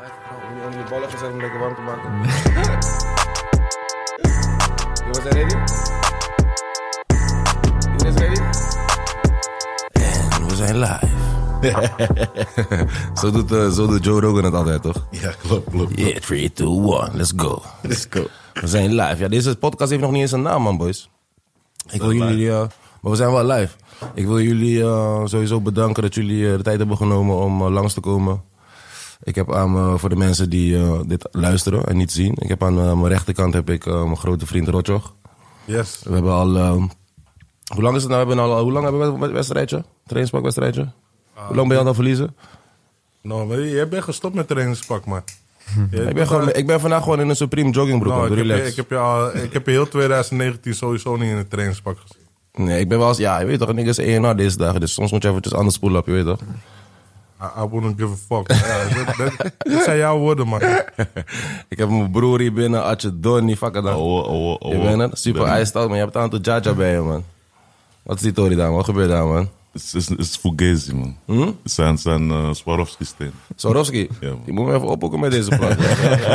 Moet je onder je bollen gezet om lekker warm te maken. You was ready? You guys ready? We zijn live. Zo doet, eh, zo doet Joe Rogan het altijd, toch? Ja, klopt, klopt. Yeah, 3, 2, 1, let's go. Let's go. We zijn live. Ja, deze podcast heeft nog niet eens een naam, man, boys. Ik wil jullie... eh, maar we zijn wel live. Ik wil jullie eh, sowieso bedanken dat jullie eh, de tijd hebben genomen om eh, langs te komen. Ik heb aan me, voor de mensen die eh, dit luisteren en niet zien... Ik heb aan eh, mijn rechterkant heb ik eh, mijn grote vriend Rotjoch. Yes. We hebben al... eh, hoe lang is het nou? We hebben al, hoe lang hebben we het wedstrijdje? Trainingspakwedstrijdje? hoe lang ben je aan het verliezen? Nou, maar jij bent gestopt met trainingspak, man. Jij- Ik ben, gewoon, ik ben vandaag gewoon in een Supreme joggingbroek. Nou, man. ik, heb relax. je, ik, heb je al, ik heb je heel 2019 sowieso niet in een trainingspak gezien. Nee, ik ben wel eens... Ja, je weet toch, niggas ENR deze dagen. Dus soms moet je eventjes anders spoelen op, je weet toch? I, I wouldn't give a fuck. Ja, dat, dat, dat zijn jouw woorden, man. ik heb mijn broer hier binnen, Atje Donny, fuck dan. Oh, oh, oh. je bent het? Super ijstout, man. Je hebt een aantal Jaja bij je, man. Wat is die tory daar, man? Wat gebeurt daar, man? Het is, het is Fugazi, man. Hmm? Het zijn, zijn eh, Swarovski-steen. Swarovski, Ja, man. je moet me even ophoeken met deze plaat. man.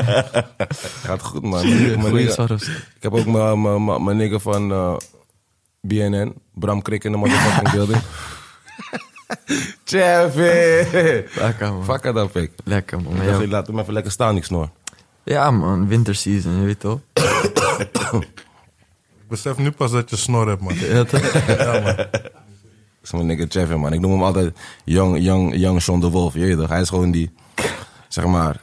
Gaat goed, man. Mijn nigga- Swarovski. Ik heb ook mijn- mijn- mijn mijn nigger van eh, BNN, Bram Krik in de motherfucking building. Chevy! Lekker man. Fuck dat, pik. Lekker man. Ik Ja, dacht, laat hem even lekker staan, ik snor. ja man, winterseason, je weet toch? Ik besef nu pas dat je snor hebt, man. Ja, toch? Dat is mijn nigga Chevy, man. Ik noem hem altijd Young, young, young Sean de Wolf. Je weet toch? Hij is gewoon die, zeg maar...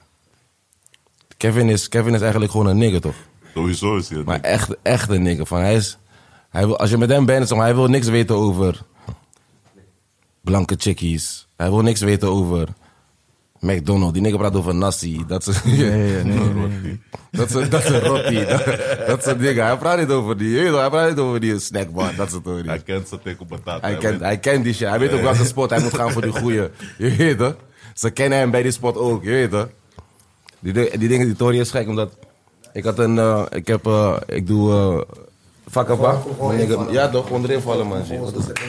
Kevin is, Kevin is eigenlijk gewoon een nigger, toch? Sowieso is hij het. Maar echt, echt een nigger. Van, hij is, hij wil, als je met hem bent, zeg maar, hij wil niks weten over blanke chickies. Hij wil niks weten over McDonald's. Die nigger praat over nasi. Dat is, Nee, nee, nee, nee. dat is, dat is een rotti. Dat, dat soort dingen. Hij praat niet over die, je weet toch, hij praat niet over die snackbar. Dat soort dingen. Hij kent zijn tegen batata. Hij hè, kent, man. hij kent die shit. Hij weet ook welke spot hij moet gaan voor die goeie. Je weet toch? Ze kennen hem bij die spot ook, je weet toch? Die, di- die dingen, die Tory is gek, omdat... Ik had een... eh, ik heb... eh, ik doe... eh Vakaba. Ja toch, onderin vallen man. shit. Wat is dat?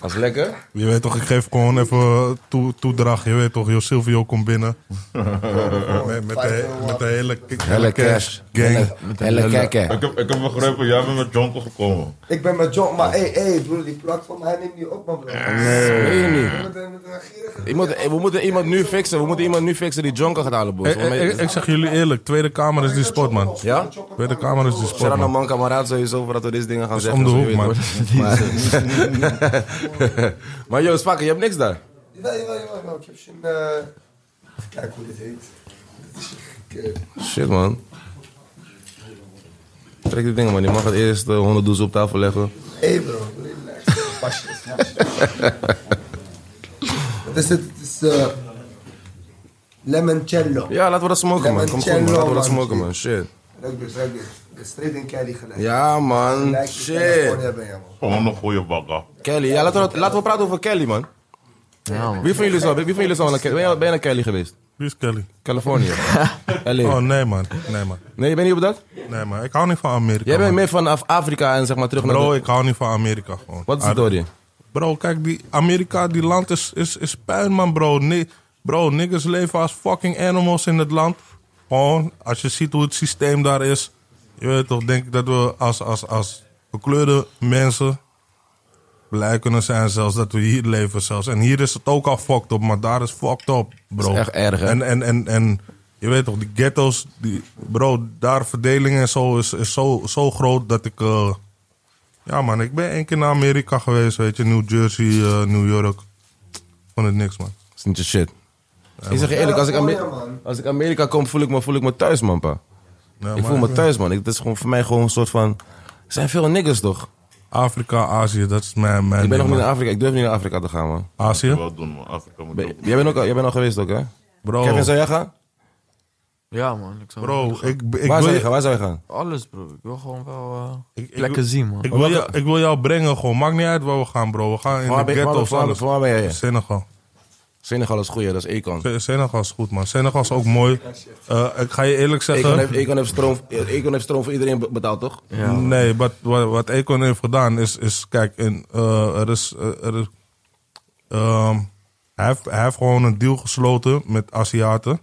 Dat is lekker. Je weet toch, ik geef gewoon even toe, toedracht. Je weet toch, Jo Silvio komt binnen. met, met, de, met de hele, Helle cash. gang. Helle kekken. Ik heb, ik heb begrepen, jij bent met Jonko gekomen. Ik ben met John, maar hé, hey, hey, broer, die platform, hij neemt niet op, man, broer. Meen je niet? Met een, met een gierige... Ik moet- we moeten iemand nu fixen. We moeten iemand nu fixen die John kan gaan halen, boys. Ik, ik, ik zeg jullie eerlijk, Tweede Kamer is die spot, man. Ja? Tweede Kamer is die Shout spot, out naar man. man, kameraad, sowieso, voordat we deze dingen gaan om zeggen. de zo, je hoek, weet man. toch. Maar- Maar joh, Spakker, je hebt niks daar. Jawel, jawel, jawel, man. Ik heb zo'n... eh, Even kijken hoe dit heet. Dit is een Shit, man. Trek die dingen, man. Je mag het eerst eh, 100 doezen op tafel leggen. Hé, hey, bro, relax. Pasje, pasje. Wat is dit? Het is... eh Lemoncello. Ja, laten we dat smoken, man. Kom goed, man. Laten we dat smoken, man. Shit. Ruik dus, ruik dus. De straight in Kelly gelijk. Ja, man. Gelijk, je kan het gewoon Shit. hebben, ja, man. Gewoon een goede bagger. Kelly. Ja, laten we, dat- laten we praten over Kelly, man. Ja man. Wie van jullie is wel, wie van jullie is wel naar Kelly? Ben je, ben je naar Kelly geweest? Wie is Kelly? Californië. Oh, LA. nee, man. Nee, man. Nee, je bent niet op dat? Nee, man. Ik hou niet van Amerika. Jij bent man. meer van Af- Afrika en zeg maar terug naar... Bro, de- ik hou niet van Amerika gewoon. Wat is het, Ar- Dori? Bro, kijk, die Amerika, die land is, is, is puin, man, bro. Nee, bro, niggas leven als fucking animals in het land. Gewoon, als je ziet hoe het systeem daar is. Je weet toch, denk ik dat we als, als, als gekleurde mensen blij kunnen zijn zelfs dat we hier leven zelfs. En hier is het ook al fucked up, maar daar is fucked up, bro. Dat is echt erg, hè? En, en, en, en je weet toch, die ghettos, die, bro, daar verdeling en zo is, is zo, zo groot dat ik... eh, ja, man, ik ben één keer naar Amerika geweest, weet je. New Jersey, eh, New York. Vond het niks, man. is niet je shit. Ik zeg je eerlijk, als ik, Amer- Californië, man. als ik Amerika kom, voel ik me, voel ik me thuis, man, pa. Ja, Ik maar voel me thuis, man. Ik, dat is gewoon voor mij gewoon een soort van... Er zijn veel niggers, toch? Afrika, Azië, dat is mijn... mijn Ik ben nog ding, niet man. naar Afrika. Ik durf niet naar Afrika te gaan, man. Azië? Wel doen, man. Afrika moet Ben- doen. jij, bent ook, al- jij bent al geweest ook, hè? Bro, Kevin, zou jij gaan? Ja man, ik zou... bro ik, ik, Waar wil zou je, je gaan? Waar zou je gaan? Alles bro, ik wil gewoon wel eh, Ik- ik plekken wil- zien man. ik, wil jou, ik wil jou brengen, gewoon. Maakt niet uit waar we gaan, bro. We gaan in Waar de ben, waar, ghetto waar, of alles. waar- waar ben jij? heen? Senegal. Senegal is goed, ja, dat is Econ. Se- Senegal is goed, man. Senegal is ook mooi. Eh, ik ga je eerlijk Econ zeggen... heeft, Econ heeft, stroom, Econ heeft stroom voor iedereen be- betaald, toch? Ja, man. Nee, wat, wat, wat Econ heeft gedaan is, is kijk, in, eh, er is, eh, er is ehm, hij, heeft, hij heeft gewoon een deal gesloten met Aziaten.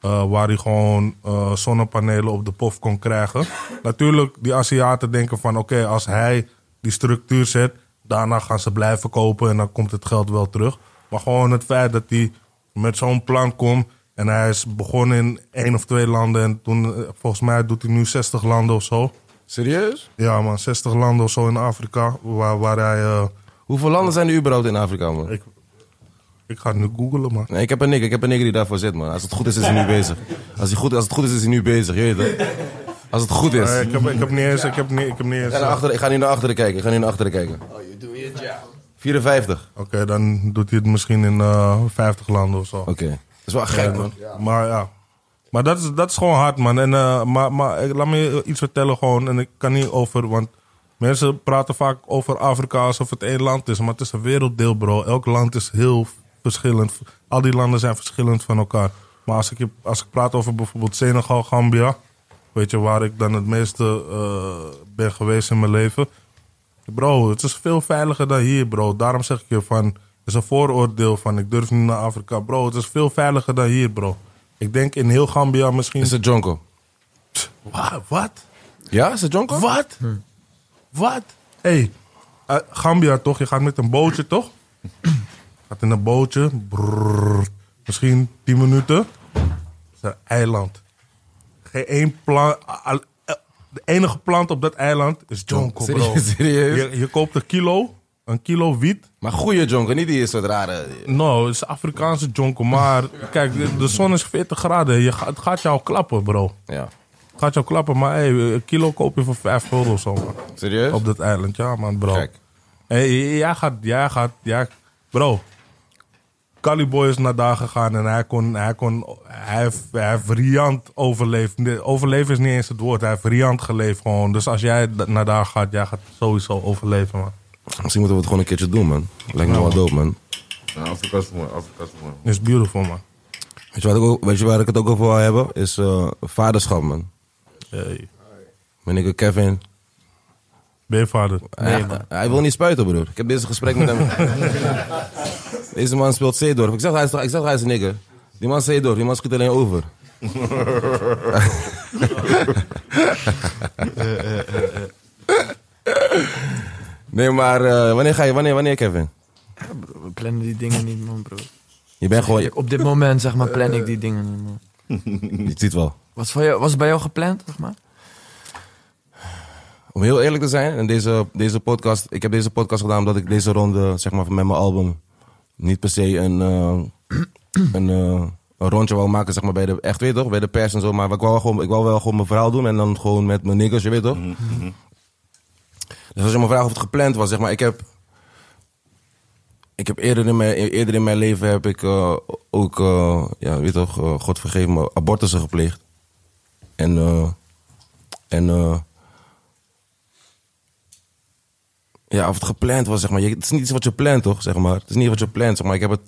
Eh, eh, waar hij gewoon eh, zonnepanelen op de pof kon krijgen. Natuurlijk, die Aziaten denken van oké, als hij die structuur zet, daarna gaan ze blijven kopen en dan komt het geld wel terug. Maar gewoon het feit dat hij met zo'n plan komt en hij is begonnen in één of twee landen en toen, eh, volgens mij doet hij nu 60 landen of zo. Serieus? Ja man, 60 landen of zo in Afrika waar, waar hij... eh, Hoeveel landen zijn er überhaupt in Afrika, man? ik, ik ga het nu googlen, maar... Nee, ik heb een nigger. Ik heb een nigger die daarvoor zit, man. Als het goed is, is hij nu bezig. Als, hij goed, als het goed is, is hij nu bezig. Je weet het. Als het goed is. Eh, ik, heb, ik heb niet eens... Ik heb niet, ik heb niet eens Ik ga, naar eh, achteren, ik ga nu naar achteren kijken. Ik ga nu naar achteren kijken. Oh, you do your job. 54. eh, Oké, dan doet hij het misschien in eh 50 landen of zo. Oké. Dat is wel gek, man. Maar ja. Maar dat is, dat is gewoon hard, man. En, eh, maar maar eh, laat me je iets vertellen gewoon. En ik kan niet over... Want mensen praten vaak over Afrika alsof het één land is. Maar het is een werelddeel, bro. Elk land is heel verschillend. Al die landen zijn verschillend van elkaar. Maar als ik, je- als ik praat over bijvoorbeeld Senegal, Gambia... Weet je, waar ik dan het meeste eh, ben geweest in mijn leven... Bro, het is veel veiliger dan hier, bro. Daarom zeg ik je van, het is een vooroordeel van, ik durf niet naar Afrika. Bro, het is veel veiliger dan hier, bro. Ik denk in heel Gambia misschien... Is het Jonko? Wa- Wat? Ja, is het Jonko? Wat? Wat? Hm. hey, eh, Gambia toch? Je gaat met een bootje, toch? gaat in een bootje. brrrr, misschien 10 minuten. Het is een eiland. Geen één plant... al- eh, De enige plant op dat eiland is jonko, bro. Serieus? Serieus? Je, je koopt een kilo, een kilo wiet. Maar goede Jonko, niet die soort rare... Nou, het is Afrikaanse jonko, maar kijk, de, de zon is 40 graden. Je, gaat- het gaat jou klappen, bro. Ja. Het gaat jou klappen, maar hey, een kilo koop je voor 5 gulden of zo, man. Serieus? Op dat eiland, ja, man, bro. Gek. Hey, jij gaat, jij gaat, jij... Bro, Caliboy is naar daar gegaan en hij kon, hij kon, hij heeft, hij heeft riant overleefd. Nee, Overleven is niet eens het woord, hij heeft riant geleefd gewoon. Dus als jij da- naar daar gaat, jij gaat sowieso overleven, man. Misschien moeten we het gewoon een keertje doen, man. Lijkt me wel dope, man. Ja, Afrika is mooi, Afrika is mooi. Is beautiful, man. Weet je, wat ik ook, weet je waar ik het ook over wil hebben? Is eh, vaderschap, man. Hey. Mijn nigger Kevin. Ben je vader? hij, hij wil niet spuiten, broer. Ik heb deze gesprek met hem. deze man speelt Zeedorf. Ik zeg, hij is, toch- ik zeg, hij is een nigger. Die man is Zeedorf, die man schiet alleen over. nee, maar eh, wanneer ga je, wanneer, wanneer Kevin? Ja, bro, we plannen die dingen niet, man, bro. Je bent gewoon, je, Op dit moment, zeg maar, plan Eh. ik die dingen niet, man. je ziet wel. Was, van jou, was het bij jou gepland, zeg maar? Om heel eerlijk te zijn, en deze, deze podcast, ik heb deze podcast gedaan omdat ik deze ronde, zeg maar, met mijn album niet per se een, eh, een, eh, een rondje wou maken, zeg maar, bij de, echt weet je toch, bij de pers en zo. Maar ik wou, wel gewoon, ik wou wel gewoon mijn verhaal doen en dan gewoon met mijn niggers, je weet toch. Dus als je me vraagt of het gepland was, zeg maar, ik heb, ik heb eerder in mijn, eerder in mijn leven heb ik eh, ook, eh, ja, weet je toch, eh, God vergeef me, abortussen gepleegd. En, eh, en, eh, Ja, of het gepland was, zeg maar. Je- Het is niet iets wat je plant, toch? Zeg maar. Het is niet wat je plant, zeg maar. Ik heb het...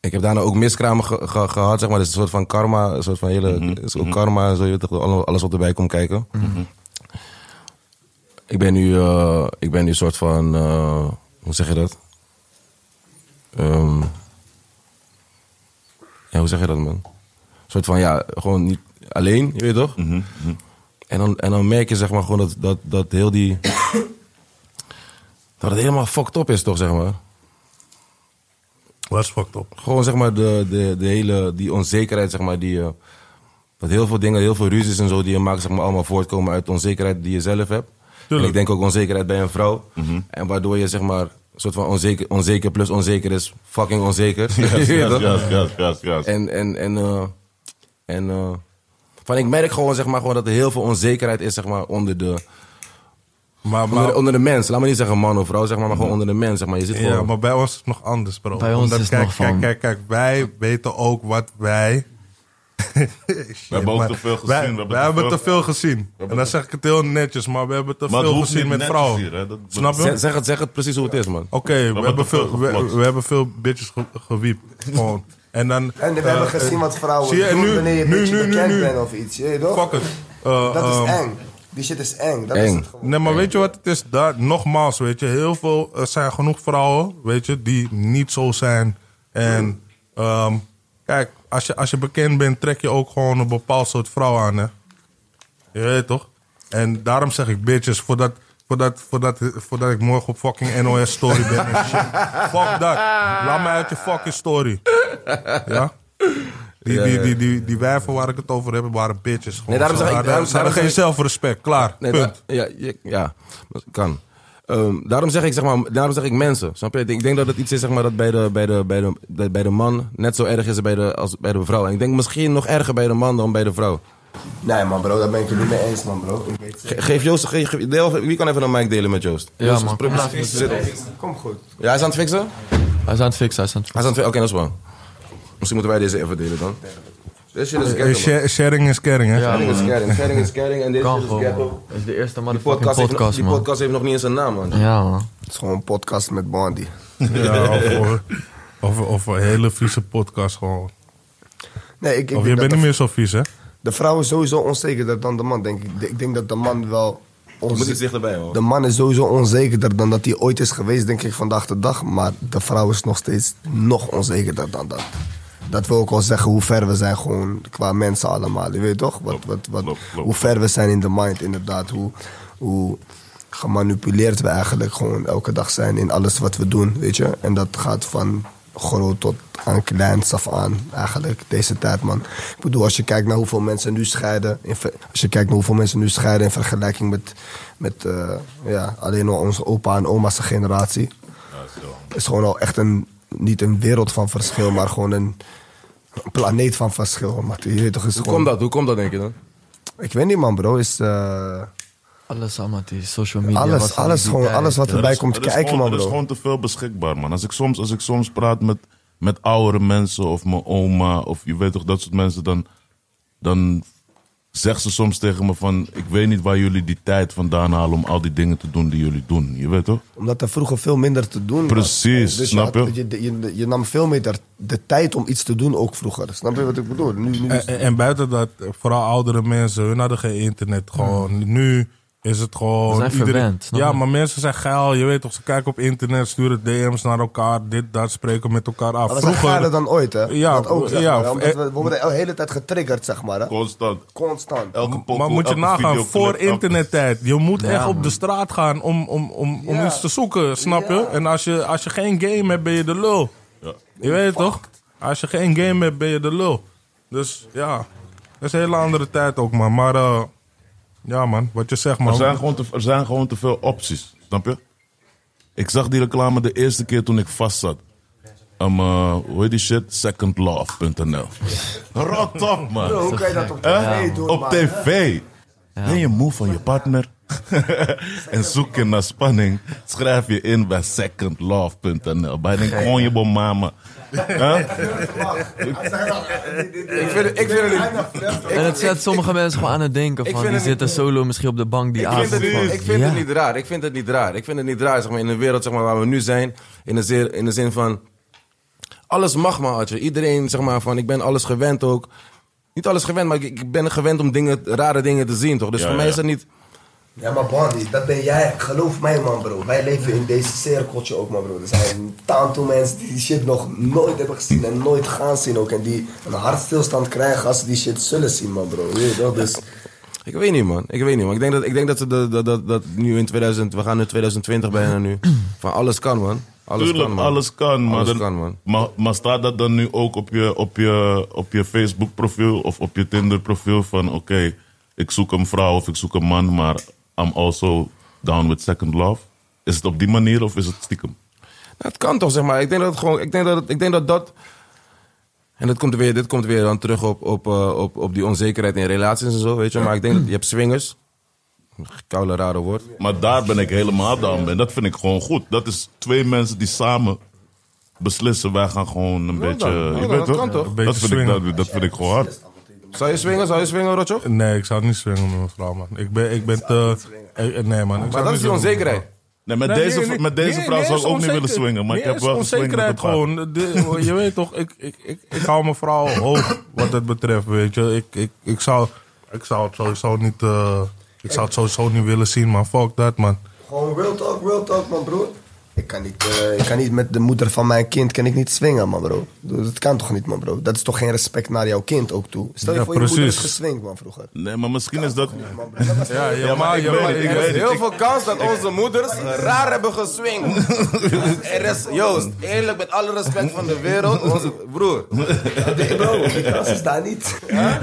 Ik heb daarna ook miskramen ge- ge- gehad, zeg maar. Dus een soort van karma, een soort van hele... is ook karma, en zo, je weet toch, alle- alles wat erbij komt kijken. Ik ben nu... eh, ik ben nu een soort van... eh, hoe zeg je dat? Ehm, ja, hoe zeg je dat, man? Een soort van, ja, gewoon niet alleen, je weet toch? En dan, en dan merk je zeg maar gewoon dat, dat, dat heel die... dat het helemaal fucked up is toch, zeg maar. Wat is fucked up? Gewoon zeg maar de, de, de hele... Die onzekerheid, zeg maar, die... eh, dat heel veel dingen, heel veel ruzies en zo die je maakt, zeg maar, allemaal voortkomen uit onzekerheid die je zelf hebt. En Tuurlijk. ik denk ook onzekerheid bij een vrouw. En waardoor je, zeg maar, een soort van onzeker, onzeker plus onzeker is fucking onzeker. Je Yes, weet yes, toch? yes, yes, yes, yes. En, en, en, eh, en eh, van ik merk gewoon, zeg maar, gewoon dat er heel veel onzekerheid is, zeg maar, onder de, Maar, onder, maar, de- onder de mens. Laat me niet zeggen man of vrouw, zeg maar, maar gewoon onder de mens, zeg maar. Je zit gewoon... ja, maar bij ons is het nog anders, bro. Bij ons Omdat, is het kijk, nog kijk, van- Kijk, kijk, wij weten ook wat wij... Shit, hebben ook maar te veel gezien, Wij, we hebben wij te hebben veel- te veel gezien. En dan zeg ik het heel netjes, maar we hebben te Maar het veel hoeft gezien niet met netjes vrouwen. hier, hè. Dat- Snap je? zeg, zeg het, zeg het precies hoe het is, man. Oké, we, wordt hebben te veel veel- we, geflot. we hebben veel bitches ge, gewiept. Gewoon. En dan... En we eh, hebben gezien wat vrouwen zie je, en doen nu- wanneer je een nu- beetje nu- nu- bekend nu. bent of iets. Je weet toch? Fuck it. Eh, Dat is ehm, eng. Die shit is eng. Dat is Eng. het gewoon. Nee, maar weet je wat het is? Daar, nogmaals, weet je, heel veel, er zijn genoeg vrouwen, weet je, die niet zo zijn. En ehm, kijk, als je, als je bekend bent, trek je ook gewoon een bepaald soort vrouw aan, hè. Je weet toch? En daarom zeg ik bitches, voordat, voordat, voordat, voordat ik morgen op fucking NOS story ben en shit. Fuck dat. Laat me uit je fucking story. Ja? Die, die, die, die, die wijven waar ik het over heb, waren bitches. Gewoon. Nee, daarom Ze zeg ik- hadden- daarom- ze daarom hadden geen zeg ik- zelfrespect. Klaar. Nee, Punt. da- ja, je- ja, dat kan. Ehm, daarom, zeg ik, zeg maar, daarom zeg ik mensen. Snap je? Ik denk, ik denk dat het iets is zeg maar, dat bij de, bij, de, bij, de, dat bij de man net zo erg is bij de, als bij de vrouw. En ik denk misschien nog erger bij de man dan bij de vrouw. Nee man bro, daar ben ik het niet mee eens man bro. Ik weet Ge- geef Joost, ge- ge- deel, wie kan even een mic delen met Joost? Ja, Joost, man. probeer- Kom zit- Kom goed. Ja, hij is aan het fixen? Hij is aan het fixen, hij is aan het Hij is aan het fixen, oké, dat is wel. Misschien moeten wij deze even delen dan. This shit is Eh, ghetto, man. share- Sharing is caring, hè? Ja, Sharing is man. caring, sharing is caring en dit Kan shit is gewoon, ghetto. man. Dat is de eerste Die motherfucking podcast, heeft, nog- podcast, die man. podcast heeft nog niet eens een naam, man. Ja, man. Het is gewoon een podcast met Bondi. Ja, of, of, of een hele vieze podcast gewoon. Nee, ik, ik Of denk je dat bent de- niet meer zo vies, hè? De vrouw is sowieso onzekerder dan de man, denk ik. De- Ik denk dat de man wel... Je moet onze- iets dichterbij, hoor. De man is sowieso onzekerder dan dat hij ooit is geweest, denk ik, vandaag de dag. Maar de vrouw is nog steeds nog onzekerder dan dat. Dat wil ook al zeggen hoe ver we zijn gewoon qua mensen allemaal. Je weet toch? Wat, wat, wat, Klopt, klopt. Hoe ver we zijn in de mind, inderdaad. Hoe, hoe gemanipuleerd we eigenlijk gewoon elke dag zijn in alles wat we doen, weet je? En dat gaat van groot tot aan kleins af aan, eigenlijk, deze tijd, man. Ik bedoel, als je kijkt naar hoeveel mensen nu scheiden... in ver- als je kijkt naar hoeveel mensen nu scheiden in vergelijking met... met eh, ja, alleen al onze opa en oma's generatie... is gewoon al echt een... niet een wereld van verschil, maar gewoon een... planeet van verschil, maar je weet toch, is Hoe gewoon... komt dat? Hoe komt dat, denk je dan? Ik weet niet, man, bro. Is, eh, Alles allemaal, die social media. Alles, was allemaal alles die gewoon, tijd. alles wat- Er erbij is- komt er is kijken, gewoon- man, Er is bro. gewoon te veel beschikbaar, man. Als ik soms, als ik soms praat met, met oudere mensen of mijn oma of je weet toch dat soort mensen, dan, dan zegt ze soms tegen me van... Ik weet niet waar jullie die tijd vandaan halen om al die dingen te doen die jullie doen. Je weet toch? omdat er vroeger veel minder te doen was. Precies, dus snap je, je? had- je, je? Je nam veel meer de, de tijd om iets te doen ook vroeger. Snap je wat ik bedoel? Nu, nu En, en- en buiten dat, eh, vooral oudere mensen, hun hadden geen internet. Gewoon, nu is het gewoon... We zijn verwend, snap ja, je? maar mensen zijn geil. Je weet toch, ze kijken op internet, sturen DM's naar elkaar. Dit, dat, spreken met elkaar af. maar we zijn Vroeger... gaarder dan ooit, hè? Ja, dat ook, zeg ja, maar, omdat eh, we, we worden de hele tijd getriggerd, zeg maar. Hè? Constant. Constant. Elke pokoe, maar moet je elke nagaan, videoclip, voor elke- internettijd. Je moet echt man. op de straat gaan om, om, om, om Ja. iets te zoeken, snap je? Ja. En als je, als je geen game hebt, ben je de lul. Je weet het toch? Als je geen game hebt, ben je de lul. Dus ja, dat is een hele andere tijd ook, man. Maar eh, ja, man, wat je zegt, man. Er zijn, gewoon te, er zijn gewoon te veel opties, snap je? Ik zag die reclame de eerste keer toen ik vast zat. Um, eh, hoe heet die shit? Secondlove.nl. Rot op, man. Hoe kan je dat op Hè? tv doen, Op man? tv. Ben je moe van je partner? en zoek je naar spanning, schrijf je in bij secondlove.nl. Bij een konje bij mama. Ik vind, ik vind het niet... En het zet sommige mensen gewoon aan het denken van, vind die het niet- zitten solo misschien op de bank die Ik vind, avond. het, van- niet- ik vind Ja. het niet raar. Ik vind het niet raar. Ik vind het niet raar zeg maar, in de wereld zeg maar, waar we nu zijn. In de, zeer- in de zin van. Alles mag maar, Adje. Iedereen zeg maar van. Ik ben alles gewend ook. Niet alles gewend, maar ik, ik ben gewend om dingen, rare dingen te zien, toch? Dus Ja, voor mij ja. is dat niet. Ja, maar Bondi, dat ben jij. Geloof mij, man, bro. Wij leven in deze cirkeltje ook, man, bro. Er zijn een aantal mensen die die shit nog nooit hebben gezien en nooit gaan zien ook. En die een hartstilstand krijgen als ze die shit zullen zien, man, bro. Weet je wel? Dus... Ik weet niet, man. Ik weet niet, man. Ik denk dat, ik denk dat, ze de- dat, dat, dat nu in 2000. We gaan nu 2020 bijna nu. Van alles kan, man. Alles Tuurlijk, kan, man. alles kan. Maar, Alles dan- kan, man. Maar, maar staat dat dan nu ook op je, op je, op je Facebook profiel of op je Tinder profiel van oké, ik zoek een vrouw of ik zoek een man, maar I'm also down with second love? Is het op die manier of is het stiekem? Nou, het kan toch, zeg maar. Ik denk dat het gewoon. Ik denk dat, het- ik denk dat dat. En dat komt weer, dit komt weer dan terug op, op, eh, op, op die onzekerheid in relaties en zo, weet je. Maar ik denk dat je hebt swingers. Koude rare woord. Maar daar ben ik helemaal down mee. Dat vind ik gewoon goed. Dat is twee mensen die samen beslissen, wij gaan gewoon een beetje. dan. Nou je dan, weet dat toch? kan toch? Een beetje Dat vind, ik, swingen. dat, dat vind ik gewoon hard. Zou je swingen? Zou je swingen, Rotjo? Nee, ik zou het niet swingen met mijn vrouw, man. Ik ben, ik ben te... eh, eh, Nee, man. Ik Maar dat is die zou niet swingen met mijn vrouw. onzekerheid. Nee, met Nee, deze, nee, v- nee, met deze nee, vrouw nee, zou is ik ook niet willen onzeker- swingen, maar nee, ik heb is wel geswingd met een onzekerheid paar. gewoon. De- je weet toch, ik, ik, ik, ik hou mijn vrouw hoog wat dat betreft, weet je. Ik, ik, ik, zou, ik zou het sowieso niet... eh, ik zou het sowieso niet willen zien, maar fuck dat, man. Gewoon real talk, real talk, man, broer. Ik kan, niet, eh, ik kan niet met de moeder van mijn kind kan ik niet swingen, man bro. Dat kan toch niet, man bro? Dat is toch geen respect naar jouw kind ook toe? Stel je Ja, voor, je moeder is precies. geswingd, man, vroeger. Nee, maar misschien is dat... Man, bro, dat was- Ja, ja, maar, ja, maar, ik Er weet is het. heel veel kans dat onze moeders raar hebben geswingd. Er is, Joost, eerlijk met alle respect van de wereld, onze broer. Nee, bro, die kans is daar niet. Huh?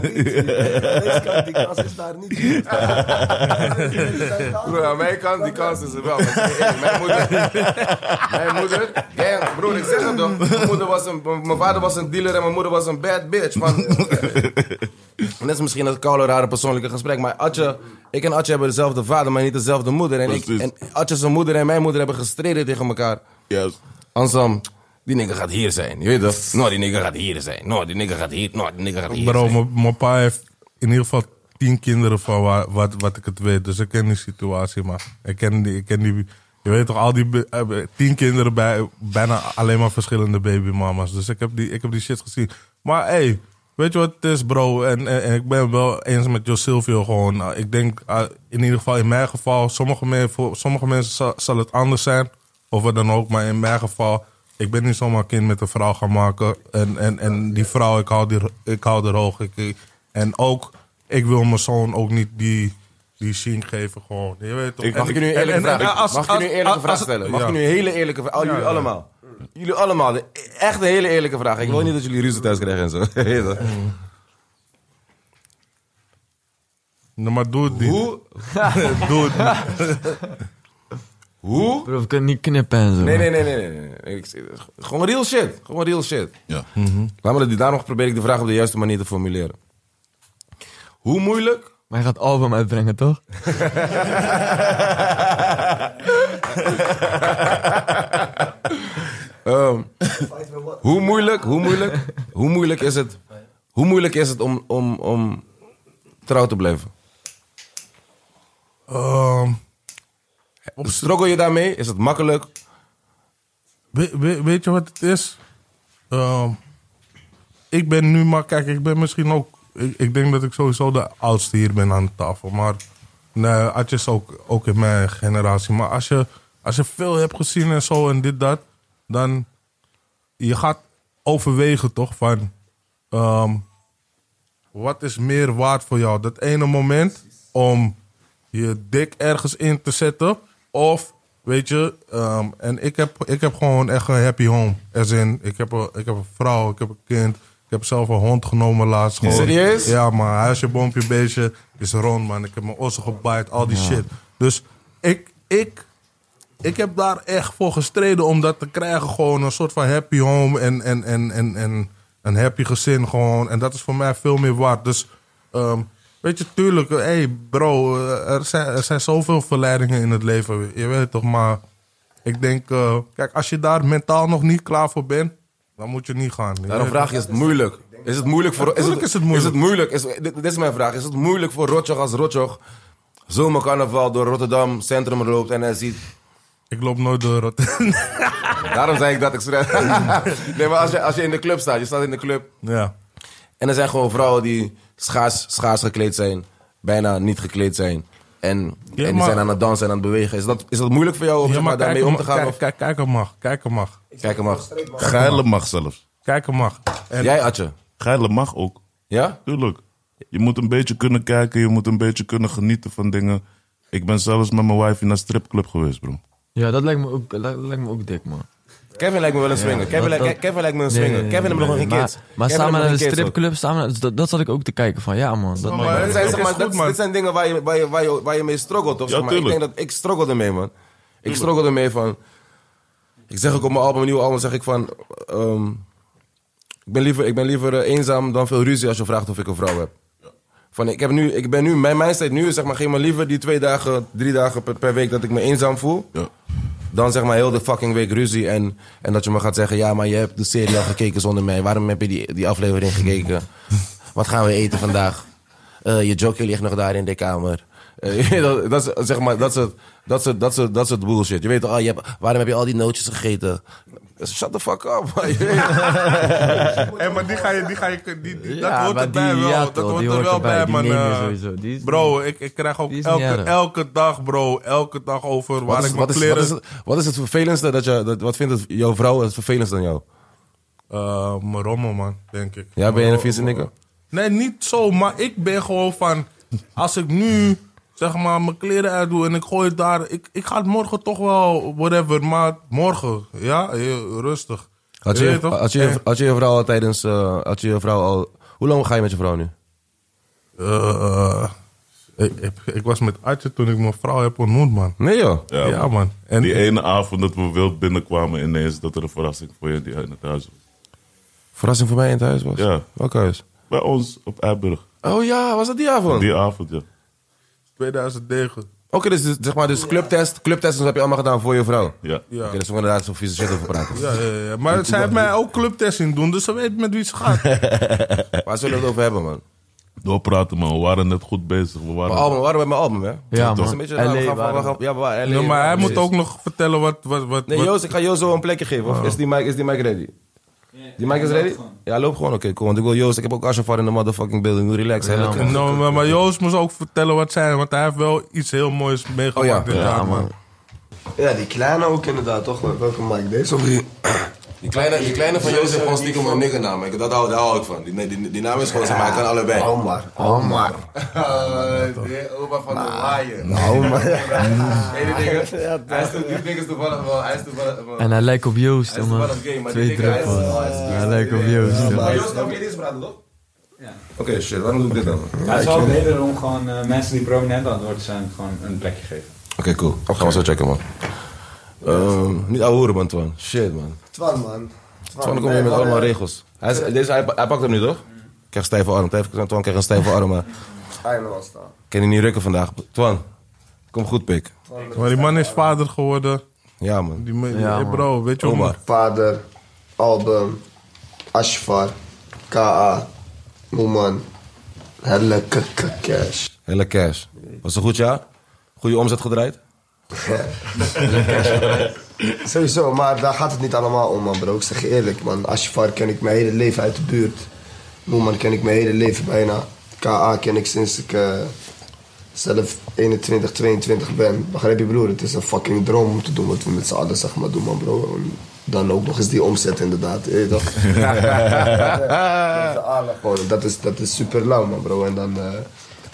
Die kans is daar niet. Deze kant, Die kans is daar niet. Broer, aan mijn kant, die kans is er wel. Want, hey, hey, Mijn moeder, mijn moeder, damn, broer, ik zeg het toch. Mijn, moeder was een, mijn vader was een dealer en mijn moeder was een bad bitch. Van, net is misschien een koude, rare persoonlijke gesprek, maar Atje, ik en Atje hebben dezelfde vader, maar niet dezelfde moeder. En, ik, Precies. en Atje zijn moeder en mijn moeder hebben gestreden tegen elkaar. Juist. Ansam, die nigger gaat hier zijn. Je weet toch? Nou, die nigger gaat hier zijn. Nou, die nigger gaat hier. Nou, die nigger gaat hier Bro, zijn. mijn- mijn pa heeft in ieder geval tien kinderen van waar, wat, wat ik het weet. Dus ik ken die situatie, maar ik ken die... Ik ken die je weet toch, al die be- eh, be- tien kinderen bij bijna alleen maar verschillende babymama's. Dus ik heb die, ik heb die shit gezien. Maar hey, weet je wat het is, bro? En, en, en ik ben wel eens met Jo Silvio gewoon. Nou, ik denk, ah, in ieder geval in mijn geval, sommige, me- voor sommige mensen zal, zal het anders zijn. Of wat dan ook, maar in mijn geval, ik ben niet zomaar kind met een vrouw gaan maken. En, en, en die vrouw, ik hou, die, ik hou er hoog. Ik- Ik, en ook, ik wil mijn zoon ook niet die, die zien geven, gewoon. Je weet toch? Ik- Mag ik je nu een eerlijke En- en- en vraag als- Mag ik je nu een als- eerlijke als- vraag als- stellen? Mag ik ja. je nu een hele eerlijke vraag? Al Jullie allemaal. Jullie allemaal. de- Echt een hele eerlijke vraag. Mm. Ik wil niet dat jullie ruzie thuis krijgen en zo. Je weet toch? Nee, maar doe het niet. Hoe? Doe het niet. Hoe? Bro, we kunnen niet knippen en zo. Nee, nee, nee, nee. nee, nee, nee. Ik- gewoon real shit. Gewoon real shit. Ja. Mm-hmm. Laat me dat, daarom probeer ik de vraag op de juiste manier te formuleren. Hoe moeilijk? Maar hij gaat album uitbrengen, toch? Ehm, hoe moeilijk, hoe moeilijk, hoe moeilijk is het, hoe moeilijk is het om, om, om trouw te blijven? Ehm, Struggle je daarmee? Is het makkelijk? We- we- weet je wat het is? Ehm, ik ben nu maar, kijk, ik ben misschien ook. Ik, ik denk dat ik sowieso de oudste hier ben aan de tafel. Maar nee, Atje is ook, ook in mijn generatie. Maar als je, als je veel hebt gezien en zo en dit, dat, dan. Je gaat overwegen toch van. ehm, wat is meer waard voor jou? Dat ene moment om je dik ergens in te zetten. Of, weet je, ehm, en ik heb, ik heb gewoon echt een happy home. As in, ik heb, een, ik heb een vrouw, ik heb een kind. Ik heb zelf een hond genomen laatst. Gewoon. Serieus? Ja, maar huisje, boompje, beestje is rond, man. Ik heb mijn ossen gebaaid, al die shit. Dus ik, ik, ik heb daar echt voor gestreden om dat te krijgen. Gewoon een soort van happy home en, en, en, en, en een happy gezin gewoon. En dat is voor mij veel meer waard. Dus ehm, weet je, tuurlijk, hé hey bro, eh, er zijn, er zijn zoveel verleidingen in het leven. Je weet toch, maar ik denk, eh, kijk, als je daar mentaal nog niet klaar voor bent, dan moet je niet gaan. Je Daarom weet vraag je, is het moeilijk? Is het moeilijk voor... Is Natuurlijk is het moeilijk. Is het moeilijk? Is, dit, dit is mijn vraag. Is het moeilijk voor Rotjoch als Rotjoch zomercarnaval door Rotterdam centrum loopt en hij ziet... Ik loop nooit door het. Daarom zei ik dat ik schrijf. nee, maar als je, als je in de club staat, je staat in de club ja. En er zijn gewoon vrouwen die schaars, schaars gekleed zijn, bijna niet gekleed zijn. En, en die maar- zijn aan het dansen en aan het bewegen. Is dat, is dat moeilijk voor jou om zeg maar, daarmee om te gaan? Kijk, of, kijk, kijk, hem mag, kijk, hem mag, kijk hem af. Geilen mag zelfs. kijk, hem mag. En Jij, Atje. Geilen mag ook. Ja? Tuurlijk. Je moet een beetje kunnen kijken, je moet een beetje kunnen genieten van dingen. Ik ben zelfs met mijn wife naar stripclub geweest, bro. Ja, dat lijkt me ook, dat lijkt me ook dik, man. Kevin lijkt me wel een swinger. Kevin, dat- lijkt- Kevin lijkt me een Nee, swinger. nee, nee, Kevin heeft nog nee, geen nee. kids. Maar, maar Kevin samen heeft naar de nog geen kids, stripclub, samen, dat, dat zat ik ook te kijken van, ja man. Dat hoor. maar- maar, Dit zijn, Het zeg is maar, goed, dat, man. dit zijn dingen waar je, waar je, waar je, waar je mee struggelt, toch? Ja, zeg maar. Ik denk tuurlijk. dat ik struggelde mee, man. Ik struggelde ermee van... Ik zeg ook op mijn album, mijn nieuwe album, zeg ik van... ehm, ik ben liever, ik ben liever eh, eenzaam dan veel ruzie als je vraagt of ik een vrouw heb. Van, ik, heb nu, ik ben nu, mijn mindset nu is zeg maar, geef me liever die twee dagen, drie dagen per, per week dat ik me eenzaam voel. Ja. Dan zeg maar heel de fucking week ruzie en, en dat je me gaat zeggen, ja maar je hebt de serie al gekeken zonder mij. Waarom heb je die, die aflevering gekeken? Wat gaan we eten vandaag? Eh, je jokken ligt nog daar in de kamer. Eh, dat, dat, is, zeg maar, dat, is het, dat, is het, dat, is het, dat is het bullshit. Je weet toch, ah, je hebt, waarom heb je al die nootjes gegeten? Shut the fuck up. man. Je weet- Hé, Eh, maar die ga je, die ga je, die, die- Ja, dat hoort maar erbij die- wel. ja, dat toch, hoort die er hoort wel bij, erbij. Die man. neem je eh, sowieso. Die is- bro, ik, ik krijg ook die is niet elke, erg. elke dag, bro, elke dag over waar Wat is, ik mijn wat, is, wat, kleren... is het, wat is het vervelendste dat je, dat, wat vindt het, jouw vrouw het vervelendste aan jou? Eh, mijn rommel, man, denk ik. Ja, ben je Mijn een ro- vieze nikker? Nee, niet zo, maar ik ben gewoon van... Als ik nu, zeg maar, mijn kleren uitdoe en ik gooi het daar... Ik, ik ga het morgen toch wel, whatever, maar morgen, ja, eh, rustig. Had je, weet je, toch? had, je, En, had je je vrouw al tijdens, eh, had je je vrouw al, hoe lang ga je met je vrouw nu? eh, ik, ik, ik was met Adje toen ik mijn vrouw heb ontmoet, man. Nee joh. Ja, Ja, man. man. En Die ene avond dat we wild binnenkwamen ineens, dat er een verrassing voor je die in het huis was. Verrassing voor mij in het huis was? Ja. Welk huis? Bij ons op Eiburg. Oh ja, was dat die avond? Die avond, ja. 2009. Oké, dus dus zeg maar, dus clubtest, clubtest dat heb je allemaal gedaan voor je vrouw. Ja. Oké, dus we gaan daar zo'n vieze shit over praten. Ja, ja, ja. Maar zij heeft mij ook clubtest in doen, dus ze weet met wie ze gaat. Waar zullen we het over hebben, man? Doorpraten, man. We waren net goed bezig. We waren... Mijn album, waarom bij mijn album, hè? Ja, Dat is man. een beetje, LA nou, we gaan, waren we we. gaan, ja, we waren LA, Ja, maar hij precies. moet ook Oh. nog vertellen wat... wat, wat, Nee, wat- Joost, ik ga Joost zo een plekje geven. Of is, die mic, is die mic ready? Die mic is ready? Ja, loop gewoon. Oké, cool. Want ik wil Joost, ik heb ook Ashafar in de motherfucking building. Doe relax, hè. Dat- Nou, maar, maar Joost moest ook vertellen wat zijn, want hij heeft wel iets heel moois meegemaakt. Oh ja. dit Ja, jaar, man. Ja, die kleine ook inderdaad, toch? Welke maakt deze? Of die... Die, kleine, die kleine van Joost heeft gewoon stiekem een niggernaam. Ik- Dat hou, daar hou ik van. Die, die, die naam is gewoon, zeg maar, hij kan allebei. Omar. Omar. Eh, De opa van de waaien. Omar. Nee, die dingen. Hij is to- die ding is toevallig wel... Hij is toevallig wel... En hij lijkt op Joost, Hij is man. toevallig gay, maar die Twee dikke- hij is- druppels. hij is- Hij lijkt op Joost, Ja, man. maar- Joost, ook niet eens praten, toch? Oké, shit, waarom doe ik dit dan? Oké, Ja, het is wel beter om gewoon eh, mensen die prominent aan het worden zijn, gewoon een plekje geven. cool. Gaan we zo checken, man. Ehm, niet ouwe hoeren, man, Twan. Shit, man. Twan, man. Twan komt weer met allemaal regels. Hij, is- deze, hij, hij pakt hem nu, toch? Krijgt stijve arm. Twan Twan krijgt een stijve arm, maar... regels. staan. Kan hij niet rukken vandaag. Twan, kom goed, pik. Maar die man is vader geworden. Ja, man. Die, me- die- Ja, hey, man. bro, weet je hoe... Omar. Vader, album, Ashfar, K.A., Moeman, Helle Cash. Hele cash. Was een goed jaar? Goede omzet gedraaid? Sowieso, maar daar gaat het niet allemaal om, man, bro. Ik zeg je eerlijk, man. Ashfar ken ik mijn hele leven uit de buurt. Moeman ken ik mijn hele leven bijna. K.A. ken ik sinds ik eh, zelf 21, 22 ben. Begrijp je, broer? Het is een fucking droom om te doen wat we met z'n allen, zeg maar, doen, man, bro. En dan ook nog eens die omzet, inderdaad. Eh, toch? Eh. Met z'n allen gewoon. Dat is, dat is super lauw, man, bro. En dan, eh,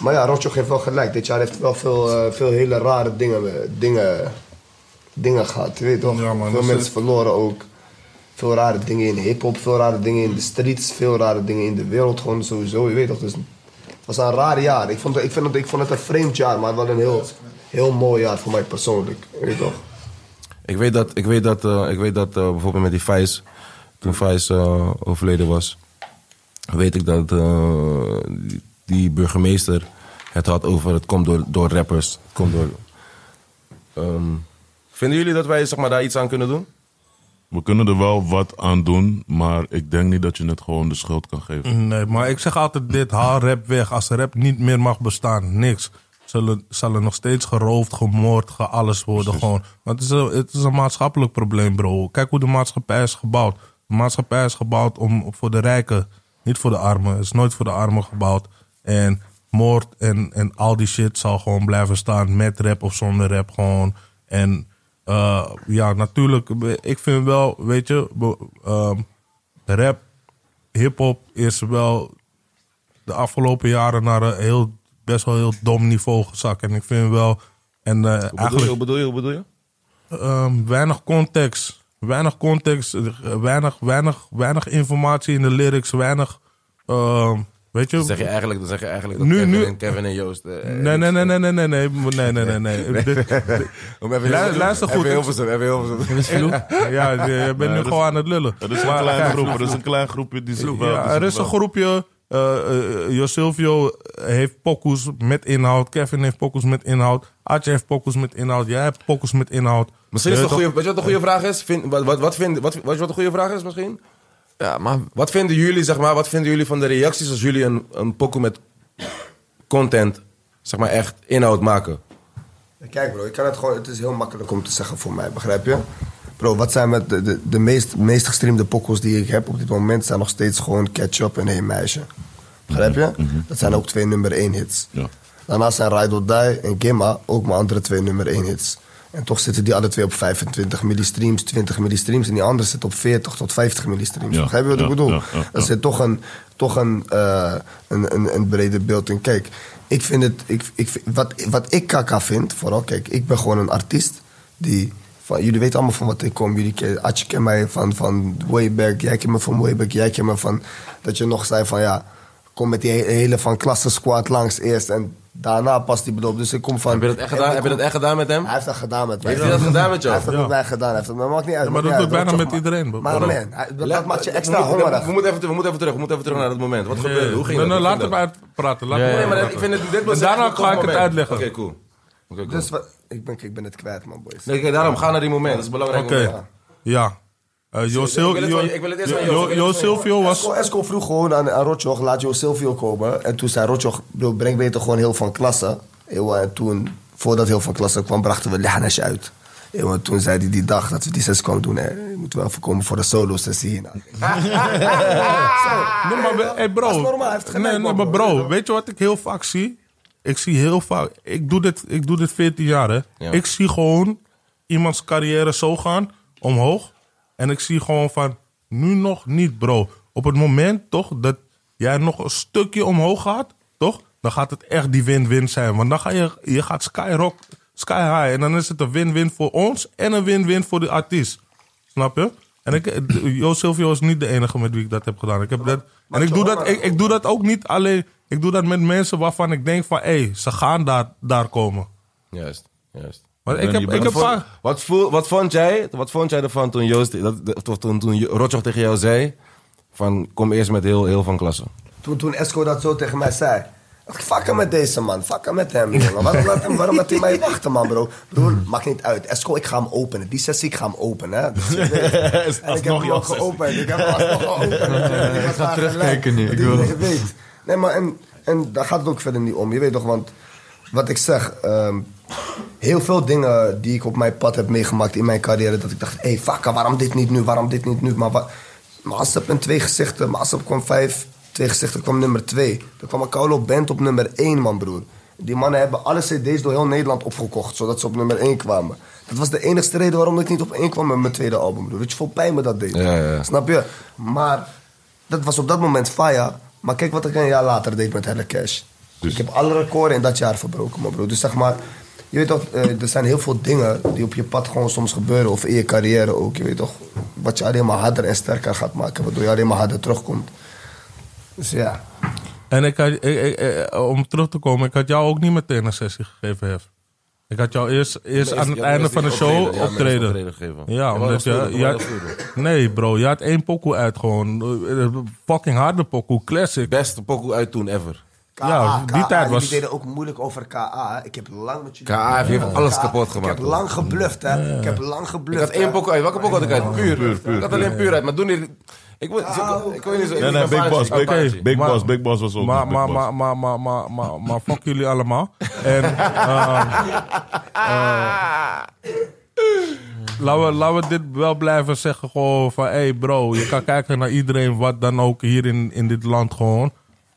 Maar ja, Rotjoch heeft wel gelijk. Dit jaar heeft wel veel, eh, veel hele rare dingen, eh, dingen, dingen gehad. Je weet toch? Ja, man, veel dus mensen het- verloren ook. Veel rare dingen in hip-hop, veel rare dingen in de streets, veel rare dingen in de wereld. Gewoon sowieso, je weet toch? Dus het was een raar jaar. Ik vond, het- ik, vind het, ik vond het een vreemd jaar, maar wel een heel, heel mooi jaar voor mij persoonlijk. Je weet toch? Ik weet dat, ik weet dat, eh, ik weet dat eh, bijvoorbeeld met die Vijs, toen Vijs eh, overleden was, weet ik dat eh, die- die burgemeester het had over het komt door, door rappers. Het komt door. Ehm, vinden jullie dat wij zeg maar, daar iets aan kunnen doen? We kunnen er wel wat aan doen, maar ik denk niet dat je het gewoon de schuld kan geven. Nee, maar ik zeg altijd dit, haal rap weg. Als rap niet meer mag bestaan, niks. Zullen, zal er nog steeds geroofd, gemoord, ge alles worden gewoon. Want het is, een, het is een maatschappelijk probleem, bro. Kijk hoe de maatschappij is gebouwd. De maatschappij is gebouwd om, voor de rijken, niet voor de armen. Het is nooit voor de armen gebouwd. En moord en, en al die shit zal gewoon blijven staan. Met rap of zonder rap gewoon. En eh, ja, natuurlijk. Ik vind wel, weet je, be- ehm, rap hip-hop is wel de afgelopen jaren naar een heel, best wel heel dom niveau gezakt. En ik vind wel. En eh, Hoe bedoel je, eigenlijk hoe bedoel je, hoe bedoel je? ehm, weinig context. Weinig context, eh, weinig, weinig, weinig informatie in de lyrics, weinig. ehm, weet je. Dan zeg je eigenlijk, dan zeg je eigenlijk dat Nu- Kevin, nu- en Kevin en Joost... eh, Nee, nee, nee, nee, nee, nee, nee, nee, nee, nee, nee. Dit- Om even Lu- luister goed, Even ik- Hilversum, even Hilversum. Ja, je je bent nu dat is- gewoon aan het lullen. Er is een Maar- kleine groep, er is een klein groepje die zich wel... die Ja, zich er is wel- een groepje. eh eh, Josilvio heeft pokus met inhoud. Kevin heeft pokus met inhoud. Adje heeft pokus met inhoud. Jij hebt pokus met inhoud. Misschien is Je het een weet goede... Weet je wat een goede vraag is? Vind, wat, wat, wat, vind, wat, wat, wat een goede vraag is misschien? Ja, maar Wat vinden jullie, zeg maar, wat vinden jullie van de reacties als jullie een, een pokoe met content zeg maar echt inhoud maken. Kijk bro, ik kan het, gewoon, het is heel makkelijk om te zeggen voor mij, begrijp je? Bro, wat zijn met de, de, de meest, meest gestreamde pokkels die ik heb op dit moment zijn nog steeds gewoon Ketchup en Hey Meisje. Begrijp je? Dat zijn ook twee nummer 1 hits. Mhm, Ja. Daarnaast zijn Ride or Die en Gimma ook mijn andere twee nummer 1 hits. En toch zitten die alle twee op 25 millistreams, 20 millistreams. En die andere zit op 40 tot 50 millistreams. Ja, Begrijp je wat ja, ik bedoel? ja, ja, Dat ja. zit toch een, toch een, eh, een, een, een breder beeld. En kijk, ik vind het, ik, ik, vind- wat, wat ik kaka vind, vooral kijk, ik ben gewoon een artiest die. Van, jullie weten allemaal van wat ik kom. Jullie ken, Atje kent mij van, van way back. Jij kent me van way back. Jij kent me van dat je nog zei van ja, kom met die he- hele van klasse squad langs eerst en daarna pas die bedoel. Dus ik kom van. Heb je dat echt en gedaan, ik heb je kom- dat echt gedaan met hem? Hij heeft dat gedaan met mij. Heeft hij dat gedaan met jou? Hij heeft dat Ja. met mij gedaan. Hij heeft dat, maar maakt niet uit. Ja, maar maakt dat niet doet uit, bijna toch? met iedereen. bro. Maar Waarom? man, hij- dat, Laat- dat maakt je Ah, we extra moeten- hongerig. We moeten, even, ter- we moeten even terug, we moeten even terug naar dat moment. Wat Nee, gebeurde? Hoe ging dat? nee, Hoe nee, laat ging dat? hem uitpraten. Laat Ja, hem ja, Nee, maar uitpraten. dat- ik vind het, dit was En daarna echt een ga ik tof het moment. uitleggen. Oké, cool. Oké, cool. Dus wat, ik, ben, ik ben het kwijt, man, boys. Nee, kijk, daarom, ga naar die moment. Dat is belangrijk. Oké, moment. ja. Eh, Jo Sil- Ik wil het Jo- van- ik wil het eerst van Jo- Jo. Ik wil Jo het van Jo. Silvio was... Esco, Esco vroeg gewoon aan, aan Rotjoch, laat Jo Silvio komen. En toen zei Rotjoch, bro, breng beter gewoon heel van klasse. Eeuw, En toen, voordat heel van klasse kwam, brachten we Lihanes uit. Eeuw, En toen zei hij die dag dat we die zes kwamen doen, hè, je moet wel voorkomen voor de solo-sessie hierna. Nee, maar we- hey Dat bro. is normaal, hij heeft gelijk, nee, nee, man, maar bro. bro, weet je wat ik heel vaak zie? Ik zie heel vaak... Ik doe dit, ik doe dit 14 jaar, hè. Ja. Ik zie gewoon iemands carrière zo gaan, omhoog. En ik zie gewoon van, nu nog niet, bro. Op het moment, toch, dat jij nog een stukje omhoog gaat, toch? Dan gaat het echt die win-win zijn. Want dan ga je, je gaat skyrock, sky high. En dan is het een win-win voor ons en een win-win voor de artiest. Snap je? En ik, Jo Silvio is niet de enige met wie ik dat heb gedaan. Ik heb dat, en ik doe dat, ik, ik doe dat ook niet alleen. Ik doe dat met mensen waarvan ik denk van, hé, ze gaan daar, daar komen. Juist, juist. Maar ben ik heb, niet ik heb Vond- bang vaak. wat, voel, wat, vond jij, wat vond jij ervan toen, Joost, dat, dat- of toen, toen Rotjoch tegen jou zei... van kom eerst met heel, heel van klasse. Toen, toen Esco dat zo tegen mij zei. Fuck hem met deze man, fuck hem met hem, jongen. Waarom laat, hem, waarom laat hij mij wachten, man, bro? Broer, maakt niet uit. Esco, ik ga hem openen. Die sessie, ik ga hem openen, hè. Dus je weet. En ik heb alsnog hem jouw ook sessie. geopend. Ik heb hem alsnog geopend. Ik ga terugkijken nu, ik wil- Je weet. Nee, maar en, en daar gaat het ook verder niet om. Je weet toch, want wat ik zeg... ehm, heel veel dingen die ik op mijn pad heb meegemaakt in mijn carrière... dat ik dacht, hé, hey, fuck, waarom dit niet nu? Waarom dit niet nu? Maar wat... Maasap en twee gezichten. Maasap kwam vijf. Twee gezichten kwam nummer twee. Er kwam een Kaulo Band op nummer één, man, broer. Die mannen hebben alle cd's door heel Nederland opgekocht... zodat ze op nummer één kwamen. Dat was de enigste reden waarom ik niet op één kwam met mijn tweede album, broer. Weet je hoeveel pijn me dat deed? Ja, ja, ja. Snap je? Maar dat was op dat moment Faya. Maar kijk wat ik een jaar later deed met Helle Cash. Dus- Ik heb alle records in dat jaar verbroken, man bro. Dus zeg maar, je weet toch, eh, er zijn heel veel dingen die op je pad gewoon soms gebeuren. Of in je carrière ook. Je weet toch, wat je alleen maar harder en sterker gaat maken. Waardoor je alleen maar harder terugkomt. Dus ja. En ik had, ik- ik- eh, om terug te komen, ik had jou ook niet meteen een sessie gegeven, Hef. Ik had jou eerst, eerst aan het ja, einde eerst van de die show optreden, ja, optreden. eerst optreden gegeven. Ja, Ja, omdat dat je... stuurde, je dat had- stuurde. nee bro, je had één pokoe uit gewoon. Eh, eh, Fucking harde pokoe, classic. Beste pokoe uit toen ever. KA, Ja, die KA, tijd was- Jullie deden ook moeilijk over KA. hè. Ik heb lang met jullie... KA heeft alles KA, kapot Ik gemaakt, heb hoor. lang gebluft, hè. Ik heb lang Ik gebluft. had één hè. pokoe uit. Welke pokoe had ik uit? Puur. Ik had alleen puur Ah, uit. Maar toen... die- Ik wil ik- ik wil niet zo... ik- Nee, nee, ik- Big ik- Boss. ik- Big, ik- Big maar- Boss, Big Boss was ook Maar, nog Big maar, Boss. maar, maar, maar, maar, maar, maar fuck jullie allemaal. En, ehm, eh, laten, we, laten we dit wel blijven zeggen gewoon van... hey bro, je kan kijken naar iedereen wat dan ook hier in, in dit land gewoon.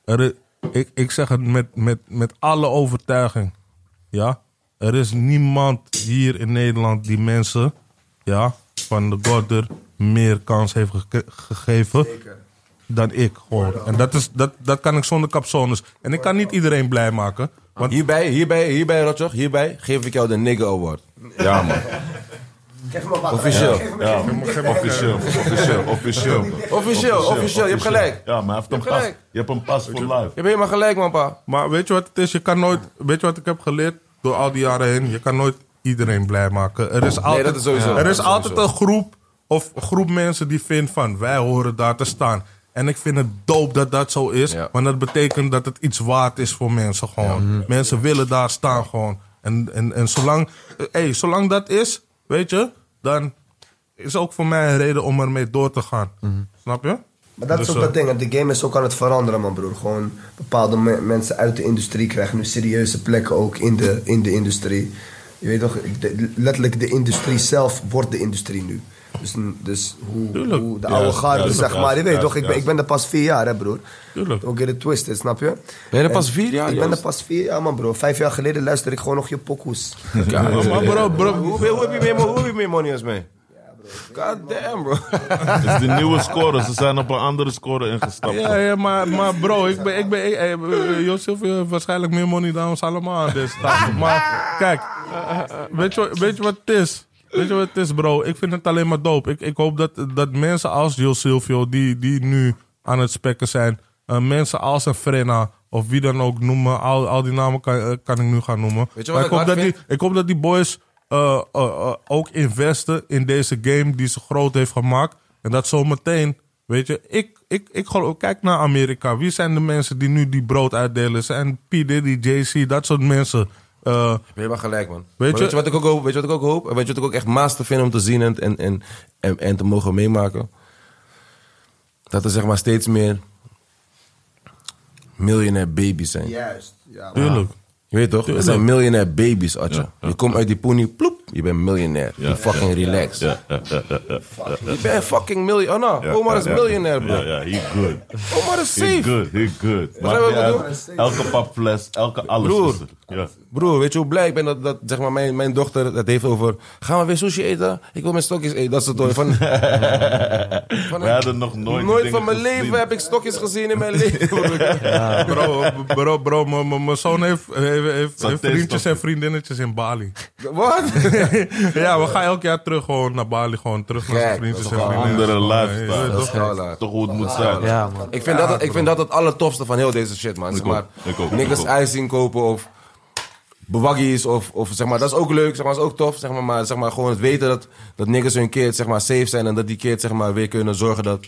Er is- ik, ik zeg het met, met, met alle overtuiging. Ja? Er is niemand hier in Nederland die mensen... Ja, van de Gorder meer kans heeft geke- gegeven dan ik gewoon. En dat, is, dat, dat kan ik zonder capsones. En ik kan niet iedereen blij maken. Want Hierbij, hierbij, hierbij, Rotjoch. Hierbij geef ik jou de nigger award. Ja, man. Geef me wat. Officieel. Geef me- Ja, officieel, officieel, officieel. Officieel, officieel. Je hebt gelijk. Ja, maar hij heeft een pas. gelijk. Je hebt een pas voor live. Je hebt helemaal gelijk, man, pa. Maar weet je wat het is? Je kan nooit. Weet je wat ik heb geleerd door al die jaren heen? Je kan nooit iedereen blij maken. Er is altijd, dat is sowieso. er Dat is is altijd sowieso. een groep of een groep mensen die vindt van wij horen daar te staan. En ik vind het dope dat dat zo is. Ja. Mhm. Want dat betekent dat het iets waard is voor mensen gewoon. Mensen willen daar staan gewoon. En, en, en zolang, eh, hey, zolang dat is, Mhm. weet je, dan is ook voor mij een reden om ermee door te gaan. Snap je? Maar dat Dus, is ook eh, dat ding, want de game is ook aan het veranderen, man broer. Gewoon bepaalde me- mensen uit de industrie krijgen nu serieuze plekken ook in de, in de industrie. Je weet toch, de- letterlijk de industrie zelf wordt de industrie nu. Dus, dus hoe, Tuurlijk. hoe de Ja, oude garde, juist, zeg juist, maar. Je weet juist, toch, ik ben, juist. ik ben er pas vier jaar, hè broer. Tuurlijk. Ook in de twist, hè, snap je? Ben je er En pas vier jaar, Ik ben er Joost? pas vier jaar, man bro. Vijf jaar geleden luisterde ik gewoon nog je pokoes. Ja, maar bro, bro. Hoe, hoe, heb je meer, hoe heb je meer money als mij? God damn, bro. Het is de nieuwe score. Ze zijn op een andere score ingestapt. Ja, ja maar, maar bro, ik ben, ik ben, eh, eh, eh, Joseph heeft waarschijnlijk meer money dan ons allemaal aan deze tafel. Maar kijk, weet je, wat- weet je wat het is? Weet je wat het is, bro? Ik vind het alleen maar dope. Ik, ik hoop dat, dat mensen als Jo Silvio, die, die nu aan het spekken zijn, eh, mensen als een Frenna of wie dan ook noemen, al, al die namen kan, eh, kan ik nu gaan noemen. Weet je wat Maar ik ik, hard hoop dat die, vind? ik hoop dat die boys eh, eh, eh, ook investen in deze game die ze groot heeft gemaakt. En dat zometeen, weet je, ik, ik, ik, geloof- kijk naar Amerika. Wie zijn de mensen die nu die brood uitdelen? Zijn P. Diddy, JC, dat soort mensen. Eh, Ben je maar gelijk, man. Maar Weet Weet, je- je? wat ik ook hoop? Weet je wat ik ook hoop? En weet je wat ik ook echt master vind om te zien en, en, en, en, en te mogen meemaken? Dat er zeg maar steeds meer miljonair baby's zijn. Juist, ja. tuurlijk. Je weet toch? Er zijn miljonair baby's, Atje. Je komt uit die poenie, ploep, je bent miljonair. je fucking relaxed. Je bent fucking miljonair. Oh, nou, Omar is miljonair, bro. Ja, ja, he good. Omar is He safe. good, he good. je wat ik Maakt niet bedoel? uit. Elke papfles, elke alles Broer. is er. Ja. Broer, weet je hoe blij ik ben dat, dat zeg maar, mijn, mijn dochter het heeft over... Gaan we weer sushi eten? Ik wil mijn stokjes eten. Dat is het hoor. Van, van, We hadden nog nooit nooit dingen van mijn gezien. leven heb ik stokjes gezien in mijn leven. broer. Bro, bro, bro, m- m- mijn zoon heeft, heeft, heeft, heeft Saté vriendjes stoppen. en vriendinnetjes in Bali. Wat? ja, we gaan elk jaar terug gewoon naar Bali, gewoon terug naar Kijk, zijn vriendjes dat en is toch Een vriendinnetjes. andere Ja, lifestyle. Dat is gewoon laag. Toch hoe het moet zijn. Ja, man. Ik vind, dat, ik vind dat het allertofste van heel deze shit, man. Zeg ook, maar, ik ook, niks ik ook. ijs inkopen of bewaggies of, of zeg maar, dat is ook leuk, zeg maar, dat is ook tof, zeg maar, maar zeg maar gewoon het weten dat, dat niggers hun keert, zeg maar, safe zijn en dat die keert, zeg maar, weer kunnen zorgen dat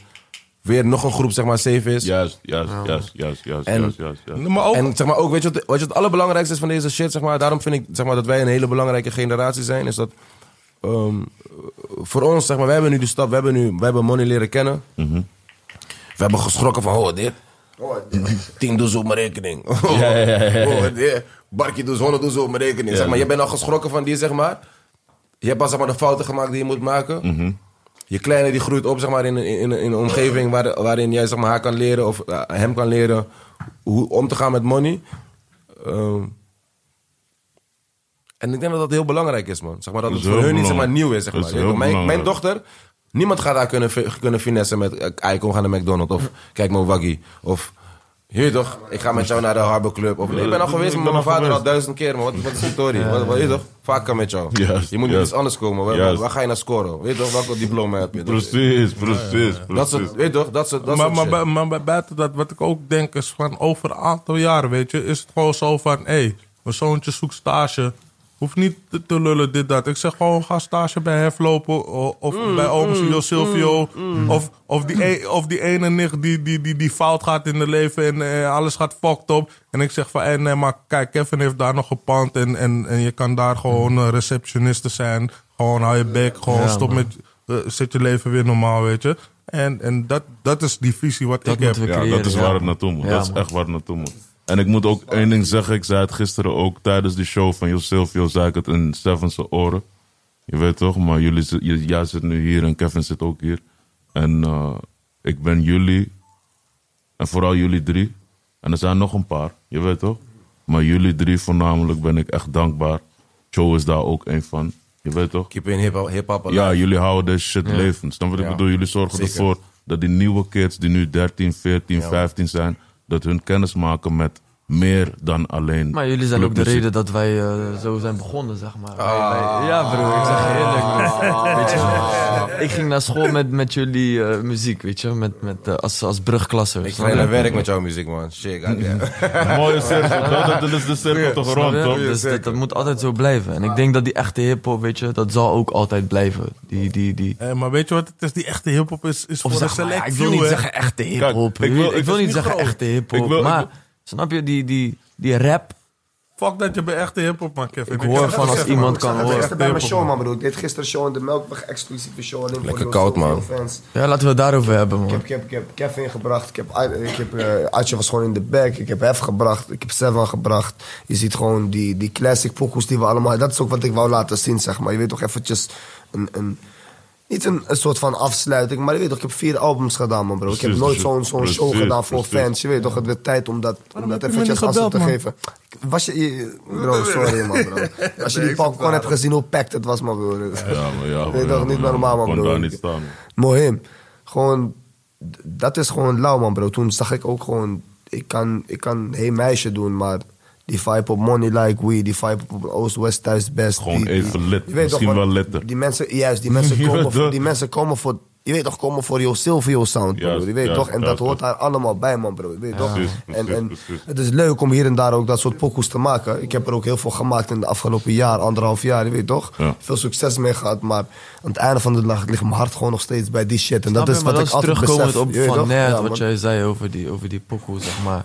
weer nog een groep, zeg maar, safe is. Juist, juist, juist, juist, juist, En- juist, juist. juist. Maar ook, En zeg maar ook, weet je wat, wat je het allerbelangrijkste is van deze shit, zeg maar, daarom vind ik, zeg maar, dat wij een hele belangrijke generatie zijn, is dat ehm, voor ons, zeg maar, wij hebben nu de stap, we hebben nu, wij hebben money leren kennen. We hebben geschrokken van, oh, dit, Oh, 10 doezel op mijn rekening. Oh, oh, dit. Barkie doet 100 doezel op mijn rekening. zeg maar, je bent al geschrokken van die, zeg maar. Je hebt al zeg maar, de fouten gemaakt die je moet maken. Je kleine die groeit op zeg maar, in, in, in een omgeving waar, waarin jij zeg maar, haar kan leren of eh, hem kan leren hoe om te gaan met money. Ehm, en ik denk dat dat heel belangrijk is, man. Zeg maar, dat Dat het is voor heel hun niet zeg maar, belangrijk. nieuw is. Zeg Dat maar. is Je weet heel toch, mijn, mijn belangrijk. dochter, niemand gaat daar kunnen, fi- kunnen finessen met... eh, "Ai, kom, we gaan naar McDonald's. Of kijk maar Waggy. Of, je weet toch, ik ga met jou naar de Harbor Club. Of, ik ben al ik geweest ben met mijn al vader geweest. al duizend keer. Maar wat, wat is de story? Wat, wat, je weet toch, vaak kan met jou. Juist, je moet met juist. iets anders komen. Waar, Juist. waar ga je naar scoren? Weet toch, welk diploma heb je? Precies, precies, Dat precies. soort, weet toch, dat soort, dat maar, soort maar, shit. bu- maar, bu- buiten dat, wat ik ook denk is van over een aantal jaren, weet je, is het gewoon zo van, hé, hey, mijn zoontje zoekt stage. Hoeft niet te, te lullen, dit, dat. Ik zeg gewoon, ga stage bij Hef lopen. o- Of Mm, bij Ooms Jo Silvio. Mm. Of, of, die e- of die ene nicht die, die, die, die fout gaat in het leven en eh, alles gaat fucked op. En ik zeg van, hey, nee, maar kijk, Kevin heeft daar nog een pand. En, en, en je kan daar gewoon eh, receptioniste zijn. Gewoon hou je bek, gewoon stop met eh, zet je leven weer normaal, weet je. En, en dat, dat is die visie wat Dat ik heb. moeten we Ja, creëren. dat is waar het naartoe moet. Ja, dat is man. echt waar het naartoe moet. En ik moet ook één ding zeggen. Ik zei het gisteren ook tijdens de show van Jos Silvio. Zei ik het in Seven's oren. Je weet toch, maar jullie, zit- j- jij zit nu hier en Kevin zit ook hier. En eh, ik ben jullie. En vooral jullie drie. En er zijn nog een paar, je weet toch? Maar jullie drie voornamelijk ben ik echt dankbaar. Joe is daar ook één van. Je weet toch? Keep in hip-hop, hip-hop alive. Ja, jullie houden deze shit levend. Snap wat ik Ja. bedoel? Jullie zorgen Zeker. ervoor dat die nieuwe kids die nu 13, 14, 15 zijn, dat hun kennis maken met meer dan alleen. Maar jullie zijn ook de clubmuziek. reden dat wij eh, zo zijn begonnen, zeg maar. Wij- Ah. wij- ja, broer, ik zeg je eerlijk. broer. Weet je, ik ging naar school met, met jullie eh, muziek, weet je, met, met, eh, als, als brugklasser. Ik snap ga je? naar werk met jouw muziek, man. Shit, god damn. Mooie cirkel, dat, dat is de cirkel toch Snap rond, je? toch? Dus dat, dat moet altijd zo blijven. En ik denk dat die echte hip-hop, weet je, dat zal ook altijd blijven. Die, die, die. Eh, maar weet je wat het is? Die echte hip-hop is, is Of voor een zeg maar, select ja, ik wil few, niet hè. zeggen echte hip-hop. ik Ik wil- wil, het ik wil is niet niet zeggen groot. echte Ik wil- hip-hop. ik Maar wil- snap je, die, die, die rap Fuck dat je bij echte hiphop man, Kevin. Ik hoor heb het van als gezegd, iemand man. kan Ik zag het horen. gisteren bij mijn show, man, broer. Ik deed gisteren show in de Melkweg, exclusieve show. alleen voor Lekker de- koud, man. voor de fans. Ja, laten we het daarover hebben, Ik heb, man. ik, heb, ik heb Kevin gebracht, ik heb, Ad- ik heb eh, Adje was gewoon in de back, ik heb Hef gebracht, ik heb Seven gebracht. Je ziet gewoon die, die classic pokoes die we allemaal... Dat is ook wat ik wou laten zien, zeg maar. Je weet toch eventjes een... een niet een, een soort van afsluiting, maar je weet toch, ik heb vier albums gedaan, man, bro. ik heb Precies, nooit dus- zo'n zo'n show precies, gedaan voor precies. fans. Je weet toch, het werd tijd om dat, om dat heb je me eventjes niet als te gebeld, man? geven. Was je... je- Bro, sorry, man, bro. Als je Nee, ik die popcorn versta hebt gezien, hoe packed het was, man, bro. Ja, maar ja. Weet toch, niet normaal, man, Ik kon broer. daar niet staan. Mohim. Gewoon, d- dat is gewoon lauw, man, bro. Toen zag ik ook gewoon, ik kan, ik kan hey meisje doen, maar die vibe op Money Like We, die vibe op Oost-West thuis best. Gewoon die- die- even lit, je weet misschien want wel litter. Die mensen, juist, die mensen Ja, komen, voor, dat- die mensen komen voor, je weet toch, komen voor jouw Silvio sound, bro. Juist, je weet ja, toch, en dat juist, hoort dat- daar allemaal bij, man, bro. Je weet toch? Precies, en, precies, en precies. het is leuk om hier en daar ook dat soort pokoes te maken. Ik heb er ook heel veel gemaakt in de afgelopen jaar, anderhalf jaar, je weet toch? Ja. Veel succes mee gehad, maar aan het einde van de dag ligt mijn hart gewoon nog steeds bij die shit. En dat Snap is je? maar wat ik dat is altijd terugkomend besef. op je weet van toch? net, Ja, wat man. jij zei over die, over die pokoe, zeg maar.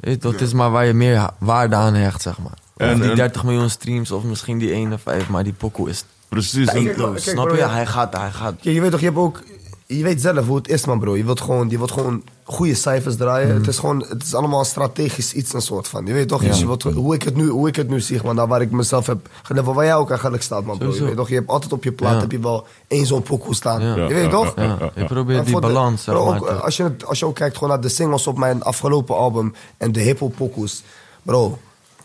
Eh, Dat is maar waar je meer ha- waarde aan hecht, zeg maar. En- En, die en- 30 miljoen streams of misschien die 1 of 5, maar die pokoe is Precies. en- Kijk, Bro, kijk, snap bro, je? ja. Hij gaat, hij gaat. Kijk, je weet toch, je hebt ook... Je weet zelf hoe het is, man, bro. Je wilt gewoon, je wilt gewoon goede cijfers draaien. Mhm. Het is gewoon... Het is allemaal strategisch iets, een soort van. Je weet toch? Dus je wilt, hoe, ik het nu, hoe ik het nu zie, man. Daar waar ik mezelf heb... geleefd, Waar jij ook eigenlijk staat, man, bro. Je Sowieso. weet toch? Je hebt altijd op je plaat Ja. heb je wel één zo'n pokoe staan. Ja. Je weet Ja, toch? ja, Ja, je probeert En die voor de- balans, zeg bro, maar. ook, te- eh, als, je, het- als je ook kijkt gewoon naar de singles op mijn afgelopen album en de hippopokoes. Bro,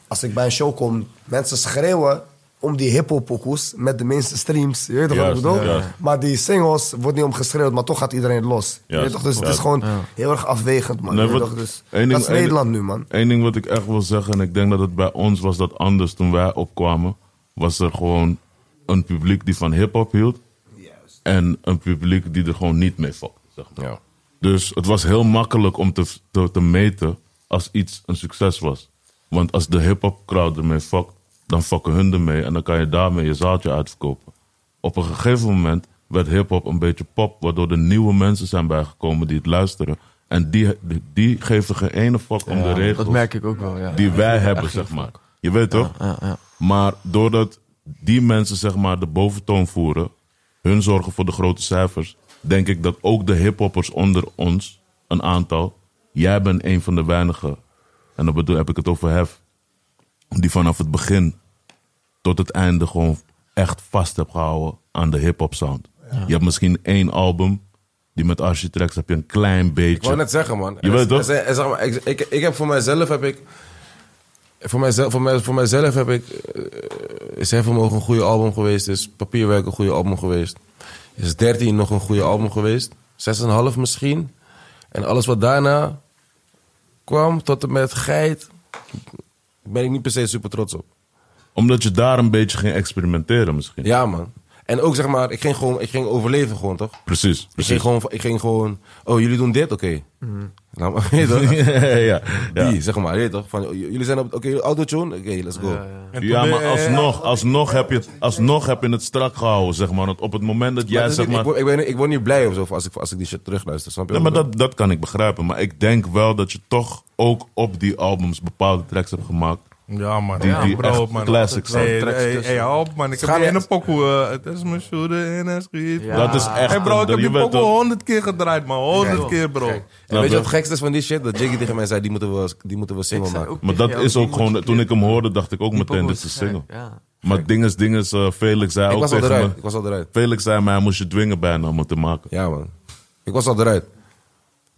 als ik bij een show kom, mensen schreeuwen om die hippopokoes met de minste streams. Je weet toch wat Juist, ik bedoel? ja. Maar die singles wordt niet om geschreeuwd, maar toch gaat iedereen los. Je weet Juist, toch? Dus het ja. is gewoon heel erg afwegend, man. Nee, Je weet wat- toch? Dus, één ding- dat is één- Nederland nu, man. Eén ding wat ik echt wil zeggen, en ik denk dat het bij ons was dat anders toen wij opkwamen, was er gewoon een publiek die van hip-hop hield en een publiek die er gewoon niet mee valt. Zeg maar. Ja. Dus het was heel makkelijk om te, te, te meten als iets een succes was. Want als de hip-hop crowd ermee fuckt, dan fucken hun ermee en dan kan je daarmee je zaaltje uitverkopen. Op een gegeven moment werd hip-hop een beetje pop, waardoor er nieuwe mensen zijn bijgekomen die het luisteren. En die, die, die geven geen ene fuck om de regels dat merk ik ook wel, ja. die wij hebben, zeg maar. Je weet toch? Maar doordat die mensen, zeg maar, de boventoon voeren, hun zorgen voor de grote cijfers, denk ik dat ook de hiphoppers onder ons, een aantal, jij bent een van de weinigen, en dan bedoel, heb ik het over Hef, die vanaf het begin tot het einde gewoon echt vast heb gehouden aan de hip-hop sound. Je hebt misschien één album, die met Architects heb je een klein Ik wou beetje. net zeggen, man. Je weet Er- toch? er zijn- er- zeg maar, ik, ik, ik heb voor mijzelf heb ik... Voor mijzelf, voor, mij, voor mijzelf heb ik... eh, is Heaven Mogen een goede album geweest. Is Papierwerk een goede album geweest. Is 13 nog een goede album geweest. 6,5 misschien. En alles wat daarna kwam, tot en met Geit... ben ik niet per se super trots op. Omdat je daar een beetje ging experimenteren misschien. Ja, man. En ook, zeg maar, ik ging, gewoon, ik ging overleven gewoon, toch? Precies, Ik ging, precies. gewoon, ik ging gewoon... Oh, jullie doen dit? Oké. Mhm. Nou, maar, weet je toch? ja, ja, ja. Die, zeg maar, je weet toch? Van, j- jullie zijn op, oké, autotune, oké, let's go. En toen Ja, ben- eh, maar alsnog, alsnog, heb je het, alsnog heb je het strak gehouden, zeg maar. Want op het moment dat Maar jij, het is zeg niet- maar... ik, word, ik, ben, ik word niet blij of zo als ik, als ik die shit terugluister, snap je? Nee, wat maar ik bedoel? dat, dat kan ik begrijpen. Maar ik denk wel dat je toch ook op die albums bepaalde tracks hebt gemaakt. Ja, man. Die- ja, die bro, echt man. classics zijn. Hey, Tracks hey, tussen. hey, help, man. Ik heb Gaan die we- ene pokoe. eh, Het is mijn shoulder en een schiet. Ja. Dat is echt... Hey, bro, ik een- heb je die weet pokoe toch- honderd keer gedraaid, man. Honderd Kijk. keer, bro. En weet je dat- wat het gekste is van die shit? Dat Jiggy tegen mij zei, die moeten we, die moeten we single maken. Maar dat is ook gewoon... Toen ik hem hoorde, dacht ik ook meteen, dit is een single. Ja. Maar ding is, ding is, eh, Felix zei ik ook was al tegen eruit, me... ik was al eruit. Felix zei mij, hij moest je dwingen bijna om het te maken. Ja, man. Ik was al eruit.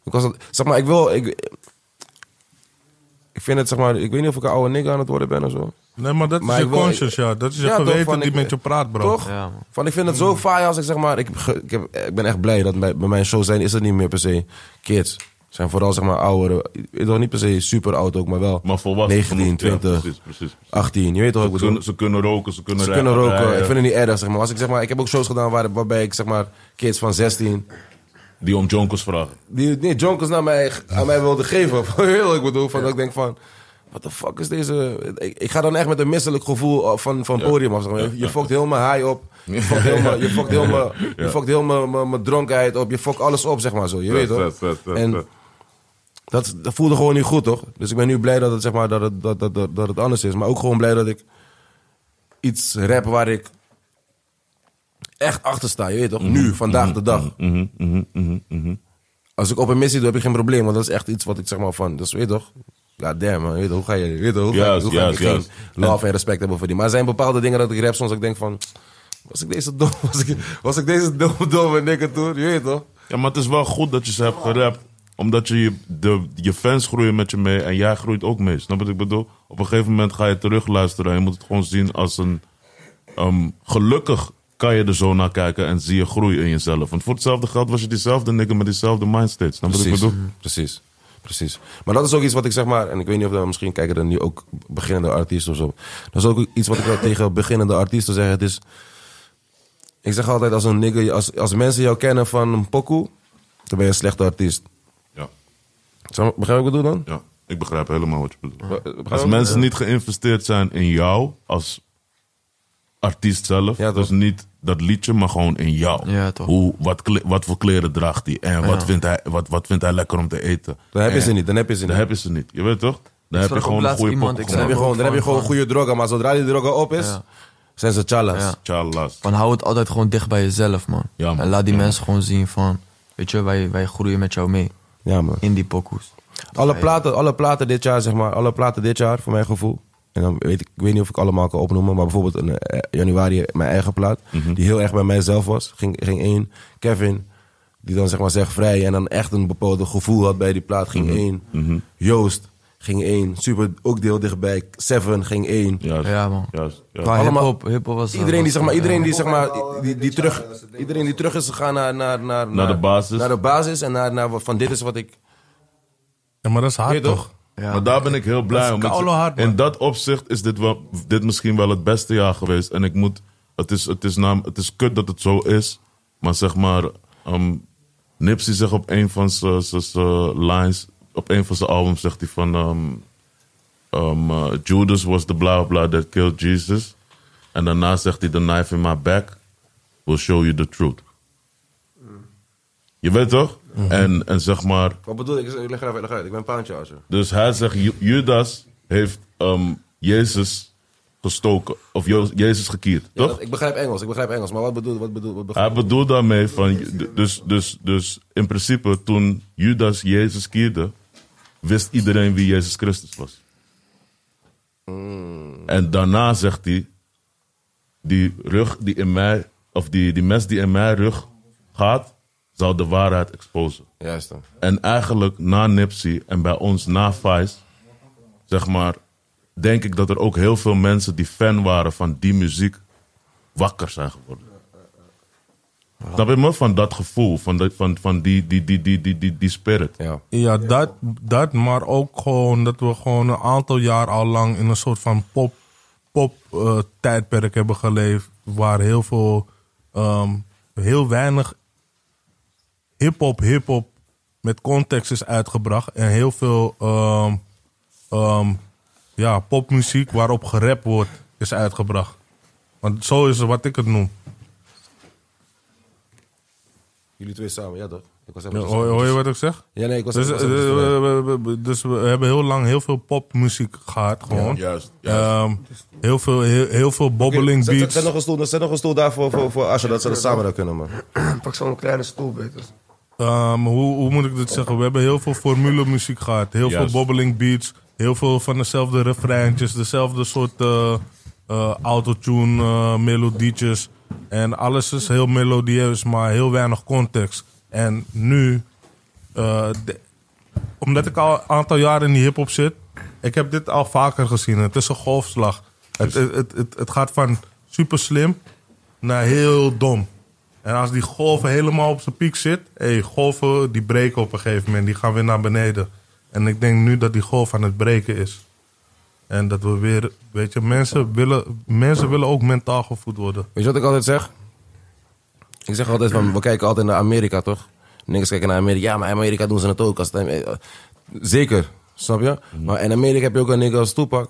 Ik was al, zeg maar, ik wil... Ik, ik vind het, zeg maar, ik weet niet of ik een oude nigga aan het worden ben of zo. Nee, maar dat is Maar je ik wil- conscience, ja. Dat is je Ja, toch, geweten van die ik- met je praat, bro. Toch? Ja, man. Van, ik vind het zo faai als ik zeg maar... Ik, heb ge- ik, heb, ik ben echt blij dat bij, bij mijn show zijn is het niet meer per se kids. Het zijn vooral zeg maar ouderen. Toch niet per se super oud ook, maar wel Maar volwassen 19, genoeg, ja, 20, precies, precies. 18. Je weet toch wat Ze ik bedoel? kunnen, ze kunnen roken, ze kunnen Ze kunnen rijden, roken. rijden. Ik vind het niet erg, zeg maar. Als ik, zeg maar. ik heb ook shows gedaan waar, waarbij ik zeg maar kids van 16... Die om jonkers vragen. die nee, jonkers naar mij, aan mij wilden geven. Heel, ik bedoel, van, dat ik denk van... What the fuck is deze... Ik, ik ga dan echt met een misselijk gevoel eh, van, van podium af. zeg maar. Je, je fokt heel mijn high op. Je fokt heel mijn- je fokt heel mijn- je fokt heel mijn- mijn mijn dronkenheid op. Je fokt alles op, zeg maar zo. Je weet Vet, toch? vet, vet, vet, En vet. dat, dat voelde gewoon niet goed, toch? Dus ik ben nu blij dat het, zeg maar, dat het, dat, dat, dat, dat het anders is. Maar ook gewoon blij dat ik iets rap waar ik echt achter sta. Je weet toch? Nu, vandaag de dag. Mhm, mhm, mhm, mhm. Als ik op een missie doe, heb ik geen probleem. Want dat is echt iets wat ik zeg maar van... Dus weet je toch? Ja, damn man. Weet je, toch, hoe ga je... Weet je, toch, hoe ga, Juist, hoe ga juist, ik geen juist. love en respect hebben voor die? Maar er zijn bepaalde dingen dat ik rap soms dat ik denk van... Was ik deze dom? Was ik, was ik deze domme domme nikker toen? Je weet toch? Ja, maar het is wel goed dat je ze hebt gerapt. Omdat je, je- de, je fans groeien met je mee en jij groeit ook mee. Snap wat ik bedoel? Op een gegeven moment ga je terug luisteren en je moet het gewoon zien als een... ehm, gelukkig kan je er zo naar kijken en zie je groei in jezelf. Want voor hetzelfde geld was je diezelfde nigger met diezelfde mindset. Snap wat ik Precies, bedoel? precies, precies. Maar dat is ook iets wat ik zeg maar, en ik weet niet of dat misschien kijken er nu ook beginnende artiesten of zo. Dat is ook iets wat ik wel tegen beginnende artiesten zeg. Het is, ik zeg altijd als een nigger, als, als mensen jou kennen van een pokoe, dan ben je een slechte artiest. Ja, Snap- Begrijp ik wat ik bedoel dan? ja, ik begrijp helemaal wat je bedoelt. Begrijp ik? Als mensen niet geïnvesteerd zijn in jou als artiest zelf, Ja, toch? dus niet dat liedje, maar gewoon in jou. Ja, toch. Hoe, wat, kle- wat voor kleren draagt hij en wat, Ja. vindt hij, wat, wat vindt hij lekker om te eten? Dan heb je En ze niet, dan heb je ze Dan niet. heb je ze niet, je weet toch? Dan heb sprak je ook gewoon een laatst goede iemand, pop ik Dan heb je zei- gewoon, dan heb je gewoon een goede droga, maar zodra die droga op is, Ja. zijn ze challahs. Ja. Tjallas. Van hou het altijd gewoon dicht bij jezelf, man. Ja, man. En laat die Ja, mensen gewoon zien van... Weet je, wij, wij groeien met jou mee. Ja, man. In die pokoes. Alle platen, alle platen dit jaar, zeg maar. Alle platen dit jaar, voor mijn gevoel. En dan weet ik, ik weet niet of ik allemaal kan opnoemen. Maar bijvoorbeeld in eh, januari mijn eigen plaat. Die heel erg bij mijzelf was. Ging, ging één. Kevin, die dan zeg maar zegt vrij. En dan echt een bepaald gevoel had bij die plaat. Ging één. Joost, ging één. Super, ook deel dichtbij. Seven, ging één. Juist, Ja, man. juist, juist. Qua Allemaal- hip-hop hip was... Iedereen die, zeg maar, was- iedereen die, zeg maar, die, die terug, iedereen die terug is gegaan naar, naar, naar, Naar de basis. Naar de basis en naar, naar wat- van dit is wat ik... Ja, maar dat is hard, toch? toch? Ja. Maar daar ben ik heel blij is om. Het- koude hard, man. in dat opzicht is dit, wel, dit misschien wel het beste jaar geweest. En ik moet. Het is, het is, naam, het is kut dat het zo is. Maar zeg maar. ehm, Nipsey zegt op een van zijn lines. Op een van zijn albums zegt hij van. ehm, ehm, eh, Judas was the blah blah that killed Jesus. En daarna zegt hij: The knife in my back will show you the truth. Je weet toch? Mhm. en, en zeg maar. Wat bedoel ik? Ik leg er even uit. Ik ben een paantje als Dus hij zegt, Ju- Judas heeft ehm, Jezus gestoken. Of Jo- Jezus gekierd, Ja, toch? dat- ik begrijp Engels, ik begrijp Engels. Maar wat bedoel wat bedoel, wat bedoel Hij bedoelt daarmee van... Dus, dus, dus in principe, toen Judas Jezus kierde... wist iedereen wie Jezus Christus was. Hmm. En daarna zegt hij... Die rug die in mij... Of die, die mes die in mijn rug gaat... zou de waarheid exposen. Juist dan. En eigenlijk na Nipsey en bij ons na Vice, zeg maar, denk ik dat er ook heel veel mensen die fan waren van die muziek wakker zijn geworden. Snap je me? Van dat gevoel, van, dat- van, van die, die, die, die, die, die, die spirit. Ja. Ja, dat, dat, maar ook gewoon dat we gewoon een aantal jaar al lang in een soort van pop, pop eh, tijdperk hebben geleefd. Waar heel veel, ehm, heel weinig hip-hop, hip-hop met context is uitgebracht. En heel veel ehm, ehm, ja, popmuziek waarop gerap wordt, is uitgebracht. Want zo is het wat ik het noem. Jullie twee samen, ja toch? Ik was even Ja, hoor, hoor je wat ik zeg? Ja, nee, ik was Dus, ik was eh, even- we- we- we- dus we hebben heel lang heel veel popmuziek gehad, gewoon. Juist. Ehm, heel, veel, heel, heel veel bobbeling Zet- Zet, eh, beats. zet nog een stoel, zet nog een stoel daarvoor voor, voor Asher, dat ze dat samen dat kunnen, man. Pak zo'n kleine stoel, beter. Ehm, hoe, hoe moet ik dat zeggen? We hebben heel veel formule muziek gehad. Heel Juist. veel bobbeling beats. Heel veel van dezelfde refreintjes. Dezelfde soort eh eh, autotune eh, melodietjes. En alles is heel melodieus, maar heel weinig context. En nu, eh, de- omdat ik al een aantal jaren in die hip-hop zit, ik heb dit al vaker gezien. Het is een golfslag. Het, het, het, het, het gaat van super slim naar heel dom. En als die golven helemaal op zijn piek zit, hey, golven die breken op een gegeven moment, die gaan weer naar beneden. En ik denk nu dat die golf aan het breken is. En dat we weer, weet je, mensen willen, mensen willen ook mentaal gevoed worden. Weet je wat ik altijd zeg? Ik zeg altijd van, we kijken altijd naar Amerika, toch? Niks kijken naar Amerika. Ja, maar in Amerika doen ze het ook. Als het, eh, Mhm. zeker, snap je? Maar in Amerika heb je ook een nigga als Tupac.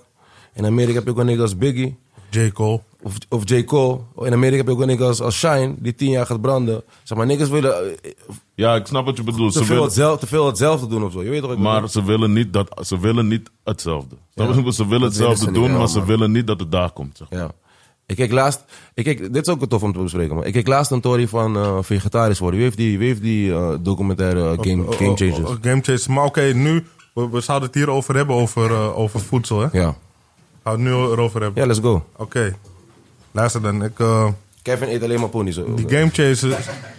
In Amerika heb je ook een nigga als Biggie. J. Cole. Of, of J. Cole. In Amerika heb je ook een nigga als, als Shine, die tien jaar gaat branden. Zeg maar, niggas willen eh, Ja, ik snap wat je bedoelt. te Ze veel, willen, hetzelfde, te veel hetzelfde doen of zo. Je weet toch wat ik bedoel? maar ze willen, niet dat, ze willen niet hetzelfde. Snap je? Ze willen hetzelfde ze niet doen, wel, maar ze man. willen niet dat het daar komt. Zeg. Ja. Ik keek laatst, ik keek, dit is ook tof om te bespreken, maar ik keek laatst een tory van eh, vegetarisch worden. Wie heeft die, wie heeft die eh, documentaire eh, game, Oh, game oh, Changers? oh, game Changers. Maar oké, nu, we, we zouden het hier over hebben, over, eh, over voedsel, hè? Ja. Gaan we het nu erover hebben. ja, let's go. Oké. Luister dan, ik... eh, Kevin eet alleen maar ponies. hoor. Die Game Changers.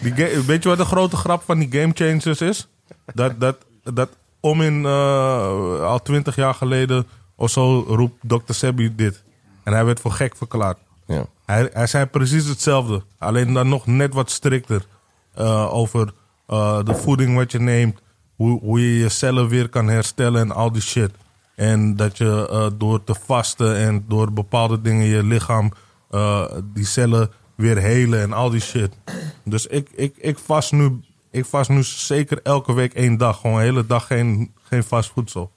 Die ga- weet je wat de grote grap van die Game Changers is? Dat, dat, dat om in eh, al twintig jaar geleden of zo roept Dr. Sebi dit. En hij werd voor gek verklaard. Ja. Hij, hij zei precies hetzelfde. Alleen dan nog net wat strikter. eh, over eh, de voeding wat je neemt. Hoe, hoe je je cellen weer kan herstellen en al die shit. En dat je eh, door te vasten en door bepaalde dingen je lichaam eh, die cellen weer helen en al die shit. Dus ik, ik, ik, vast, nu, ik vast nu zeker elke week één dag. Gewoon de hele dag geen, geen vast voedsel.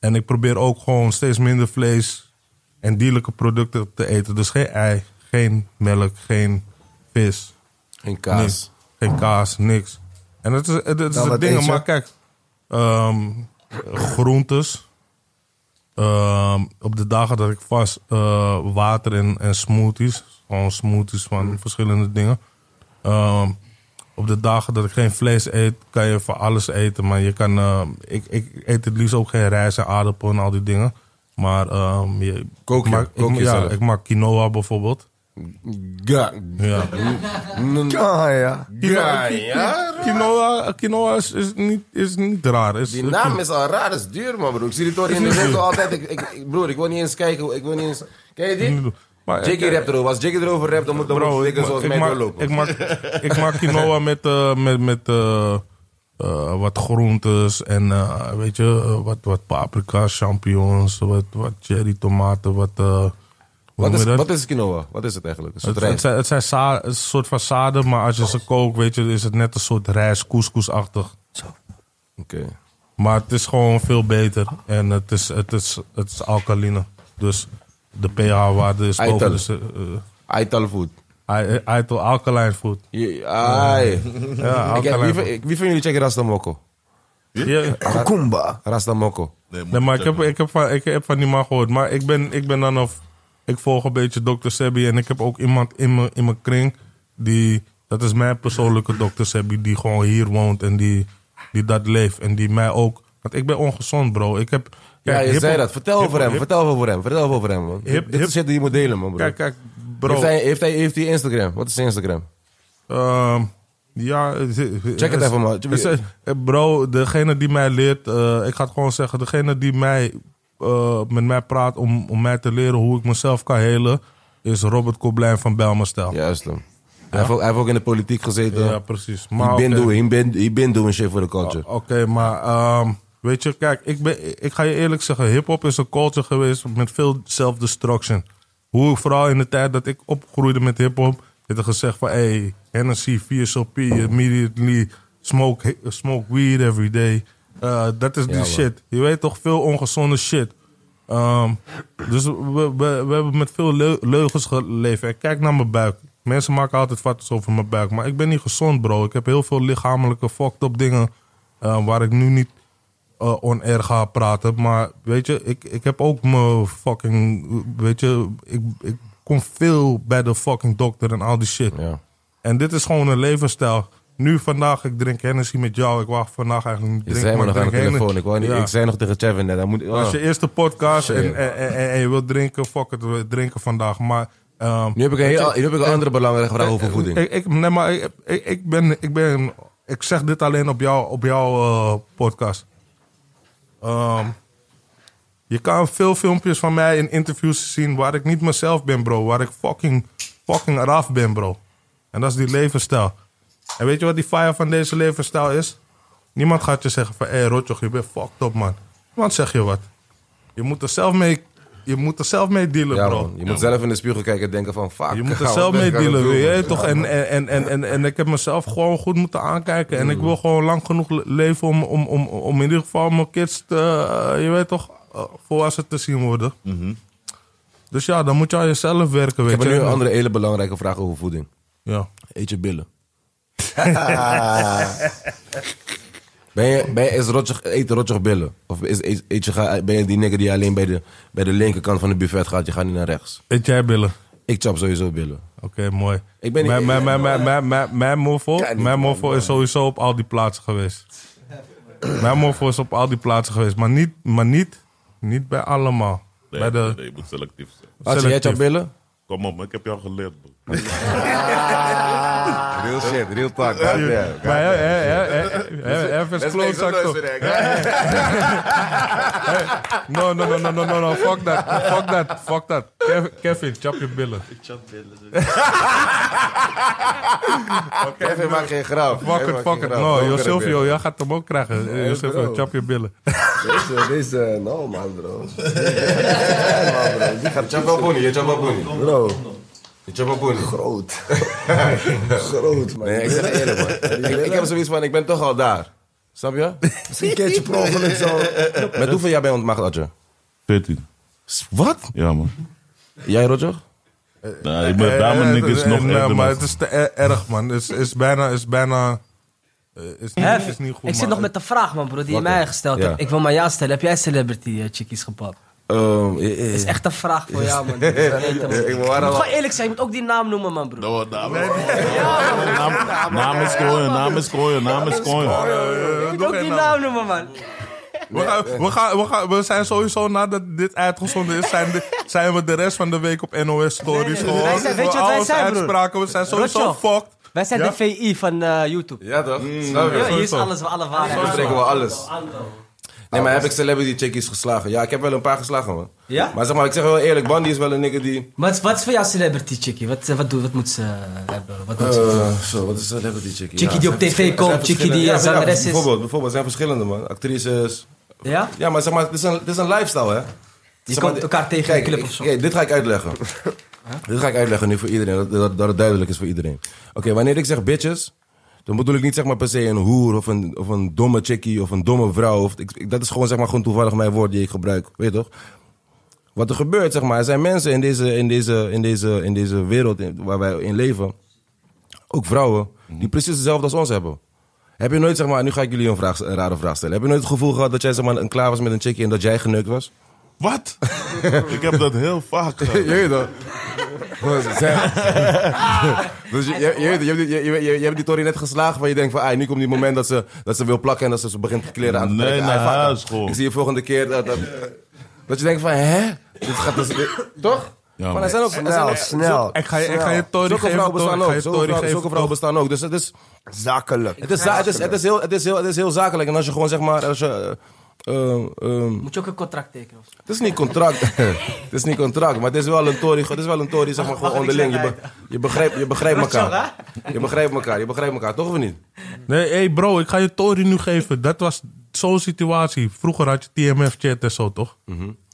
En ik probeer ook gewoon steeds minder vlees en dierlijke producten te eten. Dus geen ei, geen melk, geen vis, Geen kaas. niks. geen kaas, niks. En dat is, dat is Nou, wat het eet ding, je? maar kijk, ehm, groentes. Ehm, op de dagen dat ik vast eh, water en, en smoothies, gewoon smoothies van verschillende dingen. Ehm, op de dagen dat ik geen vlees eet, kan je van alles eten. Maar je kan, ehm, ik, ik eet het liefst ook geen rijst en aardappel en al die dingen. Maar ehm, je, Kook je, ik maak, ik- kook je ja, zelf. ik maak quinoa bijvoorbeeld. Ga. Ja. Ja, ja. Ja, Quinoa, quinoa, quinoa is, is, niet, is niet raar. Is, Die naam is al raar, dat is duur man broer. Ik zie die tory in de winkel altijd. Ik, ik, ik- broer, ik wil niet eens kijken. Ik wil niet eens... Ken je die? Maar, eh, Jackie rapt erover. Als Jackie erover rapt, dan moet dan Bro, moet ik, ik ma- zoals ik mij maak, doorlopen. ik, maak, ik maak quinoa met, eh, met, met eh, eh, wat groentes en eh, weet je, eh, wat, wat paprika, champignons, wat, wat cherry tomaten, wat... eh, Wat hoe noem is, je dat? wat is quinoa? Wat is het eigenlijk? Een soort Het, het rijst? Oh. zijn, het zijn za- een soort van zaden, maar als je ze kookt, weet je, is het net een soort rijst, couscous-achtig. Oké. Maar het is gewoon veel beter en het is, het is, het is alkaline. Dus de pH-waarde is Eitel. boven. Dus, eh, Aital food. eh, ei- eitel, alkaline food. Je- Ai. Ik Ja, heb- alkaline wie, food. van- ik- wie van jullie checken Rastamoko? Ja. Kokumba. Rastamoko. moet Nee, maar ik het heb, ik, heb van, ik heb van die man gehoord. Maar ik ben, ik ben dan of. Ik volg een beetje Dr. Sebi. En ik heb ook iemand in mijn, in mijn kring. Die, dat is mijn persoonlijke Dr. Sebi. Die gewoon hier woont en die, die dat leeft. En die mij ook. Want ik ben ongezond, bro. Ik heb. Ja, kijk, je hip- zei dat. Vertel hip- over hem. hip- Vertel over hem. Vertel over hem, man. Hip- Dit hip- is shit die je moet delen, man, bro. Kijk, kijk, bro. Heeft, hij, heeft, hij, heeft hij Instagram? Wat is zijn Instagram? Ehm, ja, Check het even, man. Bro, degene die mij leert, eh, ik ga het gewoon zeggen, degene die mij, eh, met mij praat om, om mij te leren hoe ik mezelf kan helen, is Robert Koblijn van Belmastel. Juist hem. Hij, heeft ook, hij heeft ook in de politiek gezeten. Ja, Ja, precies. he, Maar been oké. doing, he, been, he been doing shit voor de culture. Oké, maar ehm, weet je, kijk, ik, ben, ik ga je eerlijk zeggen, hip-hop is een culture geweest met veel self-destruction. Hoe ik vooral in de tijd dat ik opgroeide met hip-hop, werd er gezegd van hey, Hennessy, VSOP, immediately, smoke, hi- smoke weed every day. Eh, dat is die man. shit. Je weet toch veel ongezonde shit. Ehm, dus we, we, we hebben met veel leu- leugens geleefd. En kijk naar mijn buik. Mensen maken altijd foto's over mijn buik. Maar ik ben niet gezond, bro. Ik heb heel veel lichamelijke fucked up dingen. eh, waar ik nu niet eh on-air ga praten. Maar weet je, ik, ik heb ook mijn fucking. Weet je, ik, ik kom veel bij de fucking dokter en al die shit. Ja. En dit is gewoon een levensstijl. Nu vandaag, ik drink Hennessy met jou. Ik wacht vandaag eigenlijk niet Je drinken. zei me maar nog aan de ik drink telefoon. Hennes- Ik, wou niet, Ja. ik zei nog tegen Chevin net. Hij moet, Als ah. je eerste podcast en, en, en, en- en je wilt drinken, fuck het, we drinken vandaag. Maar, ehm, Nu heb ik een, heel, nu heb ik een andere belangrijke vraag over voeding. Eh, ik, ik, nee, maar ik, ik, ik ben, ik ben, ik zeg dit alleen op jouw op jouw eh, podcast. Ehm, je kan veel filmpjes van mij in interviews zien waar ik niet mezelf ben, bro. Waar ik fucking, fucking eraf ben, bro. En dat is die levensstijl. En weet je wat die fire van deze levensstijl is? Niemand gaat je zeggen van, hé hey, Rotjoch, je bent fucked up, man. Niemand zegt je wat. Je moet er zelf mee, je moet er zelf mee dealen, Ja, bro. man. Je moet zelf in de spiegel kijken en denken van, fuck. Je moet er wat zelf ben mee ik aan het dealen, doen, weet je man? toch? En, en, en, en, en, en ik heb mezelf gewoon goed moeten aankijken. En ik Mm-hmm. wil gewoon lang genoeg le- leven om, om, om, om in ieder geval mijn kids, te, eh, je weet toch, eh, volwassen te zien worden. Dus ja, dan moet je aan jezelf werken, Mm-hmm. Ik weet heb je. nu een andere hele belangrijke vraag over voeding. Ja. Eet je billen? ben je, ben je, is rotjig, eet rotjig billen? Of is, is- eet je, ga- ben je die nigger die alleen bij de, bij de linkerkant van de buffet gaat? Je gaat niet naar rechts. Eet jij billen? Ik chap sowieso billen. Oké, mooi. Ik ben- mijn, mijn, mijn, mijn, mijn, mijn, mijn morfo, Kijk niet, mijn morfo is sowieso op al die plaatsen geweest. mijn morfo is op al die plaatsen geweest. Maar niet, maar niet, niet bij allemaal. bij de, Nee, je moet selectief zijn. Als jij Selectief. chapt billen? Kom op, man, ik heb jou geleerd, bro. Real shit, real talk. Maar hè, hè, hè, hè, hè, hè, even kloot zak toch. No, no, no, no, no, no, no, fuck that, fuck that, fuck that. Kev- Kevin, chap je billen. Kevin maakt geen grap. Fuck it, fuck it. No, Yo Silvio, jij gaat hem ook krijgen. Eh, Yo Silvio, bro. chap je billen. Deze, deze, no man bro. Chapapuni, je chapapuni. Bro, Je chapapuni. groot. groot man. Nee, ik zeg eerlijk man. Ik, ik heb zoiets van, ik ben toch al daar. Snap je? Misschien keert je per ongeluk zo. Met hoeveel jaar ben je ontmaagd, Adje? 14. Wat? Ja, man. Jij, Roger? Nee, ik ben daar, Eh, mijn niks eh, nog eh, eerder, Maar man. het is te er- erg, man. Het is- is bijna, is bijna... eh, Is niet, is niet goed, ik zit man. nog met de vraag, man, bro, die je Wat mij dan? gesteld Ja. hebt. Ik wil maar jou stellen. Heb jij celebrity eh, chickies gepakt? Ehm, eh, eh. is echt een vraag voor jou, man. Ik Ik moet wil haar al- gewoon eerlijk zijn. Je moet ook die naam noemen, man, bro. Oh, naam- Naam- Naam is kooien, naam is kooien, naam is Oh, kooien. Je moet ook die naam noemen, man. We, gaan, we, gaan, we, gaan, we zijn sowieso nadat dit uitgezonden is, zijn, de- zijn we de rest van de week op NOS Stories. Nee, nee, nee. gewoon. Wij zijn- weet je We- wat wij al onze zijn, broer? uitspraken, we zijn sowieso Rotjoch. fucked. Wij zijn Ja? de VI van eh, YouTube. Mm, Ja toch? Ja, Snap je? hier is sowieso. alles, alle waarheid. Dan spreken we alles. Nee, maar heb ik celebrity chickies geslagen? Ja, ik heb wel een paar geslagen, man. Ja? Maar zeg maar, ik zeg wel eerlijk, Bandy is wel een nigger die... Wat, wat is voor jou celebrity chickie? Wat, eh, wat, doet, wat moet ze eh, hebben? Wat moet ze doen? Eh, zo, wat is celebrity chickie? Chickie Ja, die op zijn tv verschil- komt, zijn chickie verschillende- die, Ja, eh, zijn- ja, zangeres is. Bijvoorbeeld, bijvoorbeeld, zijn verschillende, man. Actrices. Ja? Ja, maar zeg maar, het is een, het is een lifestyle, hè? Je Zeg komt maar, elkaar tegen in kijk, de club ik- of zo. Kijk, dit ga ik uitleggen. Dit ga ik uitleggen nu voor iedereen, dat, dat, dat het duidelijk is voor iedereen. Oké, wanneer ik zeg bitches, dan bedoel ik niet zeg maar per se een hoer of een, of een domme chickie of een domme vrouw. Of, ik, ik- dat is gewoon zeg maar gewoon toevallig mijn woord die ik gebruik, weet je toch? Wat er gebeurt, zeg maar, er zijn mensen in deze, in deze, in deze, in deze wereld in- waar wij in leven, ook vrouwen, die precies hetzelfde als ons hebben. Heb je nooit, zeg maar, nu ga ik jullie een, vraag, een rare vraag stellen. Heb je nooit het gevoel gehad dat jij zeg maar, een klaar was met een chickie en dat jij geneukt was? Wat? Ik heb dat heel vaak gedaan. Je weet dat. Dus je, je, je, weet het, je, hebt die- je, je, je- je hebt die Tory net geslagen waar je denkt van... Ah, nu komt die moment dat ze, dat ze wil plakken en dat ze, ze begint kleren aan te Nee, trekken. naar Ah, fuck it. huis, goh. Ik zie je volgende keer dat, dat, dat je denkt van... Hè? Dit gaat dus, dit- toch? Ja, maar er man. zijn ook... er zijn Snel, ook- snel. Ik ga, je- ik ga je Tory Zulke geven, vrouwen Tory. bestaan Ik ga ook. je Zulke Tory vrouwen, zulke geven, vrouwen Tory. bestaan ook. Dus het is... Zakelijk. Het is, za- het, is, het, is heel, het, is heel, het is heel zakelijk. En als je gewoon zeg maar... Als je, eh, ehm, Moet je ook een contract tekenen? of zo? het is niet contract. het is niet contract, maar het is wel een tory. Het is wel een tory, zeg maar, gewoon Wacht, ik onderling. Je, zet be- je begrijpt je begrijpt elkaar. Je begrijpt elkaar, je begrijpt elkaar, toch of niet? Nee, hey bro, ik ga je Tory nu geven. Dat was zo'n situatie. Vroeger had je TMF-chat en zo, toch?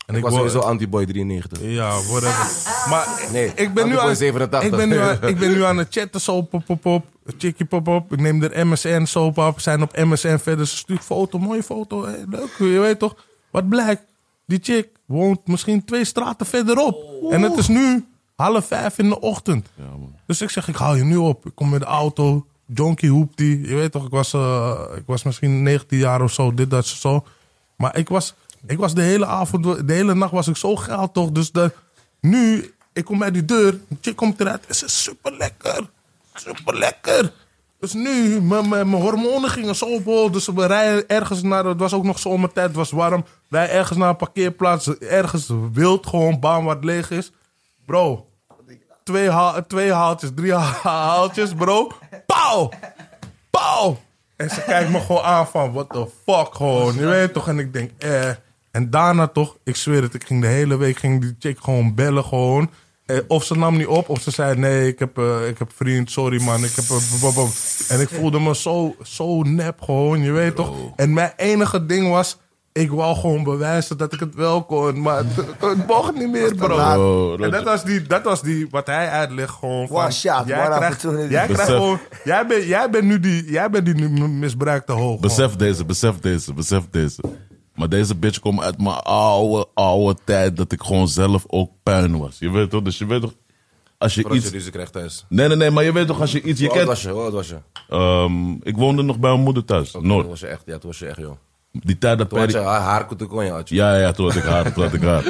En Ik was sowieso anti-boy 93. Ja, whatever. Maar Nee, ik, ben nu Antipoint aan, 87. ik, ben nu aan, ik ben nu aan het chatten, zo pop, pop, pop. Chickie, pop, pop. Ik neem er MSN, zo op, op. Zijn op MSN verder. Ze stuurt foto, mooie foto. Hey, leuk, je weet toch. Wat blijkt, die chick woont misschien twee straten verderop. En het is nu half vijf in de ochtend. Dus ik zeg, ik haal je nu op. Ik kom met de auto. Jonkie hoept die. Je weet toch, ik was, eh, ik was misschien 19 jaar of zo. Dit, dat, zo. Maar ik was, ik was de hele avond, de hele nacht was ik zo geil toch. Dus de, nu, ik kom bij die deur, een chick komt eruit. Het is super lekker. Super lekker. Dus nu, mijn mijn- mijn hormonen gingen zo op hol. Dus we rijden ergens naar, het was ook nog zomertijd, het was warm. Wij ergens naar een parkeerplaats, ergens wild, gewoon baan waar het leeg is. Bro, twee, haal, twee haaltjes, drie ha- haaltjes, bro. Pauw! Pauw! En ze kijkt me gewoon aan van, what the fuck, gewoon. Je weet toch? En ik denk, eh. En daarna toch, ik zweer het, ik ging de hele week ging die chick gewoon bellen, gewoon. Eh, of ze nam niet op, of ze zei, nee, ik heb, eh, ik heb vriend, sorry man, ik heb... eh, b- b- b- En ik voelde me zo, zo nep gewoon, je weet toch? En mijn enige ding was, ik wou gewoon bewijzen dat ik het wel kon, maar het, het mocht niet meer, bro. laat. En dat was die, dat was die wat hij uitlegt gewoon van... One shot, jij one krijgt, opportunity. jij krijgt Besef. gewoon... Jij bent jij bent nu die, jij bent die nu misbruikte hoog. man. Besef deze, besef deze, besef deze. Maar deze bitch komt uit mijn oude, oude tijd dat ik gewoon zelf ook puin was. Je weet toch? Dus je weet toch, als je Voordat je Oh. iets... ruzie krijgt thuis. Nee, nee, nee, maar je weet toch als je iets... Je Hoe oud kent, was je? Hoe oud was je? Ehm, ik woonde nog bij mijn moeder thuis, Toen Noord. was je echt, ja, toen was je echt, joh. Die tijd dat Toen had Perry... je haar, haar toen kon je, had je. Ja, ja, toen had ik haar, toen had ik haar.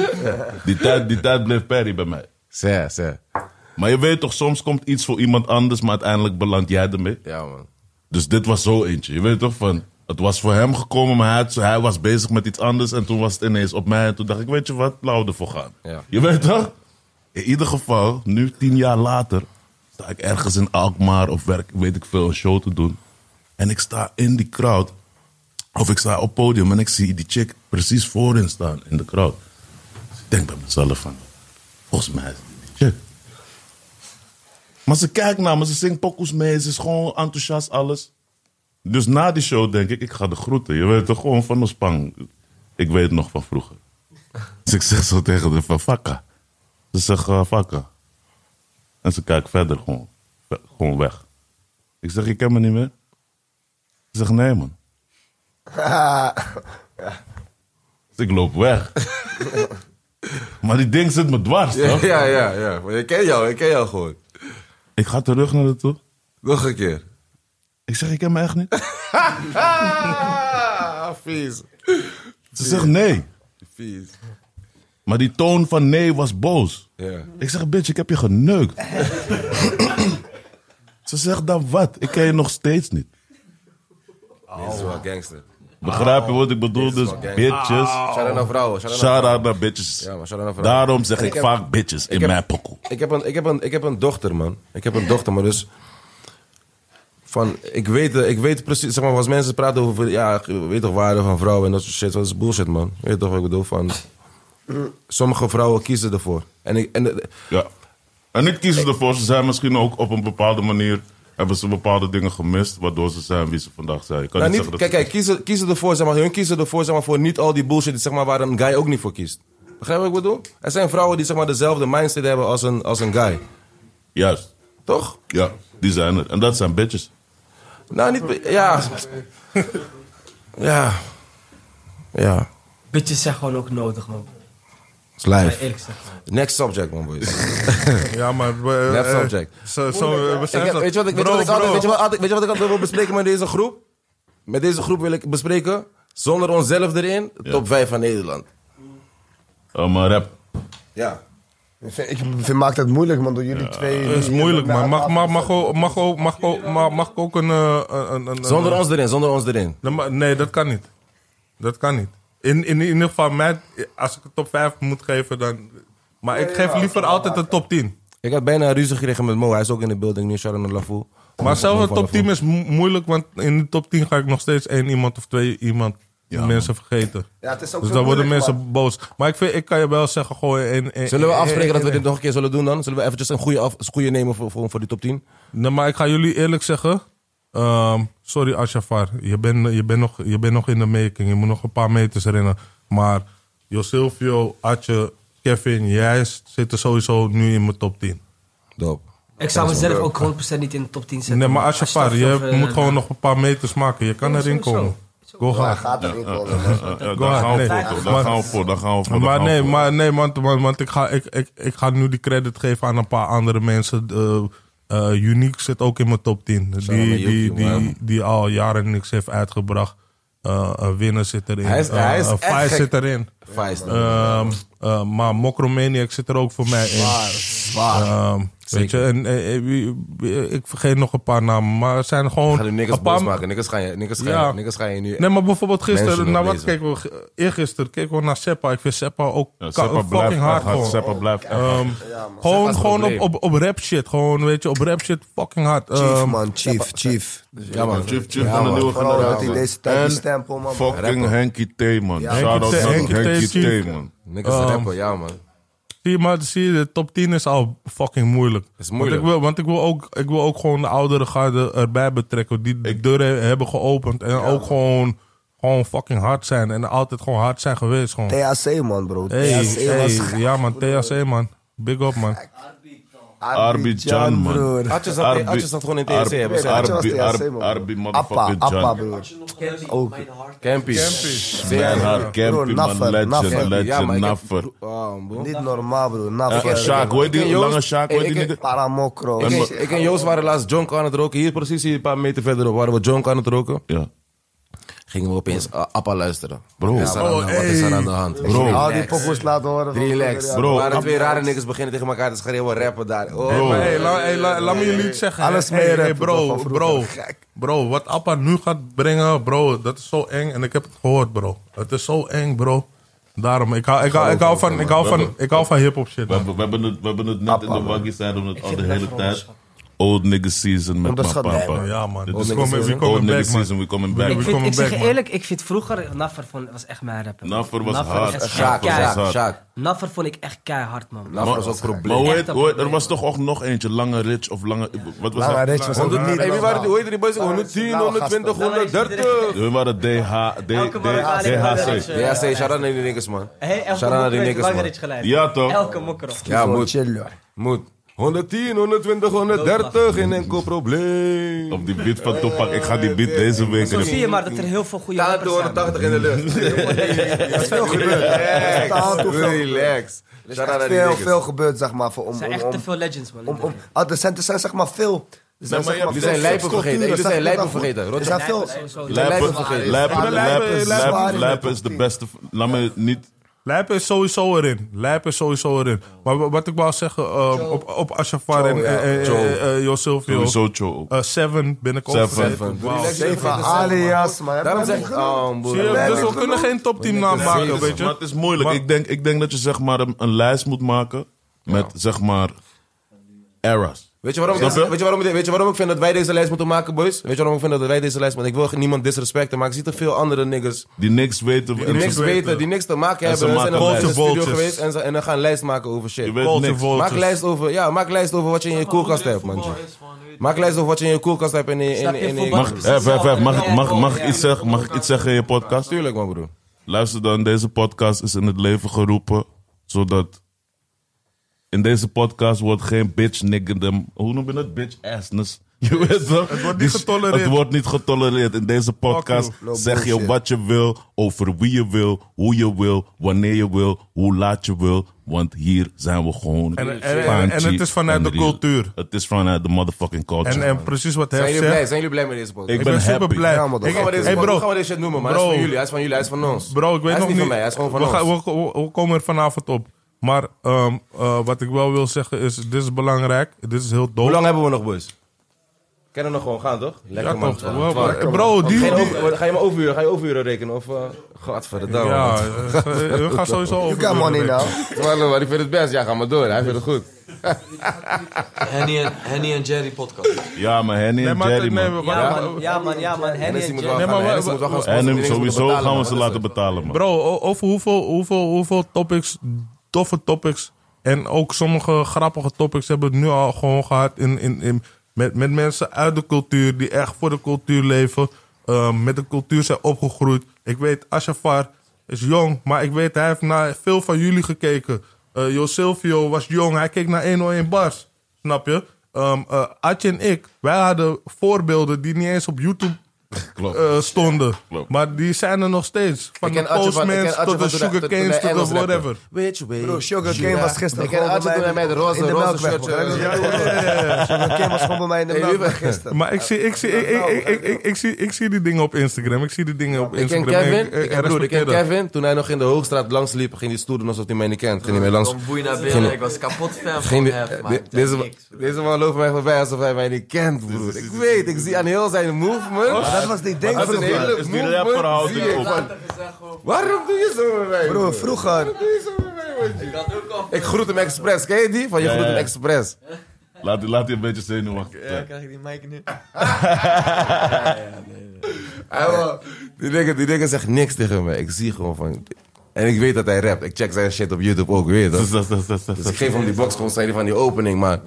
Die tijd, die tijd bleef Perry bij mij. Zeg, zeg. Maar je weet toch, soms komt iets voor iemand anders, maar uiteindelijk beland jij ermee. Ja, man. Dus dit was zo eentje. Je weet toch van, het was voor hem gekomen, maar hij, had- hij was bezig met iets anders. En toen was het ineens op mij. En toen dacht ik, weet je wat, laten we ervoor gaan. Ja. Je weet toch? In ieder geval, nu tien jaar later, sta ik ergens in Alkmaar of werk, weet ik veel, een show te doen. En ik sta in die crowd, of ik sta op podium en ik zie die chick precies voorin staan in de crowd. Dus ik denk bij mezelf van, volgens mij is dit die chick. Maar ze kijkt naar me, ze zingt pokoes mee, ze is gewoon enthousiast, alles. Dus na die show denk ik, ik ga de groeten. Je weet toch gewoon van de spang. Ik weet nog van vroeger. Dus ik zeg zo tegen de van Fakka. Ze zegt eh, Fakka. En ze kijkt verder gewoon, Ve- gewoon weg. Ik zeg, je kent me niet meer? Ze zegt, nee man. Dus ik loop weg. maar die ding zit me dwars, toch? Ja, ja, ja. Maar ik ken jou, ik ken jou gewoon. Ik ga terug naar de toe. Nog een keer. Ik zeg, ik ken me echt niet. Ah, vies. Ze zegt nee. Vies. Maar die toon van nee was boos. Ja. Ik zeg, bitch, ik heb je geneukt. Ze zegt dan wat? Ik ken je nog steeds niet. Dit is wel gangster. Begrijp je wat ik bedoel? Dus fucking- bitches. Shout-out naar vrouwen. Shout-out Ah, naar Shout vrouwen. out naar bitches. Ja, maar shout-out naar vrouwen. Daarom zeg En ik heb- vaak bitches in heb- mijn pokoe. Ik heb, een, ik, heb een, ik heb een dochter, man. Ik heb een dochter, maar dus... Van, ik, weet, eh, ik weet precies, zeg maar, als mensen praten over... Ja, je weet toch, waarde van vrouwen en dat soort shit. Dat is bullshit, man. Je Weet toch wat ik bedoel? Van, sommige vrouwen kiezen ervoor. En ik... En, eh, Ja. En ik kies ervoor. Ze zijn misschien ook op een bepaalde manier... hebben ze bepaalde dingen gemist... waardoor ze zijn wie ze vandaag zijn. Ik kan nou, niet niet, zeggen kijk, dat ze- kijk kiezen, kiezen ervoor, zeg maar, hun kiezen ervoor zeg maar, voor niet al die bullshit zeg maar, waar een guy ook niet voor kiest. Begrijp je wat ik bedoel? Er zijn vrouwen die zeg maar, dezelfde mindset hebben als een, als een guy. Juist. Toch? Ja, die zijn er. En dat zijn bitches. Nou, niet... be- Ja. Ja. Ja. Bitches zijn gewoon ook nodig, man. It's live. Eerlijk gezegd. man. Next subject, man, boys. Ja, maar... We, Left eh, subject. Zo, zo, eh, we Ik zijn heb- zo- weet, je wat, ik- weet, je Bro, wat ik altijd, bro. weet, je wat, altijd- weet je wat ik altijd wil bespreken met deze groep? Met deze groep wil ik bespreken, zonder onszelf erin, top 5 van Nederland. Eh, maar rap. Ja. Ik vind, ik vind- maakt het moeilijk, man, door jullie twee. Het is moeilijk, man. Mag, mag, mag, ook- mag, ook- mag, ook- mag, mag ik ook een... eh, een, een- een- Zonder ons erin, zonder ons erin. Nee, maar- nee, dat kan niet. Dat kan niet. In, in ieder geval, mij, als ik een top 5 moet geven, dan... Maar ik geef liever altijd een top 10. Ik had bijna ruzie gekregen met Mo. Hij is ook in de building nu, Sharon en Lafou. Maar zelf Mo een van top 10 Lafou. is mo- moeilijk, want in de top 10 ga ik nog steeds één iemand of twee iemand mensen vergeten. Ja, het is ook dus zo dan worden moeilijk, mensen boos. Maar ik, vind, ik kan je wel zeggen, gooi één... één- Zullen we één- afspreken één- dat we dit nog een keer zullen doen dan? Zullen we eventjes een goede, af, goede nemen voor, voor, voor die top 10? Nee, maar ik ga jullie eerlijk zeggen. ehm, sorry, Ashafar. Je bent je bent nog, je bent nog in de making. Je moet nog een paar meters rennen. Maar Jo Silvio, Atje, Kevin, jij s- zitten sowieso nu in mijn top 10. Doop. Ik zou mezelf ook 100% niet in de top 10 zetten. Nee, maar man. Ashafar, Als je dat, eh, moet gewoon nog een paar meters maken. Je kan Ja, erin sowieso. komen. Go maar- Ja, hard. gaat erin komen. Ja, Eh, daar ahead, gaan we nee. voor, toch? Daar Maar- gaan we voor. Daar gaan we voor. daar Maar gaan we nee, voor. maar nee, want, want, want ik, ga, ik, ik, ik ga nu die credit geven aan een paar andere mensen. Eh, eh, Unique zit ook in mijn top 10. Die, maar die, die, Yuki, die, man. al jaren niks heeft uitgebracht. Eh eh, Winner zit erin. Hij is- Eh, hij is eh, echt Fire gek. zit erin. Vijf. Ehm, eh, maar Mokromaniac zit er ook voor mij in. Ehm, weet je, en, eh, eh, wie- wie- ik vergeet nog een paar namen. Maar het zijn gewoon. Ga nu niks een paar- boos maken. Niks ga je, niks ga je, Ja. niks ga je nu... Nee, maar bijvoorbeeld gisteren, Mensen naar wat lezen. keken we? Ge- Eergisteren keken we naar Seppa. Ik vind Seppa ook Ja, ka- Seppa blijft fucking hard. echt hard. gewoon. Seppa blijft echt hard. Ehm, gewoon is het gewoon op, probleem. op, op rap shit. Gewoon, weet je, op rap shit fucking hard. Chief, Ehm, man, chief, chief. ja, man. Chief, chief van de man. nieuwe Vooral dat generatie. hij deze tijd die En stempel, man. Fucking Henky T, man. Shout out Henky T, naar Henky T, Henky chief. T, man. Niks is rapper, ja, man. Zie je, maar zie je, de top 10 is al fucking moeilijk. Is moeilijk. Want ik wil, want ik wil, ook, ik wil ook gewoon de oudere garde erbij betrekken. Die de deuren hebben geopend. En ook gewoon, gewoon fucking hard zijn. En altijd gewoon hard zijn geweest. Gewoon. E THC, man, bro. Hey, THC was E, hey, ja man, THC man. Big up man. Arbidjan, man. broer. Atje zat- Arbi- Atje zat gewoon in TSC, Arbi- hebben ze gezegd. Arbi- Ja, dat was TSC, Arbi- man. Arbi, Appa, motherfucker appa, Jan. broer. Ook. Campy. Mijn haar, Broer, Campy, man. Naffer, Naffer. Legend, Ja, maar legend, ik heb- Naffer. Wow, bro. Niet normaal, broer. Eh, eh, Naffer. Sjaak, hoe heet die Ik ken lange Joost. Sjaak? Hoe heet Ik die ken- nigger? Paramokro. Ik, en- ik en Joost waren laatst jonk aan het roken. Hier precies, hier een paar meter verderop waren we jonk aan het roken. Ja. Gingen we opeens eh, Appa luisteren. Bro. Wat is er aan de- Oh, wat is er hey. aan de hand? Bro. Al die pokoes laten horen. van- Relax. Ja, Bro. Bro. waren twee rare niggas beginnen tegen elkaar te schreeuwen, rappen daar. Oh, Bro. maar- Hey, la- hey, la- laat me jullie iets zeggen. hè. Alles Hey, meer hey, rappen dan bro, van vroeger. bro, Gek. bro, wat Appa nu gaat brengen, bro, dat is zo eng. En ik heb het gehoord, bro. Het is zo eng, bro. Daarom, ik hou, ik hou, ik hou van, ik hou van, ik hou van hip-hop We shit. man. hebben, we hebben het, we hebben het net in de waggie side om het al de hele tijd. Old nigga season met mijn Onderschat mij, papa. man. Ja, man. Dit We is komen- gewoon- we komen Old nigga back, man. season, we coming back. We Ik, man. komen- vind, ik zeg je back, man. eerlijk, ik vind vroeger Naffer vond, was echt mijn rapper. man. Naffer was Naffer hard. is echt Sjaak, keihard. Sjaak, Sjaak. Naffer vond ik echt keihard, man. Nou, dat was ook een Maar probleem. hoe heet, Echt een hoe heet- er probleem, was toch ook nog eentje, Lange Rich of Lange... Wat was Lange dat? Rich was ook niet Hey, wie waren die, hoe normaal. heette die boys? 110, 120, 130. We waren DH, D, Elke morgen D- waren die Lange DHC. Rich. Ja, say, shout-out naar die niggas, man. Hey, elke Shout-out naar die niggas, mokker heeft man. Langerich geleid. Ja, toch? Elke mokker. Ja, Gewoon moet. chill, joh. Moet. 110, 120, 130 in enkel probleem. Op die beat van Topak. Ik ga die beat deze week... Zo zie je maar dat er heel veel goede Staat rappers zijn. 180 man. in de lucht. Dat is veel gebeurd. Staat Relax. door veel Relax. Er is Shout-out naar echt die veel, niggas. veel gebeurd, zeg maar. Voor, Er om, zijn om, echt te om, veel legends, man. om, om- ah, er, zijn, er zijn, zeg maar, veel. Er zijn, Nee, maar je hebt- er zijn lijpen vergeten. Hey, er zijn lijpen vergeten. Er Rotterdam. zijn veel. Lijpen, lijpen, vergeten. Lijpen- lijpen, lijpen, Lijpen- lijpen is de beste... Laat me niet... Lijp is sowieso erin. Lijp is sowieso erin. Maar wa- wat ik wou zeggen, ehm, op, op Ashafar en eh, eh, eh, eh, eh, Jo Silvio. Sowieso Cho ook. Eh, Seven ben ik ook Seven. vergeten. Wauw. Relax. Zeven alias, maar Daarom zeg ik, ik... oh, Zie je, broer. Dus we kunnen geen topteam naam maken, weet Maar je. het is moeilijk. Maar- ik, denk, ik denk dat je zeg maar een, een lijst moet maken met zeg maar eras. dus- Weet je, waarom, Snap je? weet, je waarom, weet je waarom ik vind dat wij deze lijst moeten maken, boys? Weet je waarom ik vind dat wij deze lijst moeten maken? Ik wil niemand disrespecten, maar ik zie te veel andere niggas Die niks weten. die en niks ze- weten, die niks te maken En ze hebben. Ze zijn maken in de lijst. studio Boltjes. geweest en, ze, en dan gaan een lijst maken over shit. Je weet Culture niks. vultures. Maak lijst over, ja, maak lijst over wat je in je koelkast hebt, man. Maak lijst over wat je in je koelkast hebt en in, in, Snap in, je, in, in, voetbal- Mag, eh, vijf, vijf, mag, ik- mag, mag, ik iets zeggen, mag ik iets zeggen in je podcast? Tuurlijk, man, broer. Luister dan, deze podcast is in het leven geroepen. Zodat in deze podcast wordt geen bitch niggerdom. Hoe noem je dat? Bitch assness. Je weet toch? Het wordt niet getolereerd. Het wordt niet getolereerd. In deze podcast you. No zeg je bullshit. wat je wil, over wie je wil, hoe je wil, wanneer je wil, hoe laat je wil. Want hier zijn we gewoon. En- en- en- en het is vanuit de real. cultuur. Het is vanuit de motherfucking culture. En, en precies wat hij Zijn zegt. jullie blij? Zijn jullie blij met deze podcast? ik Ik ben, ben super happy. blij. Ja, man, dat Ik- gaan Hoe gaan, we hey deze, bro, hoe gaan we deze shit noemen, man? Bro. Hij is van jullie, hij is van jullie, hij is van ons. Bro, ik weet hij is nog niet niet. van mij, hij is gewoon van we, ons. gaan- we, we- we komen er vanavond op. Maar ehm, eh, wat ik wel wil zeggen is, dit is belangrijk. Dit is heel Hoe doof. lang hebben we nog, boys? Kennen we nog gewoon gaan, toch? Ja, Lekker, man. toch? Twaalf. Wel- Twaalf. Bro, die... Geen die- over- ga je maar overuren, ga je overuren rekenen? Of, eh godverdamme. ja, Ja. eh, we gaan sowieso over. You got money now. Maar ik vind het best, ja, ga maar door. Hij vindt het goed. Henny en, Henny en Jerry podcast. Ja, maar Henny Nee, en maar... Jerry, Nee, man. maar- Ja, man. Ja, man. Ja, man. Henny Hennessy en Dus moet wel Jerry. Nee, gaan, maar Hennessy we- moet wel gaan En sponsoren, hem Hennessy moet sowieso betalen, gaan we man. ze Dat is laten het. betalen, man. Bro, o- over hoeveel, hoeveel, hoeveel topics, toffe topics en ook sommige grappige topics hebben we het nu al gewoon gehad in, in, in, met, met mensen uit de cultuur die echt voor de cultuur leven, eh, met de cultuur zijn opgegroeid. Ik weet, Ashafar is jong, maar ik weet, hij heeft naar veel van jullie gekeken. Eh Jo Silvio was jong, hij keek naar 101 Bars, snap je? Ehm eh, Atje en ik, wij hadden voorbeelden die niet eens op YouTube Klopt. eh, stonden. Klopt. Maar die zijn er nog steeds. Van Ik de ken Atje van- ik ken Postmans Atje tot van de toen hij- toen Sugar hij Canes tot Engels de rapte. whatever. Which way? Bro, Sugar Cane was gisteren Ik ken gewoon Adje bij toen hij mij met de roze, in de roze melkweg. shirtje. man. Sugar Cane was gewoon bij mij in de Hey, wie melkweg ben- gisteren. Maar ik zie, ik, zie, ik, ik, ik, ik, ik- ik zie, ik zie die dingen op Instagram. Ik zie die dingen op Ik ken Instagram. Kevin, ik, ken eh, broer, ik ken respecteer dat. Kevin. Toen hij nog in de Hoogstraat langs liep, ging hij stoer doen alsof hij mij niet kent. Ging hij mij langs. Kom boei naar binnen. Ik was kapot fan van Ging die- eh, hem. de- deze, man- deze man loopt mij voorbij alsof hij mij niet kent, broer. Ik weet, ik zie aan heel zijn movement. Maar dat was die ding dat is van een hele Is die movement, rapverhouding zie ik ook. van, Waarom doe je zo met mij? Bro, vroeger. Doe je zo met mij, man? Ik groet hem expres, ken je die? Van je Ja, groet hem ja. expres. Laat, laat die een beetje zenuwachtig zijn. krijg je die mic nu? Hij wel- Die nigger, die nigger zegt niks tegen me. Ik zie gewoon van... En ik weet dat hij rapt. Ik check zijn shit op YouTube ook, weet je toch? Dus dat- dat- dat- dat- Dus ik geef hem die box, gewoon zei hij van die opening, maar...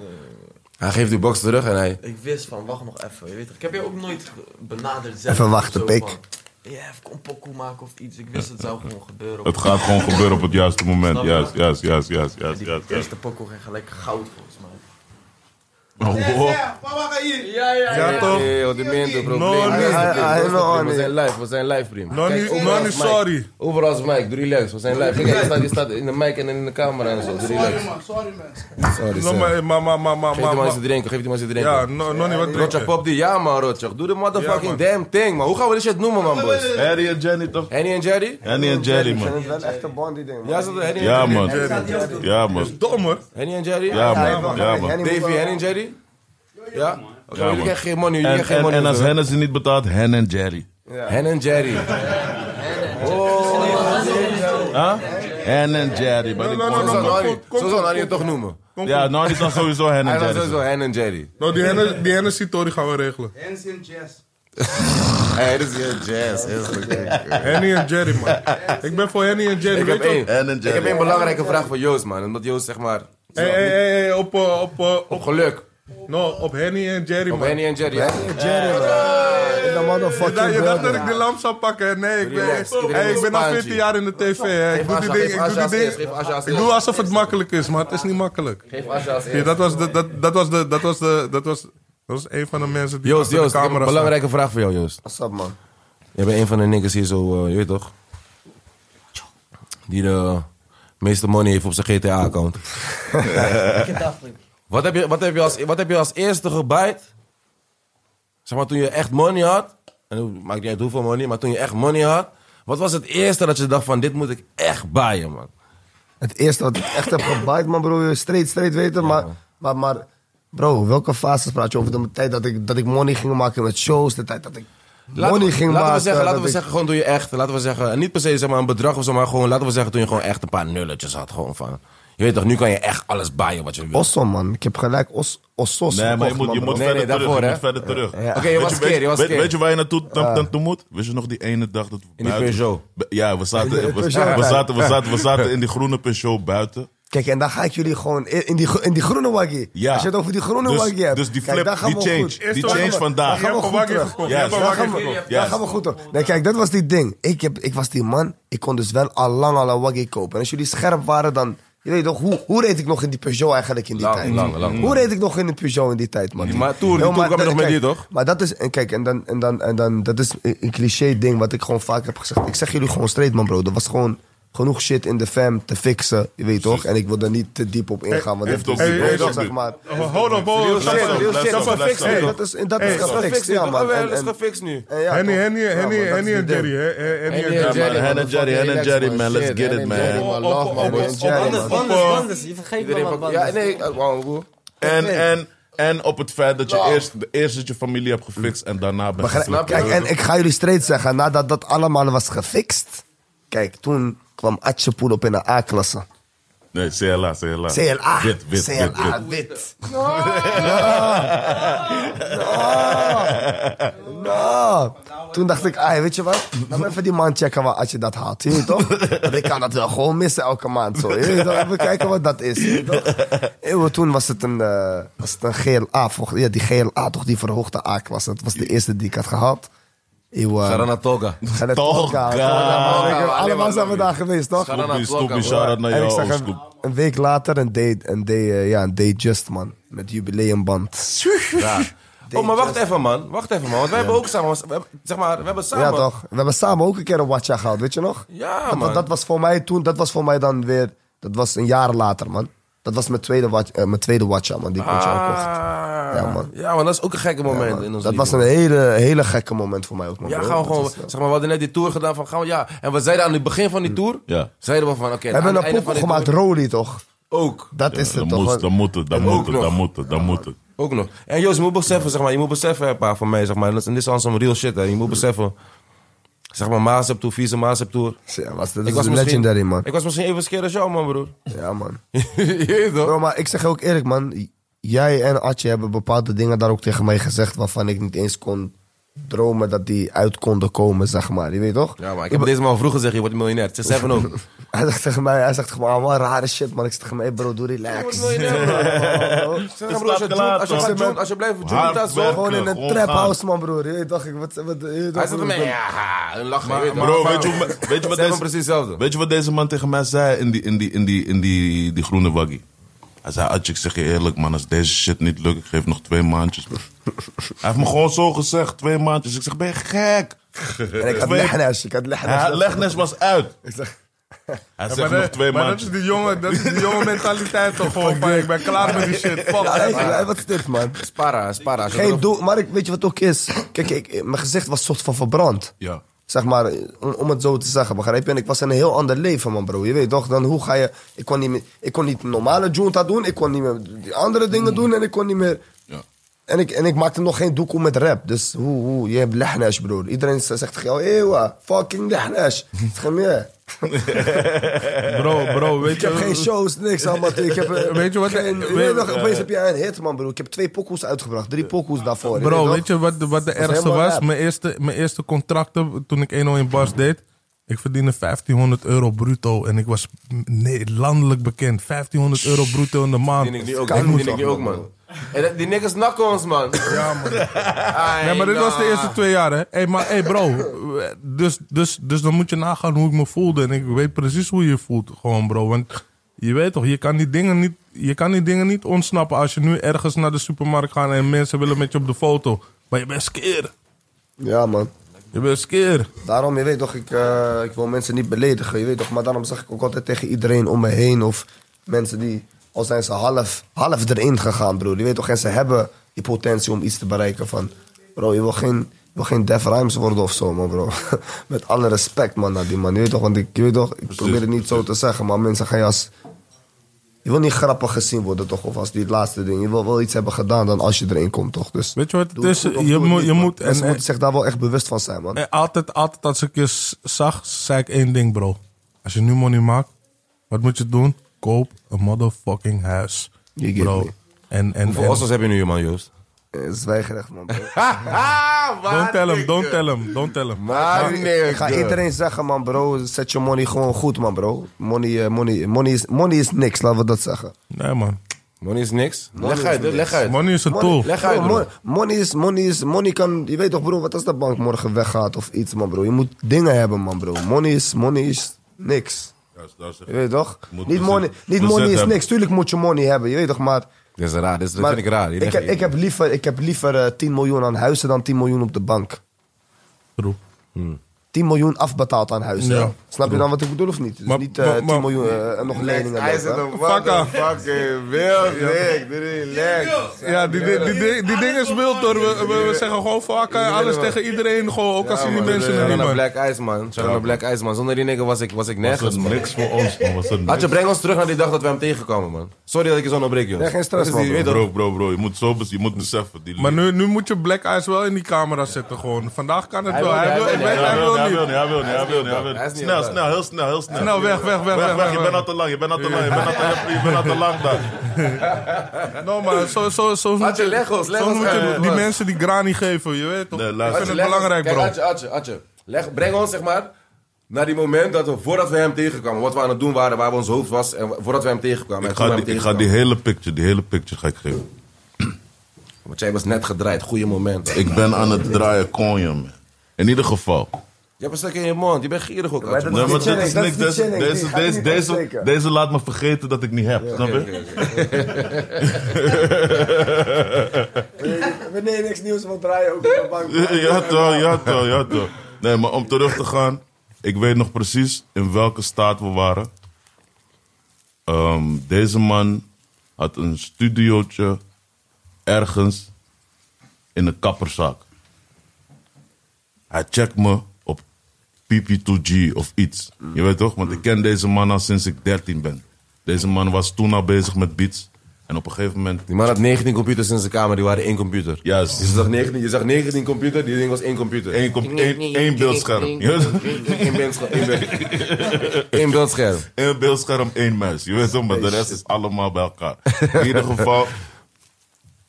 Hij geeft die box terug en hij... Ik wist van, wacht nog even. Je weet toch, ik heb je ook nooit benaderd zelf. Even wachten, Zo pik. van, Ja, even kom pokoe maken of iets. Ik wist het zou gewoon gebeuren. Het gaat gewoon gebeuren op het juiste moment. Snap je? Juist, juist, juist, juist, juist, Die juist, juist. eerste pokoe ging gelijk goud volgens mij. Oh, wow. Ja, toch? Nee, wat die minder No, probleem. nee. Hij Hij- is no, We nee. zijn live, we zijn live, prima. No, Kijk, nee, overal no, is nee, mic. sorry. Overal is Mike, doe relax, we zijn live. Kijk, je staat, je staat in de mic en in de camera en zo, doe relax. Sorry man, sorry man. Sorry, No, sorry. maar, maar, maar, maar, eh, maar, Geef die man maar- eens te drinken, geef die man eens te Ja, drinken. no, no, niet wat Rotjak, drinken. pop die, ja man, Rotjak. Doe de Ja, man. motherfucking damn thing, man. Hoe gaan we dit shit noemen, man, boys? Harry en Jenny toch? Henny en Jerry? Henny en Jerry, man. is wel echt een bondie ding. Ja, is dat Henny en Ja, Jerry? man. Ja, man. Dom hoor. Henny en Jerry? Ja, man. Ja, man. Henny- Davy, Henny en Jerry? Ja? Oké, maar jullie man. krijgen geen money, jullie En, krijgen geen en, money. en als hoor. Hennessy niet betaalt, Hen en Jerry. Hen en Jerry. Oh, Huh? Hen en Jerry. Maar ik no, Zo no, zou no. word- Nani- kom, Zo kom, zou Nani het toch noemen. Ja, nou die dan sowieso Hen Hij en was Jerry. sowieso zeggen. Hen en Jerry. No, die Henne- die Hennessy-tory gaan we regelen. Hey, dit is heel jazz. Heel goed. Henny en Jerry, man. Ik ben voor Henny en Jerry. Ik heb weet je één. wel? Hen en Ik heb Jerry. één belangrijke vraag voor Joost, man. Omdat Joost, zeg maar... Hey, hey, hey, hey, op, eh, op, eh, op, Op geluk. no, op Henny en Jerry, Op man. Henny en Jerry. hè? Jerry, man. In de Je dacht- motherfucking je dacht dat building. ik de lamp zou pakken. hè? Nee, ik ben, Relax, iedereen hey, ik ben al spaantje. 14 jaar in de tv. Hè. Ik Geef doe die Asja, ding. geef Ik doe Asja die als ding. eerst. Geef Asja als Ik doe eerst. alsof het makkelijk is, maar het is niet makkelijk. Geef Asja als Ja, eerst. dat was de, dat, dat was de, dat was de, dat was, dat was een van de mensen die Joost, achter Joost, de ik heb een camera belangrijke vraag voor jou, Joost. What's up, man? Jij bent een van de niggas hier zo, eh, je weet toch? Die de meeste money heeft op zijn GTA-account. wat, heb je, wat, heb je als, wat heb je als eerste gebijt? Zeg maar toen je echt money had. En hoe- maakt niet uit hoeveel money, maar toen je echt money had. Wat was het eerste dat je dacht van dit moet ik echt bijen, man? Het eerste wat ik echt heb gebiked, man, bro. je wil Straight, straight weten. Maar, maar, maar, bro, welke fases praat je over? De tijd dat ik, dat ik money ging maken met shows. De tijd dat ik Laten money we, ging laten maken. we zeggen, laten we dat ik- zeggen gewoon toen je echt, laten we zeggen, en niet per se zeg maar een bedrag of zo, maar gewoon, laten we zeggen toen je gewoon echt een paar nulletjes had, gewoon van. Je weet toch, nu kan je echt alles bijen wat je wil. Osso, man. Ik heb gelijk os, Ossos Nee, maar je gekocht, moet, je man, moet bro. Nee, nee, verder terug. daarvoor, Je hè? moet verder terug. Ja. Oké, je was weet, keer, je was weet, keer. weet je waar je naartoe dan, dan toe moet? Wist je nog die ene dag dat we die Peugeot. Be- Ja, we zaten, we, we Peugeot. zaten, we, zaten, we, zaten, in die groene Peugeot buiten. Kijk, en dan ga ik jullie gewoon in in die, gro- in die groene waggie. Ja. Als je het over die groene Dus- waggie hebt. dus die kijk, flip, daar gaan die we change. goed. Die change vandaag. staan. Daar Je gaan hebt we een goed waggie terug. gekocht. Ja, Je hebt een Daar waggie gaan, gekocht. we, daar gaan we goed op. Nee, kijk, dat was die ding. Ik, heb, ik was die man, ik kon dus wel al lang al een waggie kopen. En als jullie scherp waren, dan... Je weet toch, hoe, hoe reed ik nog in die Peugeot eigenlijk in die Lang, tijd? lang, lang. Hoe reed ik nog in de Peugeot in die tijd, man? maar toen- Yo, toen kwam je dat- nog met kijk, die, toch? Maar dat is, en kijk, en dan, en dan, en dan, dat is een een cliché ding wat ik gewoon vaak heb gezegd. Ik zeg jullie gewoon straight, man, bro. Er was gewoon genoeg shit in de fam te fixen, je weet toch? En ik wil daar niet te diep op ingaan, want heeft dat ook is die weet je brug toch, zeg nu. maar. Oh, Hold on, hold Real shit, on. real shit. Dat is een Blijf fix. staan. hey. Dat is, en dat is Hey, gefixt, ja, man. Jawel, En- dat is en- gefixt nu. en ja, Henny, toch. Henny, Ja, man, Henny, dat is Henny die en ding. Jerry. hè. Eh, Henny en Henny Jerry. en Jerry, Hen en man, Jerry, fucking Hen en relax, Jerry, man. Let's Shit, get Hen it, en man. Jerry, Op- Love, op- man, op- boys. op- Jerry, Anders, man. anders, Op, eh, anders. Je vergeet me, Iedereen man. pak- Ja, Anders. nee, eh, wauw, broer. En, en, en op het feit dat je eerst, de- eerst dat je familie hebt gefixt en daarna bent Begrijp- geflipt. Kijk, en ik ga jullie straight zeggen, nadat dat allemaal was gefixt... Kijk, toen kwam Atjepoel op in de A-klasse. Nee, CLA, CLA. CLA. Wit, wit, wit, CLA, wit. wit. Ah. No. No. No. Ah. Nou. Toen dacht ik, ah, weet je wat? Laat me even die man checken waar als je dat haalt. Je weet toch? Want ik kan dat wel gewoon missen elke maand. Zo. Je weet toch? Even kijken wat dat is. Je weet toch? Eeuwen, toen was het een, eh, was het een GLA. volgens- Ja, die GLA toch, die verhoogde A-klasse. Dat was de eerste die ik had gehad. Eeuwen. Saranatoga. Tolga. Tolga. Tolga. Alleen maar Allemaal zijn we leuk. daar geweest, toch? Stoepie, Saranatoga, stoepie, broer. shout-out naar En ik jou, zag hem Oostkoep. een week later een day, een day, eh, ja, een day just, man. Met jubileumband. Oh, maar wacht even, man. Wacht even, man. Want wij hebben ook samen... we hebben- Zeg maar, we hebben samen... Ja, toch? We hebben samen ook een keer een watcha gehad, weet je nog? Ja, dat, man. Dat was voor mij toen, dat was voor mij dan weer, dat was een jaar later, man. Dat was mijn tweede, watch, eh, mijn tweede watcha, man, die ik met jou kocht. Ah. Ja, man. Ja, man, dat is ook een gekke moment Ja, in man. ons dat leven. was een hele, hele gekke moment voor mij ook, man. Ja, bro. gaan we Dat gewoon... was, eh, Zeg maar, we hadden net die tour gedaan van... Gaan we, ja, en we zeiden aan het begin van die tour... Ja. Zeiden we van, oké... Hm. we hebben aan het een einde poppen van gemaakt, die tour Roly, toch? Ook. Dat is Dan het, toch? moet, man? dan moet het, dan moet het, nog. dan moet het, dan moet het. Ook nog. En Joost, je moet beseffen, zeg maar, je moet beseffen, hè, pa, voor mij, zeg maar, en dit is al zo'n real shit, hè. Hm. Je moet beseffen, zeg maar, Maas heb tour, vieze Maas heb tour. Ja, was, dat is legendary, man. Ik was misschien even scared als jou, man, broer. Ja, man. je weet toch? Bro, maar ik zeg je ook eerlijk, man. Jij en Atje hebben bepaalde dingen daar ook tegen mij gezegd... waarvan ik niet eens kon dromen dat die uit konden komen, zeg maar. Je weet toch? Ja, maar ik heb deze man vroeger gezegd, je wordt miljonair. Het is even ook. Hij zegt tegen mij, hij zegt gewoon, ah, wat rare shit, man. Ik zeg tegen mij, hey, bro, doe relax. Zeg maar, broer, als je staat joint- klaar, als je toch? gaat joint- als je blijft joint, Hard dat is werk. wel... Gewoon in een Gewoon trap gaan. house, man, broer. Je weet toch, ik, wat, wat, je weet Hij toch, zat broer, ermee, ik ben- ja, een lach, je weet toch? Bro, weet je, hoe, me- weet, je wat Zeg maar deze, precies hetzelfde. weet je wat deze man tegen mij zei in die, in die, in die, in die, die groene waggie? Hij zei, Adje, ik zeg je eerlijk, man, als deze shit niet lukt, ik geef nog twee maandjes. Hij heeft me gewoon zo gezegd, twee maandjes. Ik zeg, ben je gek? En ik had Twee- legnes, ik had legnes. Hij- Legnes was uit. Ik zeg, Hij maar zegt nog dat, twee maar dat maandjes. is die jonge, dat is die jonge mentaliteit toch gewoon van ik ben klaar met die shit. Fuck ja, it. nee, nee, wat is dit, man? Spara, spara. Geen doel, maar ik, weet je wat ook is? Kijk, ik, mijn gezicht was soort van verbrand. Ja. Zeg maar, om, om het zo te zeggen, begrijp je? En ik was in een heel ander leven, man, bro. Je weet toch, dan hoe ga je... Ik kon niet, meer, ik kon niet normale junta doen, ik kon niet meer die andere dingen doen en ik kon niet meer... Ja. En ik, en ik maakte nog geen doekoe met rap. Dus hoe, hoe, je hebt lehnash, broer. Iedereen zegt tegen jou, eeuwa, fucking lehnash. Het gaat meer. Bro, bro, weet Ik heb geen je... shows, niks allemaal. Ik heb, eh, Weet je wat- Geen, je weet- weet toch, opeens heb jij een hit, man, broer. Ik heb twee pokoes uitgebracht, drie pokoes daarvoor. Bro, toch? weet je wat, de- wat de is ergste helemaal was? rap. Mijn eerste, mijn eerste contracten, toen ik 1-0 in Bars deed... Ik verdiende 1500 euro bruto en ik was mm, nee, landelijk bekend. 1500 euro bruto in de maand. Die ik ook, Kan die niet, ik ook, man. Hey, dat- Die niggas nakken ons, man. Ja, man. Nee, maar dit was de eerste twee jaar, hè? Hey, maar hey, bro. Dus, dus, dus dan moet je nagaan hoe ik me voelde. En ik weet precies hoe je je voelt, gewoon, bro. Want je weet toch, je kan die dingen niet, je kan die dingen niet ontsnappen als je nu ergens naar de supermarkt gaat en mensen willen met je op de foto. Maar je bent skeer. Ja, man. Je bent skeer. Daarom, je weet toch, ik, eh, ik wil mensen niet beledigen, je weet toch. Maar daarom zeg ik ook altijd tegen iedereen om me heen of mensen die, al zijn ze half, half erin gegaan, broer. Je weet toch, en ze hebben die potentie om iets te bereiken van... Bro, je wil geen, je wil geen Def Rhymes worden of zo, man, bro. Met alle respect, man, naar die man. Je weet toch, want ik, je weet toch, ik probeer het niet zo te zeggen, maar mensen gaan je als... Je wil niet grappig gezien worden, toch? Of als die laatste ding. Je wil wel iets hebben gedaan dan als je erin komt, toch? Dus Weet je wat het doe het is? goed of Je doe het moet- niet, je man. moet- en- Mensen en- moeten zich daar wel echt bewust van zijn, man. En altijd, altijd als ik je s- zag, zei ik één ding, bro. Als je nu money maakt, wat moet je doen? Koop een motherfucking huis. You get Bro. me. En, en, Hoeveel en- ossos heb je nu, man, Joost? Eh, Zwijgerecht, man. bro. Ah, Don't tell him, don't tell him, don't tell him. Maar Ah, nee, Ik ga iedereen zeggen, man, bro. Zet je money gewoon goed, man, bro. Money, eh, money, money, is, money is niks, laten we dat zeggen. Nee, man. Money is niks. Leg uit, leg uit. Money is een Money, tool. Leg uit, Bro, bro. mon- money, is, money, is, money kan... Je weet toch, bro, wat als de bank morgen weggaat of iets, man, bro. Je moet dingen hebben, man, bro. Money is, money is niks. Juist, daar zeg Je ik. weet toch? Moet Niet bezet- money, niet bezet money is hebben. niks. Tuurlijk moet je money hebben, je weet toch, maar... Dit is raar, dit is- dit maar vind ik raar. Die Ik, leg heb, je- ik heb liever, ik heb liever eh, 10 miljoen aan huizen dan 10 miljoen op de bank. True. 10 miljoen afbetaald aan huizen. Ja. Snap je dan wat ik bedoel of niet? Dus Maar- niet eh, maar- 10 maar- miljoen eh, en nog leningen. Hij lopen, zit hè? een eh, motherfucking wild dik. Dit is lekker. Ja, die, die, die, die, die ding is wild hoor. We, we, we zeggen gewoon vaak eh, alles tegen iedereen. Gewoon, ook als die mensen er Shout niet out naar meer. Black Ice, man. Shout out naar Black Ice, man. Zonder die nigger was ik, was ik Was nergens, het man. niks voor ons, man? Was het niks? Adje, breng ons terug naar die dag dat we hem tegenkwamen, man. Sorry dat ik je zo onderbreek, joh. Ja, geen stress, Dat is die- man, weet toch- Bro, bro, bro, je moet zo bez- je moet beseffen. Die Maar nu, nu moet je Black Eyes wel in die camera zetten gewoon. Vandaag kan het wel. wil- Hij wil, hij ik wil- weet- Ja, hij wil niet. hij wil niet, hij wil niet, hij wil Hij is niet. niet Snel, op- snel, heel snel, heel snel. Nou, weg, weg, weg, Weg, weg, je weg, bent al te lang, je bent al te lang, je bent al te- je bent al te lang daar. Nou, maar zo, zo, zo moet Adje, je, leg ons, leg zo ons moet uit, je het die was. mensen die grani geven, eh, je weet toch? Nee, ik luister. vind het Leg ons- belangrijk, kijk, bro. Adje, Adje, Adje. Leg, breng ons, zeg maar, naar die moment dat we, voordat we hem tegenkwamen, wat we aan het doen waren, waar we ons hoofd was, en voordat we hem tegenkwamen. Ik en toen ga, we die, hem ik ga die tegenkwamen. hele picture, die hele picture ga ik geven. Want jij was net gedraaid, goede moment. Je Ik ben aan het draaien konja, man. In ieder geval. hebt een stuk in je mond, je bent gierig ook, Adje. Nee, dat- is maar niet dit chilling, is dat niks. is niet Deze, chilling. Die deze, ga ik deze, niet deze, afsteken. deze laat me vergeten dat ik niet heb, snap je? Wanneer je niks nieuws wil draaien, ook op de bank. Ja toch, ja toch, ja toch. Nee, maar om terug te gaan. Ik weet nog precies in welke staat we waren. Ehm, deze man had een studiootje ergens in een kapperzak. Hij checkt me op PP2G of iets. Je weet toch? Want ik ken deze man al sinds ik 13 ben. Deze man was toen al bezig met beats. En op een gegeven moment... Die man had 19 computers in zijn kamer, die waren één computer. Juist. Je zag 19, je zag 19 computer, die ding was één computer. Eén kom- één- één beeldscherm. Je weet toch? Eén beeldscherm. één beeld- Één beeldscherm. Eén beeldscherm, één muis. Je weet toch, maar de rest is allemaal bij elkaar. In ieder geval.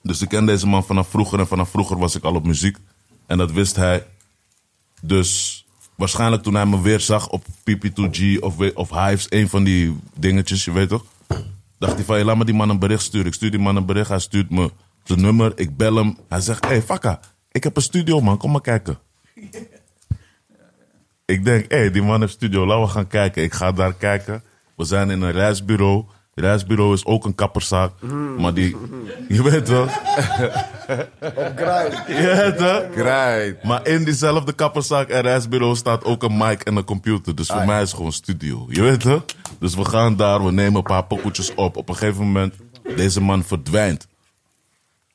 Dus ik ken deze man vanaf vroeger en vanaf vroeger was ik al op muziek. En dat wist hij. Dus waarschijnlijk toen hij me weer zag op PP2G of, we- of Hives, een van die dingetjes, je weet toch? Dacht hij van, "Hey, laat me die man een bericht sturen. Ik stuur die man een bericht, hij stuurt me zijn nummer, ik bel hem. Hij zegt, hé hey, Fakka, ik heb een studio man, kom maar kijken. Ik denk, hé, die man heeft studio, laten we gaan kijken. Ik ga daar kijken. We zijn in een reisbureau. Reisbureau is ook een kapperszaak. Maar die, je weet toch? Je weet toch? Right. Maar in diezelfde kapperszaak en reisbureau staat ook een mic en een computer. Dus voor mij is het gewoon studio. Je weet het? Dus we gaan daar, we nemen een paar pokoetjes op. Op een gegeven moment, deze man verdwijnt.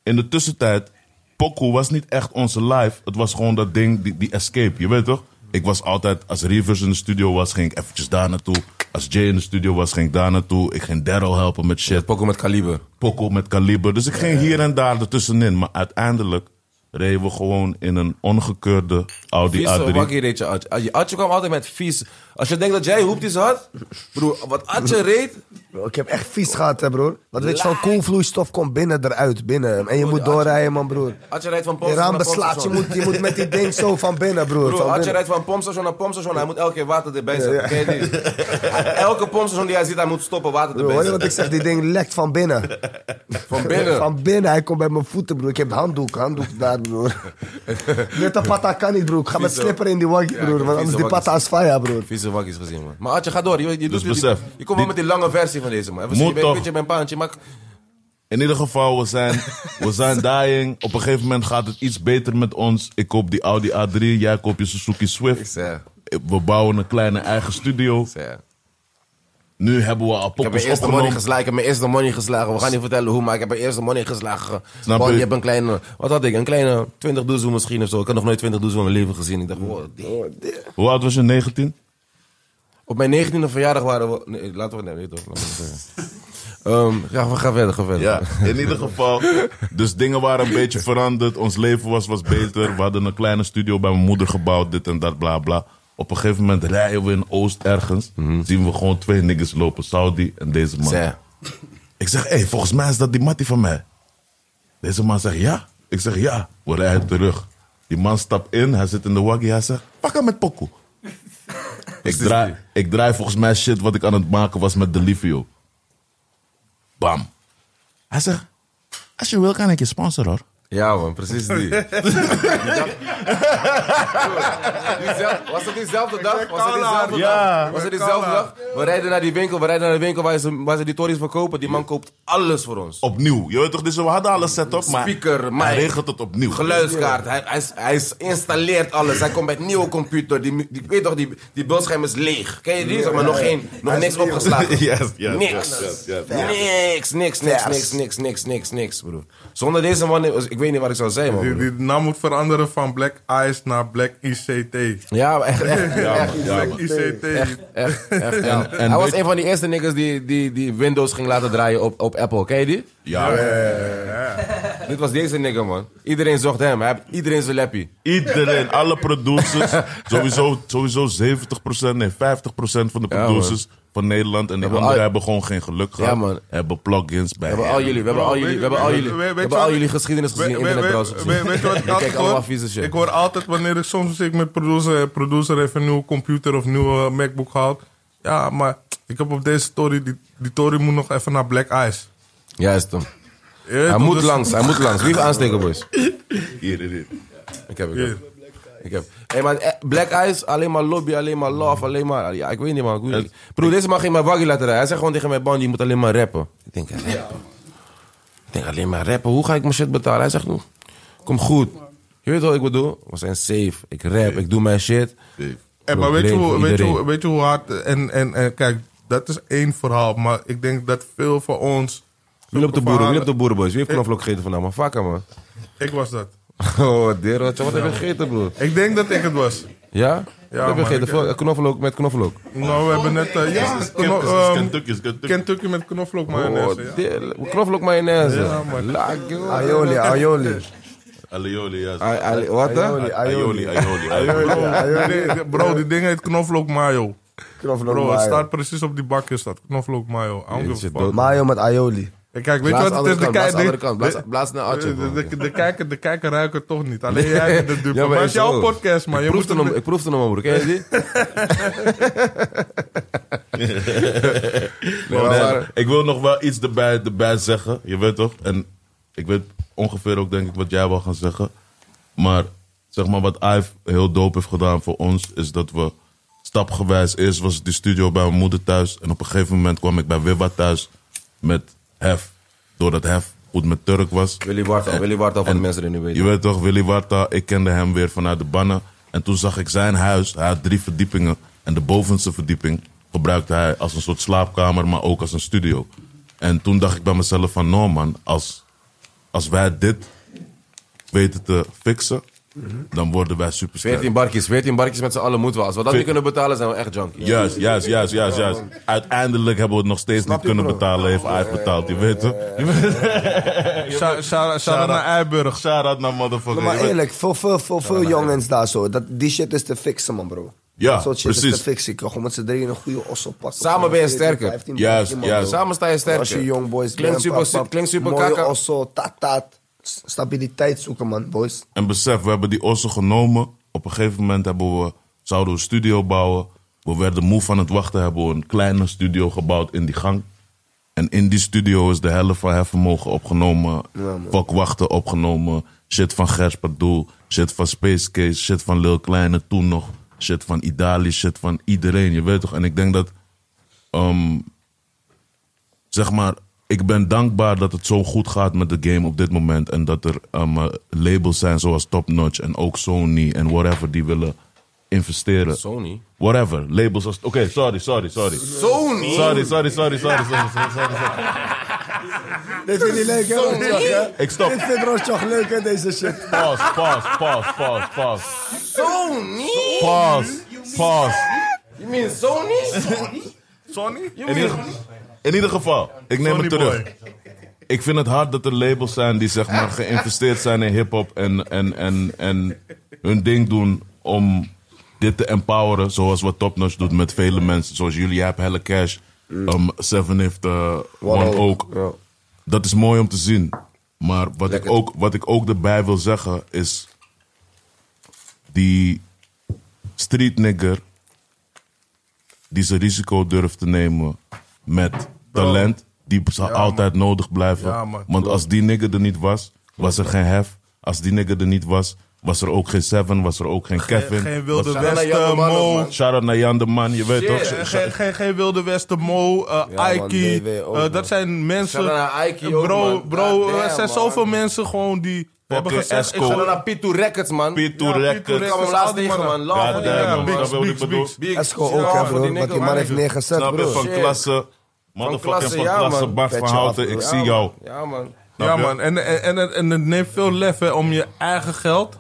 In de tussentijd, Poku was niet echt onze live. Het was gewoon dat ding, die, die escape. Je weet toch? Ik was altijd, als Rivers in de studio was, ging ik eventjes daar naartoe. Als Jay in de studio was, ging ik daar naartoe. Ik ging Daryl helpen met shit. Poco met kaliber. Poco met kaliber. Dus ik ging hier en daar ertussenin. Maar uiteindelijk reden we gewoon in een ongekeurde Audi Vieze A3. wakkie reed je Atje. Atje. Atje kwam altijd met vies. Als je denkt dat jij hoepties had, broer, wat Atje reed. Bro, ik heb echt vies gehad, hè, broer. Want weet je, zo'n koelvloeistof komt binnen eruit, binnen. En je moet doorrijden, man, broer. Atje rijdt van Je pompstation raam naar beslaat, je pompstation. moet, je moet met die ding zo van binnen, broer. Broer, van Atje binnen. rijdt van pompstation naar pompstation. Hij moet elke keer water erbij Ja, ja. zetten. Ken je die? Elke pompstation die hij ziet, hij moet stoppen water Broer, erbij hoor je wat zetten. ik zeg? Die ding lekt van binnen. Van binnen. Van binnen, hij komt bij mijn voeten, broer. Ik heb handdoek, handdoek daar, broer. Met de patta kan niet, broer. Ik ga met Vieze- slipper in die wakkie, Ja, broer. ik heb Want anders die vieze patta is faya, broer. Vieze wakkies gezien, man. Maar Atje, ga door. Je, je, doet Dus jullie- besef, je komt wel die- met die lange versie van deze, man. Even Moet zien, je bent een toch. beetje bij een paantje, maar... In ieder geval, we zijn, we zijn dying. Op een gegeven moment gaat het iets beter met ons. Ik koop die Audi A3, jij koopt je Suzuki Ik Swift. zeg, We bouwen een kleine eigen studio. ik zeg. Nu hebben we al Ik heb mijn poppers eerste money opgenomen. geslagen. Ik heb mijn eerste money geslagen. We gaan niet vertellen hoe, maar ik heb mijn eerste money geslagen. Snap Want je? je hebt een kleine, wat had ik? Een kleine 20 doezel misschien of zo. Ik had nog nooit 20 doezel in mijn leven gezien. Ik dacht, wow, Oh, damn. Hoe oud was je? 19? Op mijn 19e verjaardag waren we. Nee, laten we. Nee, nee toch? Laten we het zeggen. Ehm, ja, we gaan verder, ga verder. Ja, in ieder geval. Dus dingen waren een beetje veranderd. Ons leven was, was beter. We hadden een kleine studio bij mijn moeder gebouwd. Dit en dat, bla bla. Op een gegeven moment rijden we in Oost ergens. Zien we gewoon twee niggas lopen. Saudi en deze man. Zeg. Ik zeg, hé, hey, volgens mij is dat die mattie van mij. Deze man zegt, ja. Ik zeg, ja. We rijden terug. Die man stapt in. Hij zit in de waggie. Hij zegt, pak hem met pokoe. ik, draai, ik draai volgens mij shit wat ik aan het maken was met Delivio. Bam. Hij zegt, als je wil kan ik je sponsoren hoor. Ja, man, precies die. die dag... Diezelfde- was het diezelfde dag? Was het diezelfde Ja. dag? Was het diezelfde dag? We rijden naar die winkel, we rijden naar de winkel waar ze, waar ze die tories verkopen. Die man koopt alles voor ons. Opnieuw. Je weet toch, dus we hadden alles set up, maar Speaker, mic. hij regelt het opnieuw. Geluidskaart, hij, hij, is- hij is- installeert alles. Hij komt met nieuwe computer. Die, mu- die, ik weet toch, die, die beeldscherm is leeg. Ken je die? Zeg maar nog, geen, nog niks opgeslagen. Yes, yes, yes, niks. yes, yes, Niks, niks, niks, niks, niks, niks, niks, niks, broer. Zonder deze man, ik weet niet wat ik zou zijn, man. Die, broer. die naam moet veranderen van Black Eyes naar Black ICT. Ja, maar echt, echt, echt, Black ICT. echt, echt. ja. Hij was een van die eerste niggas die, die, die Windows ging laten draaien op, op Apple. Ken je die? Ja, Dit was deze nigger, man. Iedereen zocht hem. Hij heeft iedereen zijn lappie. Iedereen, alle producers. sowieso, sowieso 70%, nee, 50% van de Ja, producers van Nederland. En die Hebben anderen al- hebben gewoon geen geluk gehad. man. Hebben plugins We bij. hebben al hen. jullie, we hebben al jullie, we hebben al jullie, we Weet- weet- hebben weet- al weet- jullie geschiedenis gezien, Weet- weet- internetbrowser weet- weet- weet je gezien. wat We ik altijd kijken dus allemaal hoor? vieze shit. Ik hoor altijd wanneer ik soms zit met producer, eh, producer even een nieuwe computer of nieuwe eh, MacBook gehaald. Ja, maar ik heb op deze story, die, die story moet nog even naar Black Eyes. Juist, Tom. Je weet Hij toch, moet dus- langs, hij moet langs. Wie heeft aansteken, boys? Hier, hier, hier. Ik heb, ik Hier. heb. Ik heb. Hey, maar eh, Black Eyes, alleen maar lobby, alleen maar love, alleen maar... Ja, ik weet niet, man. Ik weet niet. Broer, deze man ging mij waggy laten rijden. Hij zei gewoon tegen mij, Bandy, je moet alleen maar rappen. Ik denk, rappen? Ik denk, alleen maar rappen. Hoe ga ik mijn shit betalen? Hij zegt, kom goed. Je weet wat ik bedoel? We zijn safe. Ik rap, ik doe mijn shit. Eh, maar Bro, weet je, leuk hoe, voor weet, je, hoe- iedereen. weet je hoe hard... En, en, en kijk, dat is één verhaal. Maar ik denk dat veel van ons... Wie loopt de boeren? Wie loopt de boeren, boys? Wie heeft Ik- knoflook gegeten vandaag, man? Vakken, man. Ik was dat. Oh, Dero, wat heb je gegeten, broer? Ik denk dat ik het was. Ja? Wat Ja, heb je man, gegeten? ik, eh, Vo- Knoflook met knoflook. Nou, we hebben net... eh, ja, kno- Kentucky, ehm, Kentucky, Kentucky. Kentucky met knoflook Oh, mayonaise. ja. deel- knoflook mayonaise. Ja, man. Laat, joh. Aioli, aioli. Aioli, yes. Ai- ai- Wat dan? Aioli, Aioli, aioli. aioli, aioli. Aioli, Nee, Bro, die ding heet knoflook mayo. Knoflook Bro, het mayo. staat precies op die bakje staat. Knoflook mayo. I don't give a Jeetje, fuck. dood. Mayo met aioli. Hey, Kijk, weet Blaas je wat andere het is? De, kant, blaas kei- andere de, kant. Blaas, Ah, blaas naar Atje. de, man. de, de kijker, de kijker ruikt het toch niet. Alleen jij bent de dupe. Ja, maar het is zo. jouw podcast, man. Je Ik moet proefde het hem, ik proefde hem, broer. Ken je die? Nee, maar- nee, Ik wil nog wel iets erbij, erbij zeggen. Je weet toch? En ik weet ongeveer ook denk ik wat jij wil gaan zeggen. Maar zeg maar wat Ive heel dope heeft gedaan voor ons... is dat we stapgewijs... Eerst was het die studio bij mijn moeder thuis. En op een gegeven moment kwam ik bij Wibba thuis. met Hef. Doordat Hef goed met Turk was. Willy Warta, En- Willy Warta, voor de en- mensen die het niet weten. Je weet toch, Willy Warta, ik kende hem weer vanuit de bannen. En toen zag ik zijn huis, hij had drie verdiepingen. En de bovenste verdieping gebruikte hij als een soort slaapkamer, maar ook als een studio. En toen dacht ik bij mezelf van, no man, als, als wij dit weten te fixen, dan worden wij supersterk. 14 barkjes, 14 barkjes met z'n allen moeten we. Als we dat niet kunnen betalen, zijn we echt junkie. Juist, juist, juist, juist, juist. Uiteindelijk hebben we het nog steeds niet kunnen betalen, heeft Ajax betaald, je weet het. Shout- shout- Shout-out naar Eiburg. Shout-out naar motherfucker. maar je weet- eerlijk, voor veel, veel, veel jongens daar zo. Dat, die shit is te fixen, man, bro. Ja, dat soort shit is precies. te fixen. Ik kan Gewoon met z'n drieën een goede ossel pakken. Samen Gewoon ben je 14, sterker. 15 Juist, man, juist. bro. Samen sta je sterker. Als je jong boys klinkt bent, super, pap, su- pap, klinkt super mooie kaka. ossel, tat, tat. S- Stabiliteit zoeken, man, boys. En besef, we hebben die ossen genomen. Op een gegeven moment hebben we, zouden we een studio bouwen. We werden moe van het wachten, hebben we een kleine studio gebouwd in die gang. En in die studio is de helft van Hefvermogen opgenomen. Fuck wachten opgenomen. Shit van Gers Doel. Shit van Space Case. Shit van Lil Kleine toen nog. Shit van Idali. Shit van iedereen, je weet toch. En ik denk dat ehm, zeg maar, ik ben dankbaar dat het zo goed gaat met de game op dit moment. En dat er ehm, eh, labels zijn zoals Top Notch en ook Sony en whatever die willen investeren. Sony? Whatever, labels als... Oké, sorry, sorry, sorry. Sony? Sorry, sorry, sorry, sorry, sorry, sorry, sorry, sorry. Dit vind je leuk, hè? Rotjoch, hè? Ik stop. Dit vindt Rotjoch leuk, hè, deze shit. Pause, pause, pause, pause, pause. Sony? Pause, pause. You mean Sony? Sonny? In ieder, in ieder geval, ik neem Sonny het terug. boy. ik vind het hard dat er labels zijn die zeg maar geïnvesteerd zijn in hip-hop en, en, en, en hun ding doen om dit te empoweren. Zoals wat Topnotch doet met vele mensen. Zoals jullie, jij hebt Helle Cash, Mm. ehm, Seven heeft eh, One, Oak, ook. ja. Dat is mooi om te zien. Maar wat ik, Lekker. ook, wat ik ook erbij wil zeggen is. Die street nigger die zijn risico durft te nemen met talent, die zal altijd nodig blijven. Ja, man. Want als die nigger er niet was, was er geen hef. Als die nigger er niet was, was er ook geen Seven, was er ook geen Kevin. Geen was- Wilde Shout-out naar Jan Westen, de Man ook, Mo. man. Shout-out naar Jan de Man, je weet Shit. toch? Geen- Geen, geen, geen Wilde Westen, Mo, eh Ja, man, Aiki. DW ook, Eh, man. dat zijn mensen. Shout-out naar Aiki ook, bro, man. bro God er zijn damn, zoveel man. mensen gewoon die hebben gezegd. Esco. Ik Shout-out ga naar P2 Records, man. Pit to Ja, Pete Records. Records. Ik kwam hem laatst tegen, man. Love, God man. damn, Ja, man. Biggs, Snap je wat ik Biggs, bedoel? Biggs. Big Esco shout-out ook, hè, voor bro. Wat die nigger, man man. heeft neergezet, Snap je? bro. Van Shit. klasse. Motherfucking klasse, van ja, klasse. man. Bart Petje van Houten, af, ik bro. zie jou. Ja, man. Ja, man. En, en, en, het- en het neemt veel lef hè, om je eigen geld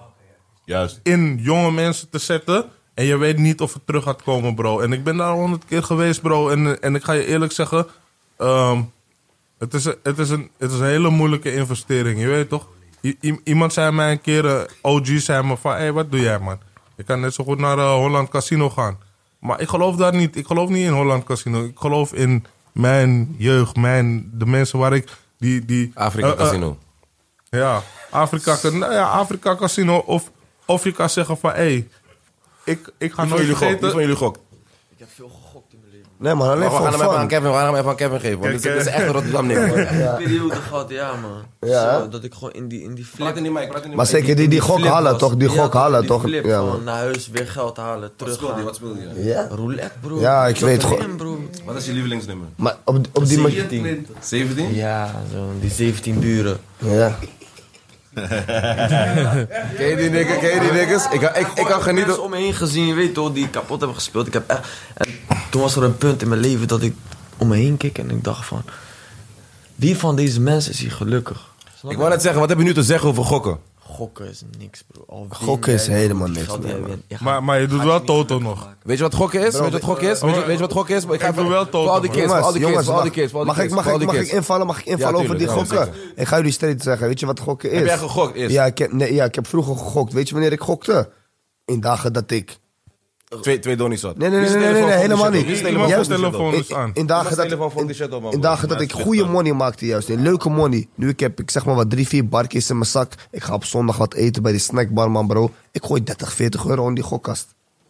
Juist. in jonge mensen te zetten. En je weet niet of het terug gaat komen, bro. En ik ben daar honderd keer geweest, bro. En, en ik ga je eerlijk zeggen... ehm, het, is, een- het, is een, het is een hele moeilijke investering, je weet toch? I- i- iemand zei mij een keer... eh, OG zei me van... Hé, hey, wat doe jij, man? Je kan net zo goed naar eh, Holland Casino gaan. Maar ik geloof daar niet. Ik geloof niet in Holland Casino. Ik geloof in mijn jeugd, mijn, de mensen waar ik... Die, die, Afrika eh, eh, Casino. ja, Afrika, nou ja, Afrika Casino. Of, of je kan zeggen van, hé, hey, ik, ik ga Wie van nooit jullie gokt? Wie van vergeten. jullie gokt? Nee, man, We alleen gaan voor hem even aan fun. Kevin, we gaan hem even aan Kevin geven. Want dit is- dit eh, is echt een Rotterdam nigger. man. periode gehad, ja man. Ja, Zo, hè? dat ik gewoon in die, in die Praat in flip... die mic, praat in die Maar mic. zeker die, die gok flip halen, was. toch? Die Ja, gok halen, toch? Die flip, Ja, gewoon man. naar huis, weer geld halen, terug Speelde je, Wat speelde je? Ja. Roulette bro. Ja, ik weet Rotterdam, gewoon- bro. Wat is je lievelingsnummer? Maar op, op die manier... 17. 17? Ja, zo, die 17 buren. Ja. Ken je die nigger, ken je die niggers? Ik, ik, ik kan Ik genieten. heb om me heen gezien, je weet toch, die ik kapot hebben gespeeld. Ik heb echt... En toen was er een punt in mijn leven dat ik om me heen keek en ik dacht van... Wie van deze mensen is hier gelukkig? Ik Snap je? wou net zeggen, wat heb je nu te zeggen over gokken? Gokken is niks, bro. Al win Gokken is jij, helemaal die niks, geld die nee, jij man. wint, je gaat- Maar, maar je doet wel Toto nog. Weet je wat gokken is? Weet je wat gokken is? Weet je, weet je wat gokken is? Ik ga Ik wil wel voor al die Tottenham. kids, voor al die kids, voor al die kids, voor al die mag, ik, kids, mag, voor al ik, die mag ik kids. invallen, mag ik invallen Ja, over die tuurlijk, ja, gokken? ik ga jullie steeds zeggen, weet je wat gokken is? Heb jij gegokt eerst? Ja, ik heb, nee, ja, ik heb vroeger gegokt. Weet je wanneer ik gokte? In dagen dat ik... Twee, twee donnies zat. Nee, nee, nee, Wie is nee, nee, telefoon nee, voor die helemaal shit niet. op? Wie is Iemand telefoon heeft voor die shit op? telefoon is aan. In dagen Iemand dat, is telefoon voor die shit op, man, in broer. dagen dat ik goede money maakte juist. In leuke money. Nu ik heb ik zeg maar wat drie, vier barkjes in mijn zak. Ik ga op zondag wat eten bij die snackbar, man bro. Ik gooi 30, 40 euro in die gokkast.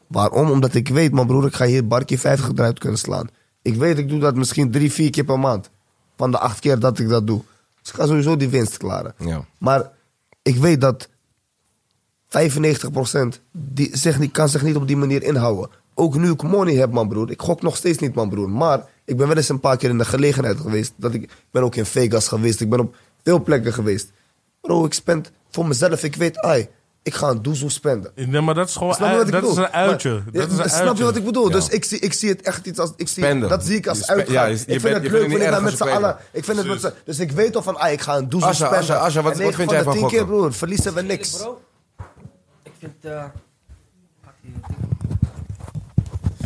Waarom? Omdat ik weet, man broer, ik ga hier barkje 50 eruit kunnen slaan. Ik weet, ik doe dat misschien drie, vier keer per maand. Van de acht keer dat ik dat doe. Dus ik ga sowieso die winst klaren. Ja. Maar ik weet dat 95% die zich niet, kan zich niet op die manier inhouden. ook nu ik money heb, man broer. Ik gok nog steeds niet, man broer. Maar ik ben wel eens een paar keer in de gelegenheid geweest. Dat ik, ik ben ook in Vegas geweest. Ik ben op veel plekken geweest. Bro, ik spend voor mezelf. Ik weet, ai, ik ga een doezel spenden. Nee, maar dat is gewoon Eh, Snap je wat uit, ik dat bedoel? is een uitje. Maar- dat is Ja, een snap uitje. je wat ik bedoel? Ja. Dus ik zie, ik zie het echt iets als... Ik zie, Spenden. dat zie ik Je als spe- uitgaan. ja, je- je ik bent- vind je het bent leuk niet wanneer ik daar ergens met z'n allen... spelen. Ik vind het met z'n- dus ik weet al van, ah, ik ga een doezel Asja, spenden. Asja, Asja, wat- En negen wat vind jij van de van tien keer, gokken? broer, verliezen we niks. Bro, eh, ik vind... eh,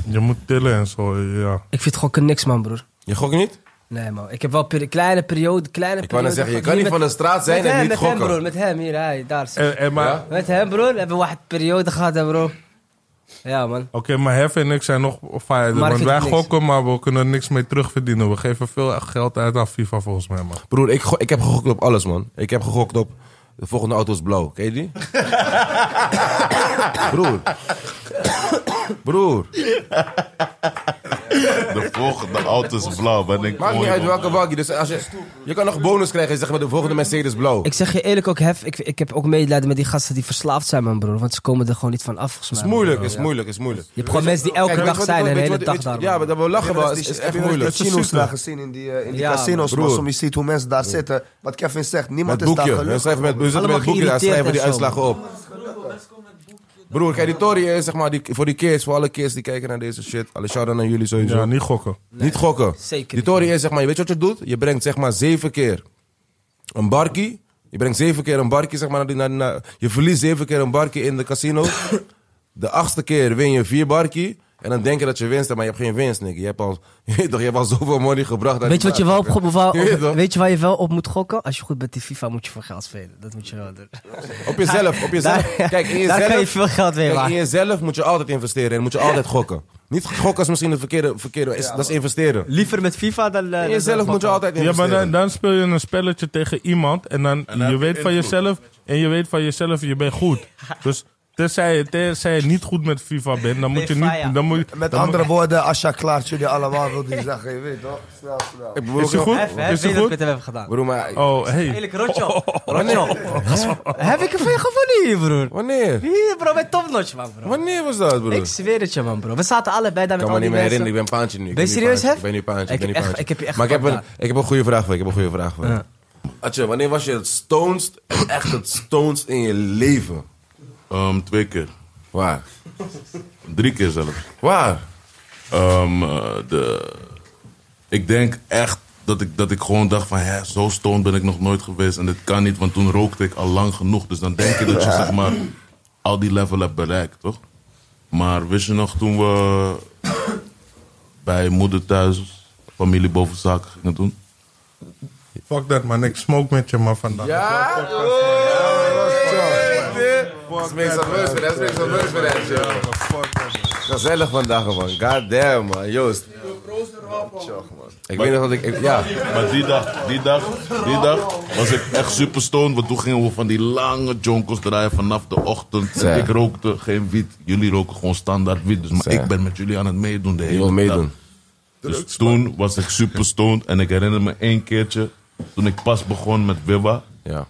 Je moet tillen en zo, ja. Ik vind gokken niks, man, broer. Je gokt niet? Nee, man. Ik heb wel peri- kleine periode, kleine Ik wou periode... net zeggen, je gehad. kan Hier niet van de met- straat zijn met en hem, niet met hem, broer. gokken. Eh. Met hem, hier, hij, daar. zit- En, en maar, Ja? Met hem, broer, hebben we een periode gehad, hè, bro. Ja, man. Oké, maar Hef en ik zijn nog fijn. Maar ik Want vind wij het niks. gokken, maar we kunnen er niks mee terugverdienen. We geven veel geld uit aan FIFA volgens mij, man. Broer, ik, go- ik heb gegokt op alles, man. Ik heb gegokt op... De volgende auto is blauw. Ken je die? Broer. Broer. De volgende auto is blauw. Ben ik Maakt niet mooi, uit man. welke waggie. Dus als je, je kan nog bonus krijgen. Zeg maar de volgende Mercedes blauw. Ik zeg je eerlijk ook, Hef, ik, ik heb ook medelijden met die gasten die verslaafd zijn, man, broer. Want ze komen er gewoon niet van af, volgens mij. is man. moeilijk, is moeilijk, is moeilijk. Je hebt gewoon mensen die elke Kijk, weet dag je wat- zijn en de weet je wat- hele dag weet je- daar, Ja, maar man. dat we lachen wel. dat is- die- is heb echt je wel eens moeilijk. die Chino's daar gezien in die, eh, in die Ja, casinos, broer. man. Soms je ziet hoe mensen daar zitten. Wat Kevin zegt, niemand Met is daar boekje. We gelukkig. schrijven met, we zitten met Allemaal het boekje daar, geïrriteerd schrijven die en zo. uitslagen op. Broer, kijk, die Tory is zeg maar die, voor die kids, voor alle kids die kijken naar deze shit. Alle shout-out aan jullie sowieso. Ja, niet gokken. Niet gokken. zeker Die Tory is zeg maar, je weet je wat je doet? Je brengt zeg maar zeven keer een barkie. Je brengt zeven keer een barkie, zeg maar. Naar, die- naar, naar- je verliest zeven keer een barkie in de casino. de achtste keer win je vier barkie. En dan denk je dat je winst hebt, maar je hebt geen winst, Nick. Je hebt al, je weet toch, je hebt al zoveel money gebracht. aan Weet die je wat je bar. wel op, op- op- Je weet toch? weet je waar je wel op moet gokken? Als je goed bent in FIFA moet je voor geld spelen. Dat moet je wel doen. Op jezelf, op jezelf. Daar- Kijk, in jezelf, daar kan je veel geld mee kijk, maken. in jezelf moet je altijd investeren en moet je altijd gokken. Niet gokken is misschien het verkeerde, verkeerde is, dat is investeren. Liever met FIFA dan... In jezelf moet je altijd Ja, maar investeren. dan, dan speel je een spelletje tegen iemand en dan, dan je heb je weet van invloed. jezelf en je weet van jezelf je bent goed. Dus tenzij, je- tenzij je niet goed met FIFA bent, dan moet je Fire. niet... Dan moet, je- Met dan moet- andere woorden, Asja klaart jullie allemaal, wil die zeggen. Je weet toch? Snel, snel. Ik bedoel, Is hij goed? Is Is hij het goed? goed? hebben gedaan. Broer, maar Oh, hey. Eerlijk, Rotjo. Rotjo. Heb ik er veel gewonnen hier, broer? wanneer? Hier, bro, bij topnotch, man, bro. Wanneer was dat, broer? Ik zweer het je, man, bro. We zaten allebei daar Ik met kan me al die niet meer mensen. herinneren, ik ben paantje nu. Ik Ben je nu serieus, paantje. Hef? Ik ben nu paantje, Ik ik ben heb nu echt- paantje. ik heb je echt Maar ik heb, een, gepakt ik heb een goede vraag voor je, ik heb een goede vraag voor je. Atje, wanneer was je het stonest, echt het stonest in je leven? Ehm, twee keer. Waar? Drie keer zelfs. Waar? Ehm, eh, de, ik denk echt dat ik, dat ik gewoon dacht van... Hè, zo stoned ben ik nog nooit geweest en dit kan niet. Want toen rookte ik al lang genoeg. Dus dan denk je dat je zeg maar, al die level hebt bereikt, toch? Maar wist je nog toen we bij moeder thuis... familie boven zaken gingen doen? Fuck dat, man. Ik smoke met je, man, vandaag. Dat is meestal beurs voor dat is meestal beurs voor dat, joh. Gezellig vandaag, man. God damn, man. Joost. Ik weet nog dat ik... ik- ja. Maar die dag, die dag, die dag was ik echt super stoned. Want toen gingen we van die lange jonkels draaien vanaf de ochtend. Zeg. En ik rookte geen wiet. Jullie roken gewoon standaard wiet. Dus maar Zeg. ik ben met jullie aan het meedoen de hele wil meedoen. dag. Dus toen was ik super stoned. En ik herinner me één keertje. Toen ik pas begon met Wibba. Ja.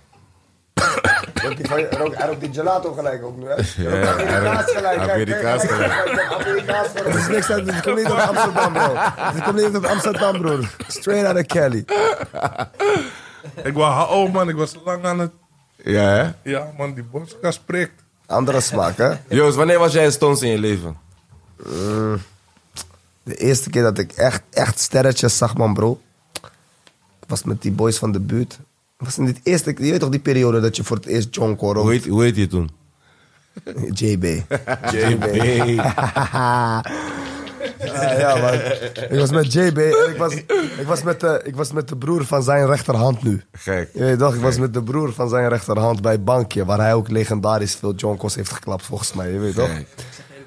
Want die van je- Hij rookt- hij rookt die gelato gelijk ook nu, hè? Hij Ja, rookt hij Amerikaans rookt gelijk. kijk, Amerikaans kijk, kijk, kijk, kijk, Amerikaans gelijk. Het is niks uit, het komt niet uit Amsterdam, bro. Het komt niet uit Amsterdam, broer. Straight out of Cali. Ik was, oh man, ik was lang aan het... Ja, hè? Ja, man, die boskast prikt. Andere smaak, hè? Joost, wanneer was jij het stonest in je leven? De eerste keer dat ik echt, echt sterretjes zag, man, bro. Ik was met die boys van de buurt. Ik was in dit eerste, je weet toch die periode dat je voor het eerst John Hoe Coro, heet, hoe heet je toen? JB. JB. Ah, ja, man. Ik was met JB en ik was, ik, was met de, ik was met de broer van zijn rechterhand nu. Gek. Je weet toch, ik was met de broer van zijn rechterhand bij Bankje, waar hij ook legendarisch veel Jonkos heeft geklapt, volgens mij. Je weet toch? Gek.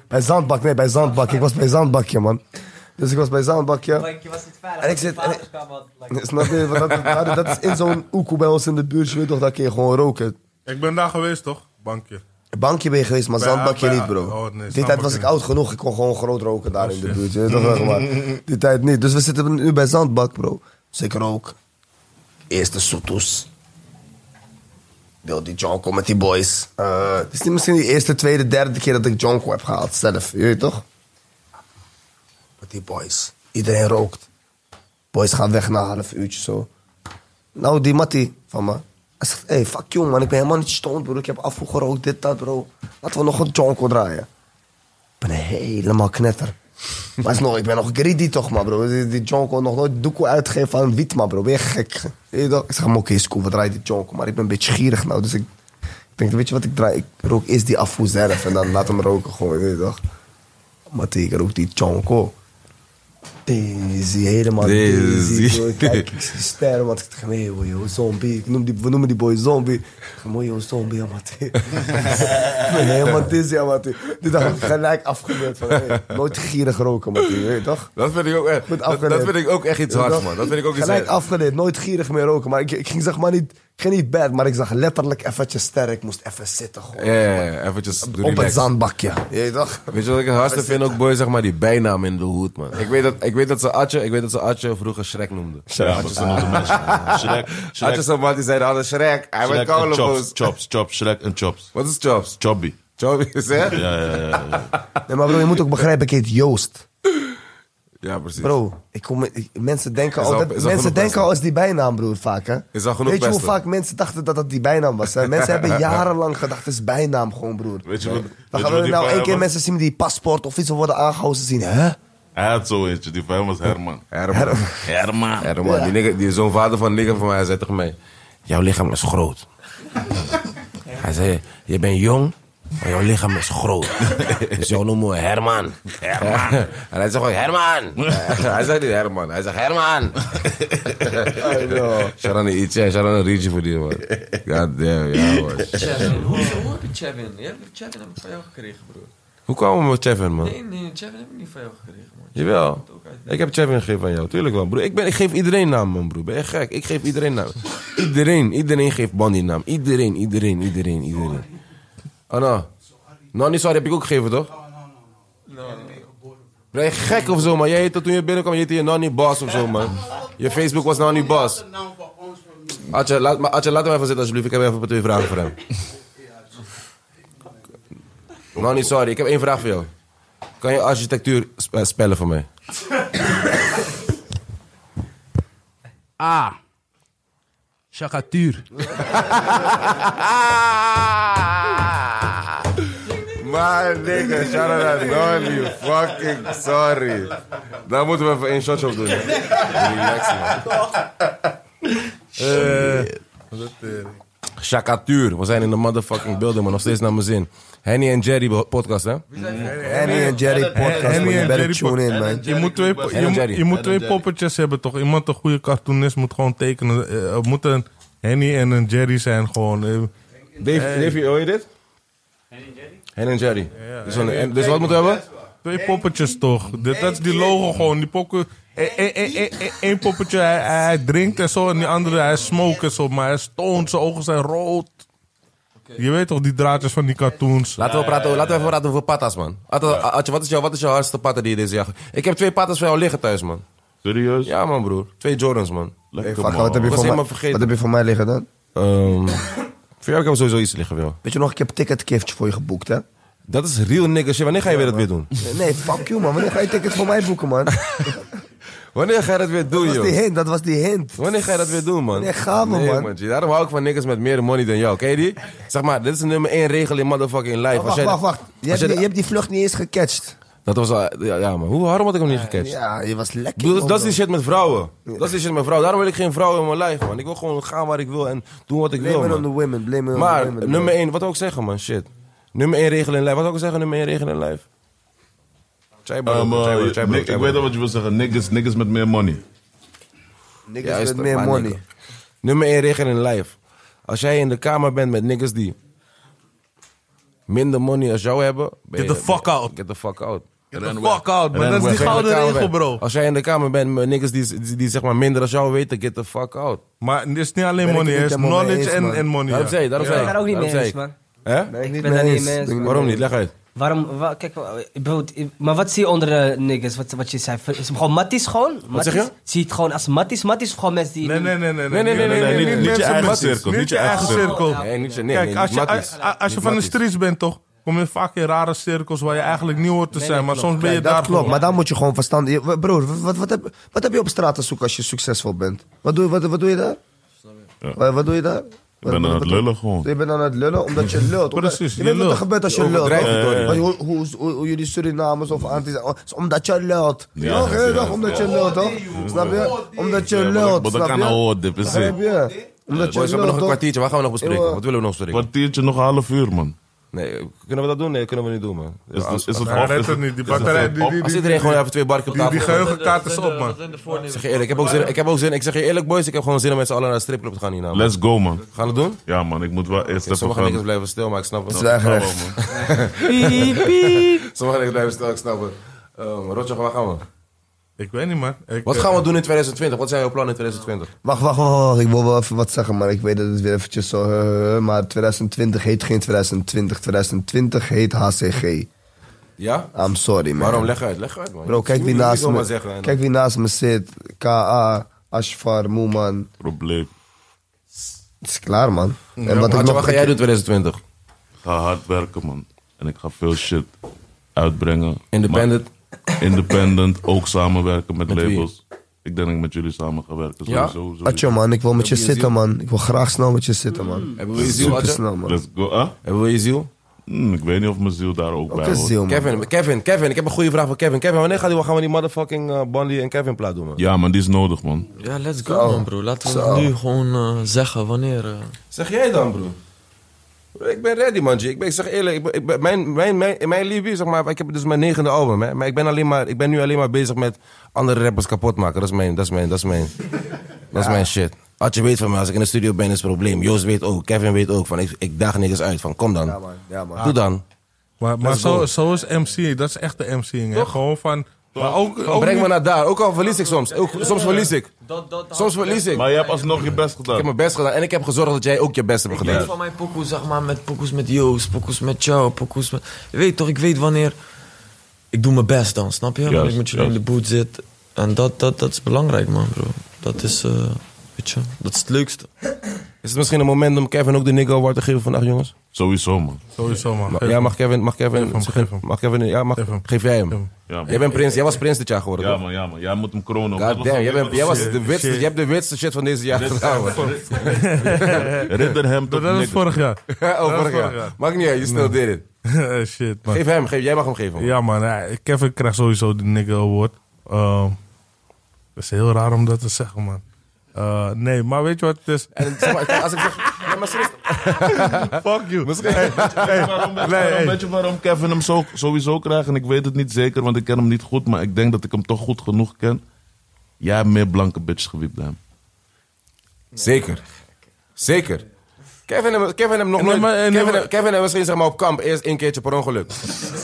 Bij Zandbak, nee, bij Zandbak. Ik was bij Zandbakje, man. Dus ik was bij Zandbakje. Je was niet veilig. En ik zit- want je en ik- Snap je? Want Dat, dat, dat is in zo'n oekoe bij ons in de buurt. Je weet toch, dat kun je gewoon roken. Ik ben daar geweest, toch? Bankje. Bankje ben je geweest, maar Bij- zandbakje bij- niet, bro. oh, nee, die tijd was zandbakje ik oud genoeg. Ik kon gewoon groot roken daar in de buurt. Je weet toch, zeg maar. Die tijd niet. Dus we zitten nu bij zandbak, bro. Dus ik rook. Eerste soetoes. Deel die jonko met die boys. Eh, Het is niet misschien de eerste, tweede, derde keer dat ik jonko heb gehaald zelf. Je weet toch? Met die boys. Iedereen rookt. Boys gaan weg na een half uurtje zo. Nou, die Mattie van me. Hij zegt, hey, fuck jong man, ik ben helemaal niet stoned bro. Ik heb afvoer gerookt, dit, dat bro. Laten we nog een jonko draaien. Ik ben helemaal knetter. Maar is nog, ik ben nog greedy toch, maar bro. Die, die jonko nog nooit doekoe uitgeven van wit, maar bro. Ben je gek? Weet je toch? Ik zeg hem, oké, is cool, we draaien die jonko. Maar ik ben een beetje gierig nou, dus ik... Ik denk, weet je wat ik draai? Ik rook eerst die afvoer zelf en dan laat hem roken gewoon, weet je toch? Maar tegen, ik rook die jonko. Daisy, helemaal Daisy. Daisy. bro. Ik Kijk, ik zie sterren, want ik dacht, nee, joh, joh, zombie. Ik noem die, we noemen die boy zombie. Ik dacht, mooi, joh, zombie, ja, Matty. Ik ben helemaal dizzy, ja, Matty. Die dacht ik gelijk afgebeurd van, hey, nooit gierig roken, Matty, weet je toch? Dat vind ik ook echt, Goed dat, afgeleid. dat vind ik ook echt iets Ja, hards, toch? man. Dat vind ik ook iets Gelijk hards. afgeleid, nooit gierig meer roken. Maar ik, ik ging zeg maar niet, ik ging niet bad, maar ik zag letterlijk eventjes sterk. Ik moest even zitten gewoon. Ja, ja, ja, eventjes Op het relaxen. zandbakje, weet je toch? Weet je wat ik het hardste vind ook, boy? Zeg maar die bijnaam in de hoed, man. Ik weet dat, ik weet dat ze Atje, ik weet dat ze Atje vroeger Shrek noemden. Ja, dat zijn onze mensen. man. Shrek, Atje Shrek, zo'n man die zei altijd Shrek, hij werd Shrek en chops, kouwenboos. chops, chops, Shrek en chops. Wat is Chops? Chobby. Chops, hè? Ja, ja, ja, ja. Nee, maar bro, je moet ook begrijpen, ik heet Joost. Ja, precies. Bro, ik kom, ik- mensen denken, Is al, al- dat, is al mensen genoeg denken pesten. al als die bijnaam, broer, vaak. Hè? Is al genoeg Weet je hoe pesten. vaak mensen dachten dat dat die bijnaam was? Hè? Mensen hebben jarenlang gedacht, het is bijnaam gewoon, broer. Weet je wat- weet je Dan gaan wat we die nou van één keer hem was? mensen zien die paspoort of iets worden aangehouden. Ze zien, hè? Hij had zo eentje, die van hem was Herman. Herman. Herman. Herman, die, nigger- die zo'n vader van nigger van mij, hij zei tegen mij... Jouw lichaam is groot. Hij zei, je bent jong, maar jouw lichaam is groot. Dus jou noemen we Herman. Herman. En hij zegt gewoon, Herman. Hij zegt niet Herman, hij zegt Herman. Sharon Ietje, Sharon Rietje voor die man. God damn, ja man. Chevin, hoe, hoe heb je Chevin? Ja, Chevin heb ik van jou gekregen, broer. Hoe kwamen we met Chevin man? Nee, nee, Chevin heb ik niet van jou gekregen, man. Jawel. Ik heb Chevin gegeven aan jou, tuurlijk wel, broer. Ik, ben, ik geef iedereen naam, man, broer. Ben je gek? Ik geef iedereen naam. Iedereen, iedereen geeft Bandy naam. Iedereen, iedereen, iedereen, iedereen. Oh, nou. Nou, niet sorry, heb ik ook gegeven, toch? Ben je gek of zo, man? Jij heette toen je binnenkwam, je heette je Nanny Boss of zo, man. Je Facebook was Nanny Boss. Atje, laat, maar Atje, laat hem even zitten alsjeblieft. Ik heb even twee vragen voor hem. Nanny, sorry. Ik heb één vraag voor jou. Kan je architectuur sp- eh, spellen voor mij? A. Chagatuur. Maar nigga, shout out aan Nolly, fucking sorry. Daar moeten we even één shotje op doen. hè. Relax man. Eh, Chakatuur, we zijn in de motherfucking building, maar nog steeds naar mijn zin. Henny en Jerry be- podcast, hè? Henny en Jerry podcast, Henny man. en Je better Jerry tune in, podcast. man. Je moet twee, po- Jerry. je, Jerry. moet- je moet twee poppetjes hebben, toch? Iemand, een goede cartoonist, moet gewoon tekenen. Eh, Er moet een Henny en een Jerry zijn, gewoon. Eh, Dave, Dave, hoor je dit? Henny en Jerry? Dus, een- en- dus wat moeten we hebben? Twee poppetjes, toch? Dit, dat is die logo gewoon. Die pokken. e- Eén poppetje, hij, hij drinkt en zo. En die andere, hij smoke en zo. Maar hij stoont, zijn ogen zijn rood. Je weet toch, die draadjes van die cartoons. Laten we, praten, laten we even praten over patas, man. Atta- Atje, wat is, jouw, wat is jouw hardste patta die je deze jaar... ge- Ik heb twee patas voor jou liggen thuis, man. Serieus? Ja, man, broer. Twee Jordans, man. Hey, Lekker, fuck, man. wat heb je was voor mij- helemaal Wat vergeten. heb je voor mij liggen dan? Ehm, voor jou kan ik sowieso iets liggen, wel. Weet je nog, ik heb ticketkiftje voor je geboekt, hè? Dat is real nigga shit. Wanneer ga je weer dat weer doen? Nee, fuck you, man. Wanneer ga je tickets voor mij boeken, man? Dat Wanneer ga je dat weer doen, was die joh? hint, dat was die hint. Wanneer ga je dat weer doen, man? Wanneer gaan we, man? G. Daarom hou ik van niggas met meer money dan jou. Ken je die? Zeg maar, dit is nummer één regel in motherfucking life. Als Oh, Wacht, jij- wacht, wacht. Je als hebt, jij- die, je hebt die vlucht niet eens gecatcht. Dat was... al- Ja, ja, man. Hoe, waarom had ik hem niet gecatcht? Ja, je was lekker. Broer, man, dat is bro. die shit met vrouwen. Dat is die shit met vrouwen. Daarom wil ik geen vrouwen in mijn lijf, man. Ik wil gewoon gaan waar ik wil en doen wat ik Blame it wil, on the man. women, blame it on the Maar women. nummer één, wat wil ik zeggen, man? Shit. Nummer één regel in lijf. Wat wil ik zeggen, nummer één regel in lijf? Chai bro, Ehm, eh, chai bro, chai bro, Nick, chai ik bro. weet al wat je wil zeggen. Niggas, niggas met meer money. Niggas Juist, met meer maar money. nigga. Nummer 1 regel in lijf. Als jij in de kamer bent met niggas die minder money als jou hebben... ben Get the je- fuck ben- out. Get the fuck out. Get the fuck out, man. Ren Dat is Als jij in de kamer weg. die gouden regel, bent- bro. Als jij in de kamer bent met niggas die, die, die zeg maar minder als jou weten, get the fuck out. Maar het is niet alleen Ben ik money, het het is niet helemaal mee knowledge eens, en, man. en money. Daarom ja. zei ik, daarom zei Ik ben daar ook niet daarom mee zei eens, ik. man. Hè? ik Ik ben daar niet mee eens. Waarom niet? Leg uit. Waarom, wa- kijk, wa- bijvoorbeeld, eh, maar wat zie je onder eh, niggas? Wat, wat je zei? Is het gewoon matties gewoon? Matties? zeg je? Zie je het gewoon als matties? Matties of gewoon mensen die... Nee, nee, nee, nee. Nee, nee, nee, nee, nee, niet je mensen eigen met- cirkel, niet je eigen cirkel. Nee, niet je, nee, Kijk, nee, als je, matties. a- a- als je Niet van de matties. streets bent, toch? kom je vaak in rare cirkels waar je eigenlijk niet hoort te zijn. maar soms ben je Kijk, daar dat klopt, gewoon. maar dan moet je gewoon verstand. je- Broer, wat, wat, heb, wat heb je op straat te zoeken als je succesvol bent? Wat doe, wat, wat doe je daar? Wat, wat doe je daar? Ik ben aan het lullen gewoon. Je bent aan het lullen omdat je lult. Omdat- Precies, je je weet wat er lult. gebeurt als je, Je lult. overdrijft het, hoor. Want Hoe, hoe, hoe, hoe jullie Surinamers of Antis. is Omdat je lult. Ja, Ja, toch? ja, Toch? ja. omdat je lult, toch? Snap je? Omdat je Ja, lult. maar dat Snap kan nou je? horen, precies. Snap je? Omdat je Boys, we hebben nog lult, een toch? kwartiertje. Waar gaan we nog bespreken? Eeuw. Wat willen we nog bespreken? Kwartiertje, nog een half uur, man. Nee, kunnen we dat doen? Nee, kunnen we niet doen, man. Dus- Is, als, is het Nee, af? dat Is is het niet. Die batterij, die, die, als die, iedereen gewoon even twee barken op die, die tafel... Ik geheugenkaart is op, man. zeg je eerlijk, ik heb, ook zin, ik heb ook zin... Ik zeg je eerlijk, boys, ik heb gewoon zin om met z'n allen naar de stripclub te gaan hierna. man. Oh, Let's go, man. Gaan we het doen? Ja, man, ik moet wel eerst even Sommige niggas gaan. blijven stil, maar ik snap het. Zwijgrecht. Sommige niggas blijven stil, ik snap het. Um, Rotjoch, waar gaan we? Ik weet niet, man. Ik, Wat eh, gaan we doen in 2020? Wat zijn jouw plannen in 2020? Wacht, wacht, wacht, wacht. Ik wil wel even wat zeggen, maar ik weet dat het weer eventjes zo... eh, eh, maar 2020 heet geen 2020. 2020 heet HCG. Ja? I'm sorry, man. Waarom? Leg uit, leg uit, man. Bro, kijk wie, Niet naast zomaar me, zeggen, en kijk wie naast me zit. K.A., Ashfar, Moeman. Probleem. Het is klaar, man. en dan- wat ik Adje, nog... Mm. Wat ga jij doen in 2020? Ik ga hard werken, man. En ik ga veel shit uitbrengen. Independent? Maar independent, ook samenwerken met, Met wie? labels. Ik denk dat ik met jullie samen ga werken. Ja? Sowieso, sowieso. Atjo, man, ik wil met je Heb je zitten, ziel? man. Ik wil graag snel met je zitten, man. Hebben we je ziel, Super Adje? snel, man. Let's go. Ah? Hebben we je ziel? Hm, ik weet niet of mijn ziel daar ook Ook bij een hoort. ziel, man. Kevin, Kevin, Kevin, ik heb een goede vraag voor Kevin. Kevin, wanneer gaan we, gaan we die motherfucking eh, Bondy en Kevin plaat doen, man? Ja, man, die is nodig, man. Ja, let's go man bro. Laten we nu gewoon eh, zeggen wanneer. eh, Zeg jij dan, broer? Broer, Ik ben ready, man. G. Ik, ben, ik zeg eerlijk, ik ben- ik ben- mijn, mijn, mijn, in mijn liefde, zeg maar, ik heb dus mijn negende album, hè. Maar ik ben, alleen maar, ik ben nu alleen maar bezig met andere rappers kapot maken. Dat is mijn, dat is mijn, dat is mijn, dat is mijn shit. Als je weet van mij, als ik in de studio ben, is het probleem. Joost weet ook, Kevin weet ook. Van, ik, ik daag niks uit. Van, kom dan. Ja, man. Ja, man. Doe dan. Maar, maar Let's zo, go. zo is MC, dat is echt de MC'ing. hè. Gewoon van... Maar ook, ook Breng me niet- naar daar. Ook al verlies ik soms. Ook, soms verlies ik. Soms verlies ik. Maar Ik je hebt alsnog je best heb gedaan. mijn best gedaan en ik heb gezorgd dat jij ook je best hebt Ik weet gedaan. van mijn pokoes, zeg maar, met pokoes met Joost, pokoes met jou, pokoes met... Je weet toch, ik weet wanneer... Ik doe mijn best dan, snap je? Wanneer Juist, ik met jullie in de boot zit. En dat, dat, dat is belangrijk, man, bro. Dat is, eh, weet je, dat is het leukste. Is het misschien een moment om Kevin ook de Nigga Award te geven vandaag, jongens? Sowieso, man. Sowieso, man. Ma- Ja, mag Kevin, mag Kevin, Geef hem, zeg- geef hem. mag Kevin, ja, mag, Geef hem. geef jij hem. Ja, man. Jij bent prins, jij was prins dit jaar geworden, Ja, toch? man, ja, man. Jij moet hem kronen. God damn, jij, bent, jij was de witste, Shit. jij hebt de witste shit van deze jaar gedaan. man. Ridder hem tot Dat is niks. vorig jaar. Oh, vorig vorig jaar. jaar. Maakt niet uit, je still did it. Eh, Shit, man. Geef hem, geef, jij mag hem geven. man. Ja, man. ja, Kevin krijgt sowieso de nigga award. Ehm, dat is heel raar om dat te zeggen, man. Eh, nee, maar weet je wat het is? En zeg maar, kijk, als ik zeg, nee, maar serieus, Fuck you. Hey, Waarom, weet je Nee, waarom- hey. weet je waarom Kevin hem zo, sowieso krijgt? En ik weet het niet zeker, want ik ken hem niet goed. Maar ik denk dat ik hem toch goed genoeg ken. Jij hebt meer blanke bitches gewiept dan hem. Zeker. Zeker. Kevin hem, Kevin hem nog Nee, nooit... maar- nee, Kevin, maar- hem- Kevin hem misschien zeg maar op kamp eerst één keertje per ongeluk.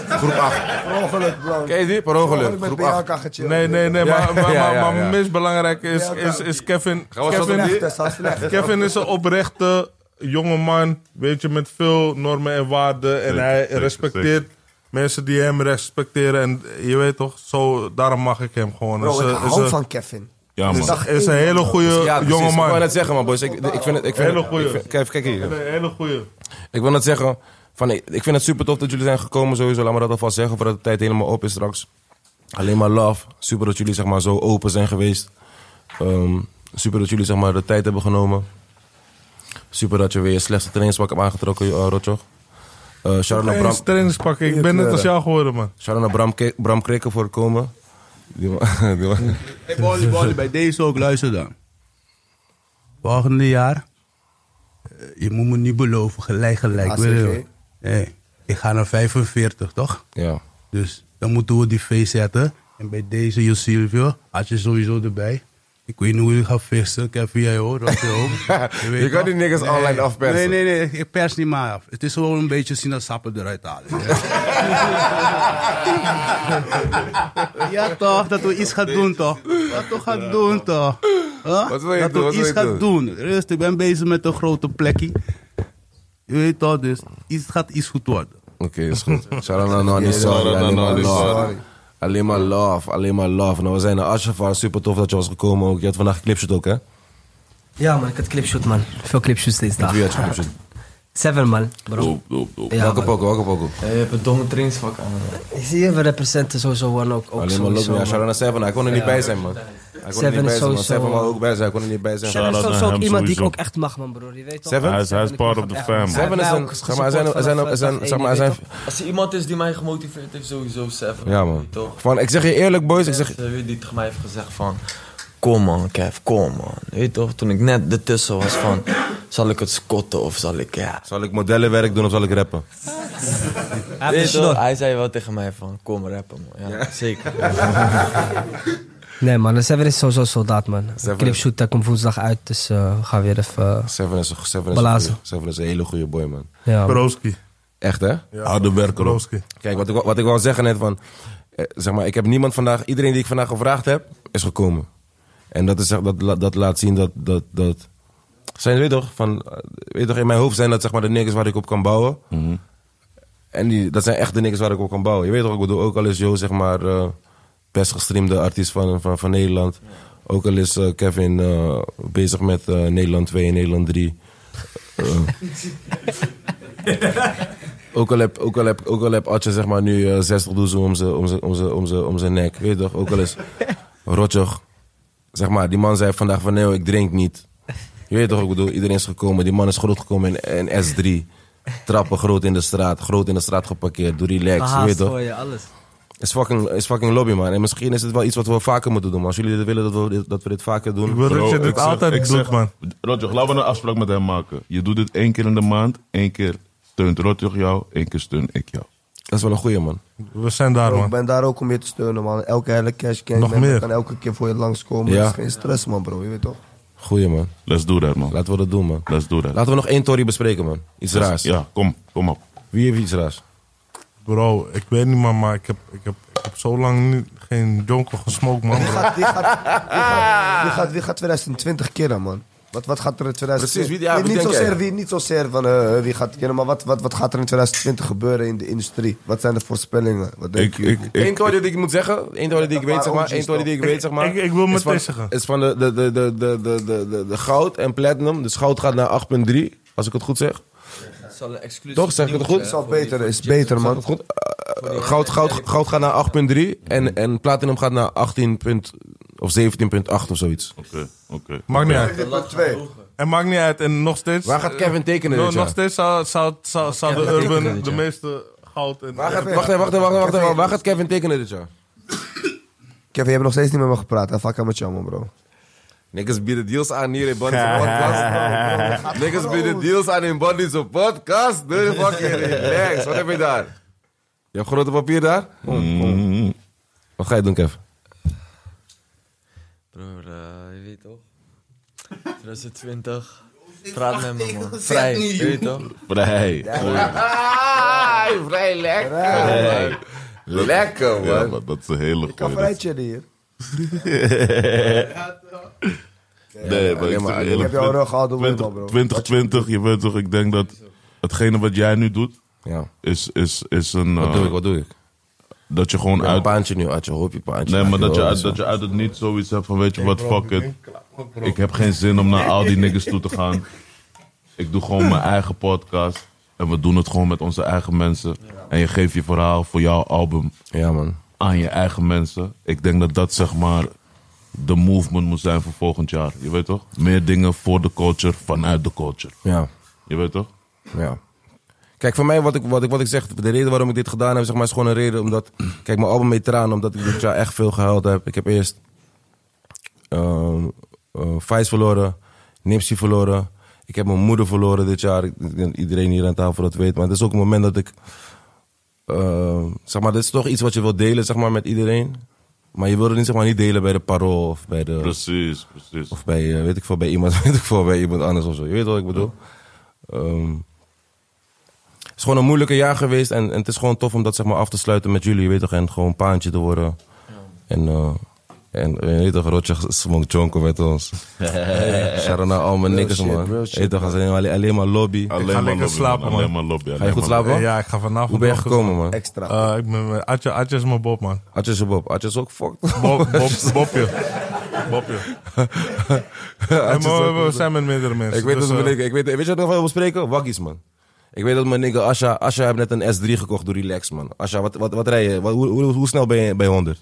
Groep 8. Per ongeluk, bro. Ken je die? Per Ik ongeluk. ben Groep bij 8. elkaar gechillt. nee, nee, nee. Ja, Maar, maar, ja, maar, ja, maar ja. het meest belangrijk is, Ja, is, is Kevin. Gaan we zo Kevin, doen? Dat is wel slecht. Kevin is een oprechte jongeman. Weet je, met veel normen en waarden. En Zeker, hij zeker, respecteert zeker. mensen die hem respecteren. En je weet toch, zo, daarom mag ik hem gewoon. Bro, Is ik een- is hou een- van Kevin. Dus Ja, man. Dag Is een één. hele goede Ja, precies. Ik wil jongeman. net zeggen, man, boys. Ik, ik vind het... Ik vind Hele het- goeie. ik vind- Kijk, kijk hier. Een hele goede. Ik wil net zeggen, van, ik ik vind het super tof dat jullie zijn gekomen sowieso. Laat me dat alvast zeggen, voordat de tijd helemaal op is straks. Alleen maar love. Super dat jullie zeg maar, zo open zijn geweest. Ehm, super dat jullie zeg maar, de tijd hebben genomen. Super dat je weer je slechtste trainingspak hebt aangetrokken, uh, Rotjoch. Eh shout-out naar Bram, Eens trainingspakken. Ik ben net als jou geworden, man. shout-out naar Bram, Ke- Bram Krikken voor het komen. Die man- die man- Hey, Bolly, Bolly, bij deze ook, luister dan. Volgende jaar, eh, je moet me niet beloven, gelijk, gelijk. ACG. weet je wel. Hey, ik ga naar 45, toch? ja. Dus dan moeten we die feest zetten. En bij deze, Jo Silvio, had je sowieso erbij. Ik weet niet hoe je gaat vissen. Ik heb via jou, dat je ook. weet Je kan toch? die niggas online afpersen. Nee, nee, nee. Ik pers niet maar af. Het is gewoon een beetje sinaasappen eruit halen. Ja, toch. Dat we iets gaan doen, toch. Dat we gaan doen, toch. Huh? Wat wil je dat doen? we Wat wil iets je gaan doen. Rust, ik ben bezig met een grote plekje. Je weet toch, dus iets gaat iets goed worden. Oké, is goed. Shout-out naar Nani Sorry. Alleen shout-out naar maar Nani love. Sorry. Alleen maar love. Alleen maar love. Nou, we zijn naar Ashafar. Super tof dat je was gekomen ook. Je had vandaag geclipshot ook, hè? Ja man, ik had clipshoot man. Veel clipshoots deze Met dag. wie had je Oh. geclipshot? Seven, man, bro. Doop, doop, doop. Ja, Welke man. pokoe, welke pokoe? Ja, je hebt een domme trainsvak aan. Zie je, we representen sowieso one ook. ook Alleen maar sowieso, Lokman, ja, man. shout-out naar Seven. Hij kon er niet bij zijn, man. Hij kon er Seven niet bij is zijn, man. sowieso- Seven wou ook bij zijn, hij kon er niet bij zijn. Shadow is Shout-out sowieso naar ook hem iemand die ik ook sowieso. echt mag, man, broer. Je weet toch? Seven? Hij is- hij is Ik part mag of hem the echt, man. family. Seven is Hij een- heeft mij zeg maar, hij zijn- ook hij zijn- hij gesupport zijn- vanaf zeg maar, hij dag één, zijn- je weet Als er iemand is die mij gemotiveerd heeft, sowieso Seven. Ja, man. Toch? Van, ik zeg je eerlijk, boys. Ik zeg, Mensen, weet je, die tegen mij heeft gezegd van... Kom man, Kev, kom man. Weet je toch, toen ik net ertussen was van... Zal ik het scotten of zal ik... Ja. zal ik modellenwerk doen of zal ik rappen? toch? Hij Weet heeft je een toch, snor. hij zei wel tegen mij van... Kom rappen man. Ja, zeker. Nee, man, Seven is sowieso soldaat, man. Seven- Clipshoot, hij komt woensdag uit, dus eh, we gaan weer even... eh, Seven is, een- Seven is, een, Blazen. goeie- Seven is een hele goede boy, man. ja, man. Broski. Echt, hè? Harde werker ook. Broski. Kijk, wat ik, wou- wat ik wou zeggen net van... eh, zeg maar, ik heb niemand vandaag... Iedereen die ik vandaag gevraagd heb, is gekomen. En dat, is, echt- dat, la- dat laat zien dat... dat, dat zijn, weet je toch, van, eh, weet je toch, in mijn hoofd zijn dat zeg maar, de niggers waar ik op kan bouwen. En die, dat zijn echt de niggers waar ik op kan bouwen. Je weet toch, ik bedoel, ook al is Joe, zeg maar... eh, best gestreamde artiest van, van, van Nederland. Ook al is eh, Kevin eh, bezig met eh, Nederland 2 en Nederland 3. Ook al heb, ook al heb, ook al heb Atje zeg maar nu eh, 60 doezen om zijn om zijn- om zijn- om zijn- om zijn nek. Weet je toch? Ook al is Rotjoch. Zeg maar, die man zei vandaag van nee, ik drink niet. Je weet toch, ik bedoel, iedereen is gekomen. Die man is groot gekomen in, in S3. Trappen groot in de straat. Groot in de straat geparkeerd. Doe relax. Je weet Gehaast toch? voor je, alles. is fucking, is fucking lobby, man. En misschien is het wel iets wat we vaker moeten doen. man. Als jullie dit willen dat we dit, dat we dit vaker doen. Ik wil dat je Oh, ik dit zeg- ik altijd doet, zeg- man. Rotjoch, laten we een afspraak met hem maken. Je doet dit één keer in de maand. Eén keer steunt Rotjoch jou. één keer steun ik jou. Dat is wel een goeie, man. We zijn daar, Bro, ik man. ben daar ook om je te steunen, man. Elke hele cash gang. Nog man. meer. kan elke keer voor je langskomen. Ja. Dat is geen stress, man, bro. Je weet toch? Goeie, man. Let's do that, man. Laten we dat doen, man. Let's do that. Laten we nog één Tory bespreken, man. Iets raars. Ja, kom. Kom op. Wie heeft iets raars? Bro, ik weet niet, man, maar ik heb, ik heb, ik heb zo lang niet, geen jonkel gesmokt, man. Die bro. gaat, die gaat, die gaat, die gaat, die gaat 2020 keren, man. Wat, wat gaat er in 2020? Precies, wie- ja, niet, wie niet denk jij? zozeer, wie, niet zozeer van eh, wie gaat keren, maar wat, wat, wat gaat er in 2020 gebeuren in de industrie? Wat zijn de voorspellingen? Wat denk Ik, je? ik, Eén ik, toren die ik moet zeggen, één toren die ik weet, zeg maar, één toren die ik weet, zeg maar. Ik- ik wil is meteen van- zeggen. Is van de, de, de, de, de, de, de, de, de goud en platinum. Dus goud gaat naar 8.3, als ik het goed zeg. Toch, zeg ik Dus het goed? Het is al beter, is beter, man. Goed, eh, eh, goud, goud, goud gaat naar 8.3 en, en platinum gaat naar 18. punt- of 17.8 of zoiets. Oké, oké. Maakt niet uit. Punt twee. En maakt niet uit. En nog steeds... Waar gaat Kevin tekenen No- dit nog jaar? steeds zou, zou, zou, zou de Urban de meeste goud en... Waar gaat, wacht even, wacht even, wacht even, wacht even. Waar gaat Kevin tekenen dit jaar? Kevin, je hebt nog steeds niet met me gepraat. hè? Fuck aan met jou, man, bro. Niggas bieden deals aan hier in Bonnie's podcast. Niggas bieden deals aan in Bonnie's podcast. Doe de fucking relax. Wat heb je daar? Je hebt grote papier daar? Mhm. Mm. Wat ga je doen, Kev? Broer, eh, je weet toch? 2020. Praat met me man. Vrij, je weet toch? Vrij. Ah, vrij lekker. Lekker, Ja, maar dat is een hele Ik kan goeie. vrij chillen hier. Nee, maar ik maar- zeg ik eerlijk, heb jou rug gehaald door 20 Wilma, bro. 2020, je weet toch, ik denk dat hetgene wat jij nu doet, Ja. is, is, is een... Wat eh, doe ik, wat doe ik? dat je gewoon Een uit... paantje nu, uit je hoopje paantje. Nee, maar dat je, uit, zo. dat dus, je uit eh, het niet zoiets hebt van, weet je wat, fuck it. Ik heb geen zin om naar al die niggas toe te gaan. Ik doe gewoon mijn eigen podcast. En we doen het gewoon met onze eigen mensen. En je geeft je verhaal voor jouw album Ja, man. aan je eigen mensen. Ik denk dat dat zeg maar de movement moet zijn voor volgend jaar. Je weet toch? Meer dingen voor de culture, vanuit de culture. Ja. Je weet toch? Ja. Kijk, voor mij, wat ik, wat, ik, wat ik zeg, de reden waarom ik dit gedaan heb, zeg maar, is gewoon een reden omdat. Kijk, mijn album heet Tranen, omdat ik dit jaar echt veel gehuild heb. Ik heb eerst. ehm eh, Vice verloren, Nipsey verloren. Ik heb mijn moeder verloren dit jaar. Ik denk dat Iedereen hier aan tafel dat weet. Maar het is ook een moment dat ik. ehm, zeg maar, dit is toch iets wat je wilt delen, zeg maar, met iedereen. Maar je wil het niet, zeg maar, niet delen bij de parool of bij de. Precies, precies. Of bij, eh, weet ik veel, bij iemand, weet ik veel, bij iemand anders of zo. Je weet wat ik bedoel. Ehm, het is gewoon een moeilijke jaar geweest. En, en het is gewoon tof om dat zeg maar, af te sluiten met jullie. Je weet toch, en gewoon paantje te worden. En, eh en eh, je weet toch, Rotje smoked jonko met ons. Shout-out naar al mijn nikkers, man. Je weet toch, als alleen, alleen maar lobby. Alleen lekker lobby, man. slapen, man. Alleen maar lobby. Ga je goed slapen? Ja, ik ga vanavond... Hoe ben je nog- gekomen, man? Extra. Eh, ik ben met Atje, Atje is mijn Bob, man. Had je ze Bob? Had je ze ook fucked? Bob, Bob, Bobje. Bobje. En we, we zijn met meerdere mensen. Ik weet, dus, dat we eh, ik weet, weet je wat ik nog wel wil bespreken? Waggies, man. Ik weet dat mijn nigga Asha, Asha heeft net een S3 gekocht door Relax, man. Asha, wat, wat, wat rij je? Wat- hoe, hoe, hoe snel ben je bij 100?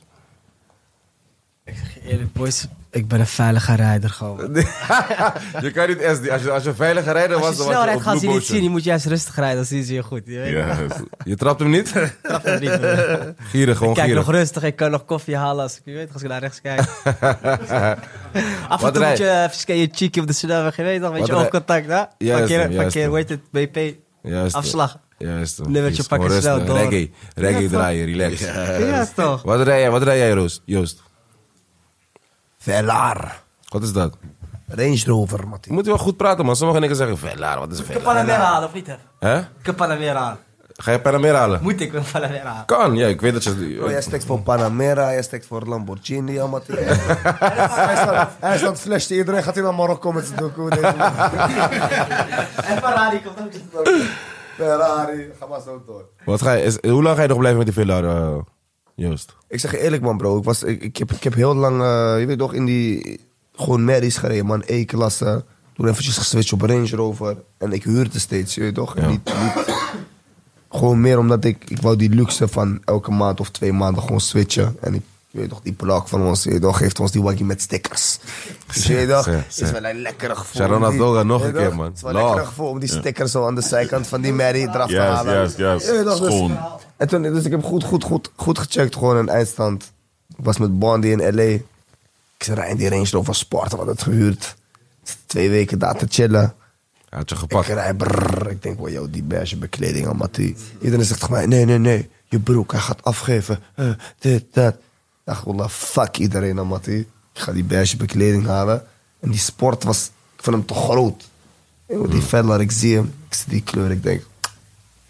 Eerlijk, boys, ik ben een veilige rijder gewoon. je kan niet S3. Als je, als je veilig rijden was, Als je dan was snel je rijdt, op gaan ze je niet Blue Motion. zien. Je moet juist rustig rijden, dan zien ze je goed. Je weet Ja, Je trapt hem niet? trap hem niet meer. Gierig, gewoon Kijk gierig. nog rustig, ik kan nog koffie halen als ik, je weet, als ik naar rechts kijk. Af en toe Wat moet rijd- je even scan je cheekie op de snelweg, je weet nog, met je Wat rijd- oogcontact. hè? Juist, Parkeer, juist, parkeer, man. hoe heet het, BP, Juist. afslag. Juist. man. Nummertje Precies, pakken, gewoon snel rustig. door. Reggae, reggae Ja, toch? draaien, relax. Ja, toch. Wat rij jij, wat rij jij Roos? Joost? Velar. Wat is dat? Range Rover, Je Mattie. moet wel goed praten, man. Sommigen niks zeggen, Velaar, wat is een Ik Velaar? kan hem weer halen, of niet? hè? Hè? Ik kan hem weer halen. Ga je Panamera halen? Moet ik hem weer halen. Kan, ja, ik weet dat je... Oh, jij steekt voor Panamera, jij steekt voor Lamborghini, ja, Mattie. hij staat- Hij staat flash te iedereen, gaat hij naar Marokko met zijn doekoe. deze man. En Ferrari komt ook. Ferrari, ga maar zo door. Wat ga je, is- hoe lang ga je nog blijven met die Velaar, eh, Joost? Ik zeg je eerlijk, man, bro. Ik, was, ik, ik, heb, ik heb heel lang, eh, je weet toch, in die... Gewoon merries gereden, man. E-klasse. Toen eventjes geswitcht op Range Rover. En ik huurde steeds, je weet toch. En Niet, niet, gewoon meer omdat ik... Ik wou die luxe van elke maand of twee maanden gewoon switchen. En ik... Je weet toch, die plak van ons, je weet toch, geeft ons die waggie met stickers. Dus je weet toch, Zeg, is zeg. wel een lekkere gevoel. Sharon om die- Adoga nog je een weet toch, keer, man. Het is wel een Love. lekkere gevoel om die stickers zo aan de zijkant van die merrie eraf te Juist, halen. juist, juist. Je weet toch, dus- Schoon. en toen, dus ik heb goed, goed, goed, goed gecheckt, gewoon een eindstand. Ik was met Bondi in L.A. Ik zei, rij in die Range Rover Sport, we hadden het gehuurd. Twee weken daar te chillen. Hij had je Ik gepakt. rij, brrr, ik denk, wow, yo, die beige bekleding aan Mattie. Iedereen zegt tegen mij, nee, nee, nee, je broek, hij gaat afgeven. Eh, dit, dat. Ach, wallah, fuck iedereen aan Mattie. Ik ga die beige bekleding halen. En die sport was, ik vond hem te groot. Yo, Hmm. die fella, ik zie hem, ik zie die kleur, ik denk,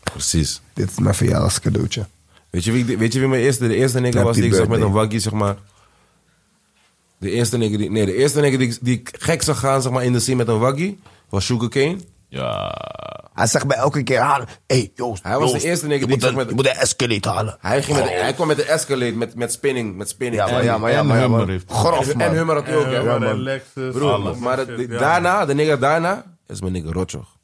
Precies. dit is mijn verjaardagscadeautje. Weet je wie, ik- weet je wie mijn eerste, de eerste nigger Happy was die ik zag met birthday. een waggie, zeg maar? De eerste nigger die, nee, de eerste nigger die, ik- die ik gek zag gaan, zeg maar, in de zee met een waggie, was Sugarcane. ja. Hij zegt bij elke keer halen. Hé, hey, Joost. Hij was de Joost, eerste nigger je die moet ik een- zag met- Je moet een escalate halen. Hij, ging met, hij kwam met de Escalade, met, met spinning, met spinning. Ja, maar En- ja, maar ja, en maar ja. Hummer maar- heeft- Grof, en, man. en Hummer had hij ook, ja. Ja, man. man. eh, Lexus, Broer, alles. maar dat- die- Ja. daarna, de nigger daarna, is mijn nigger Rotjoch.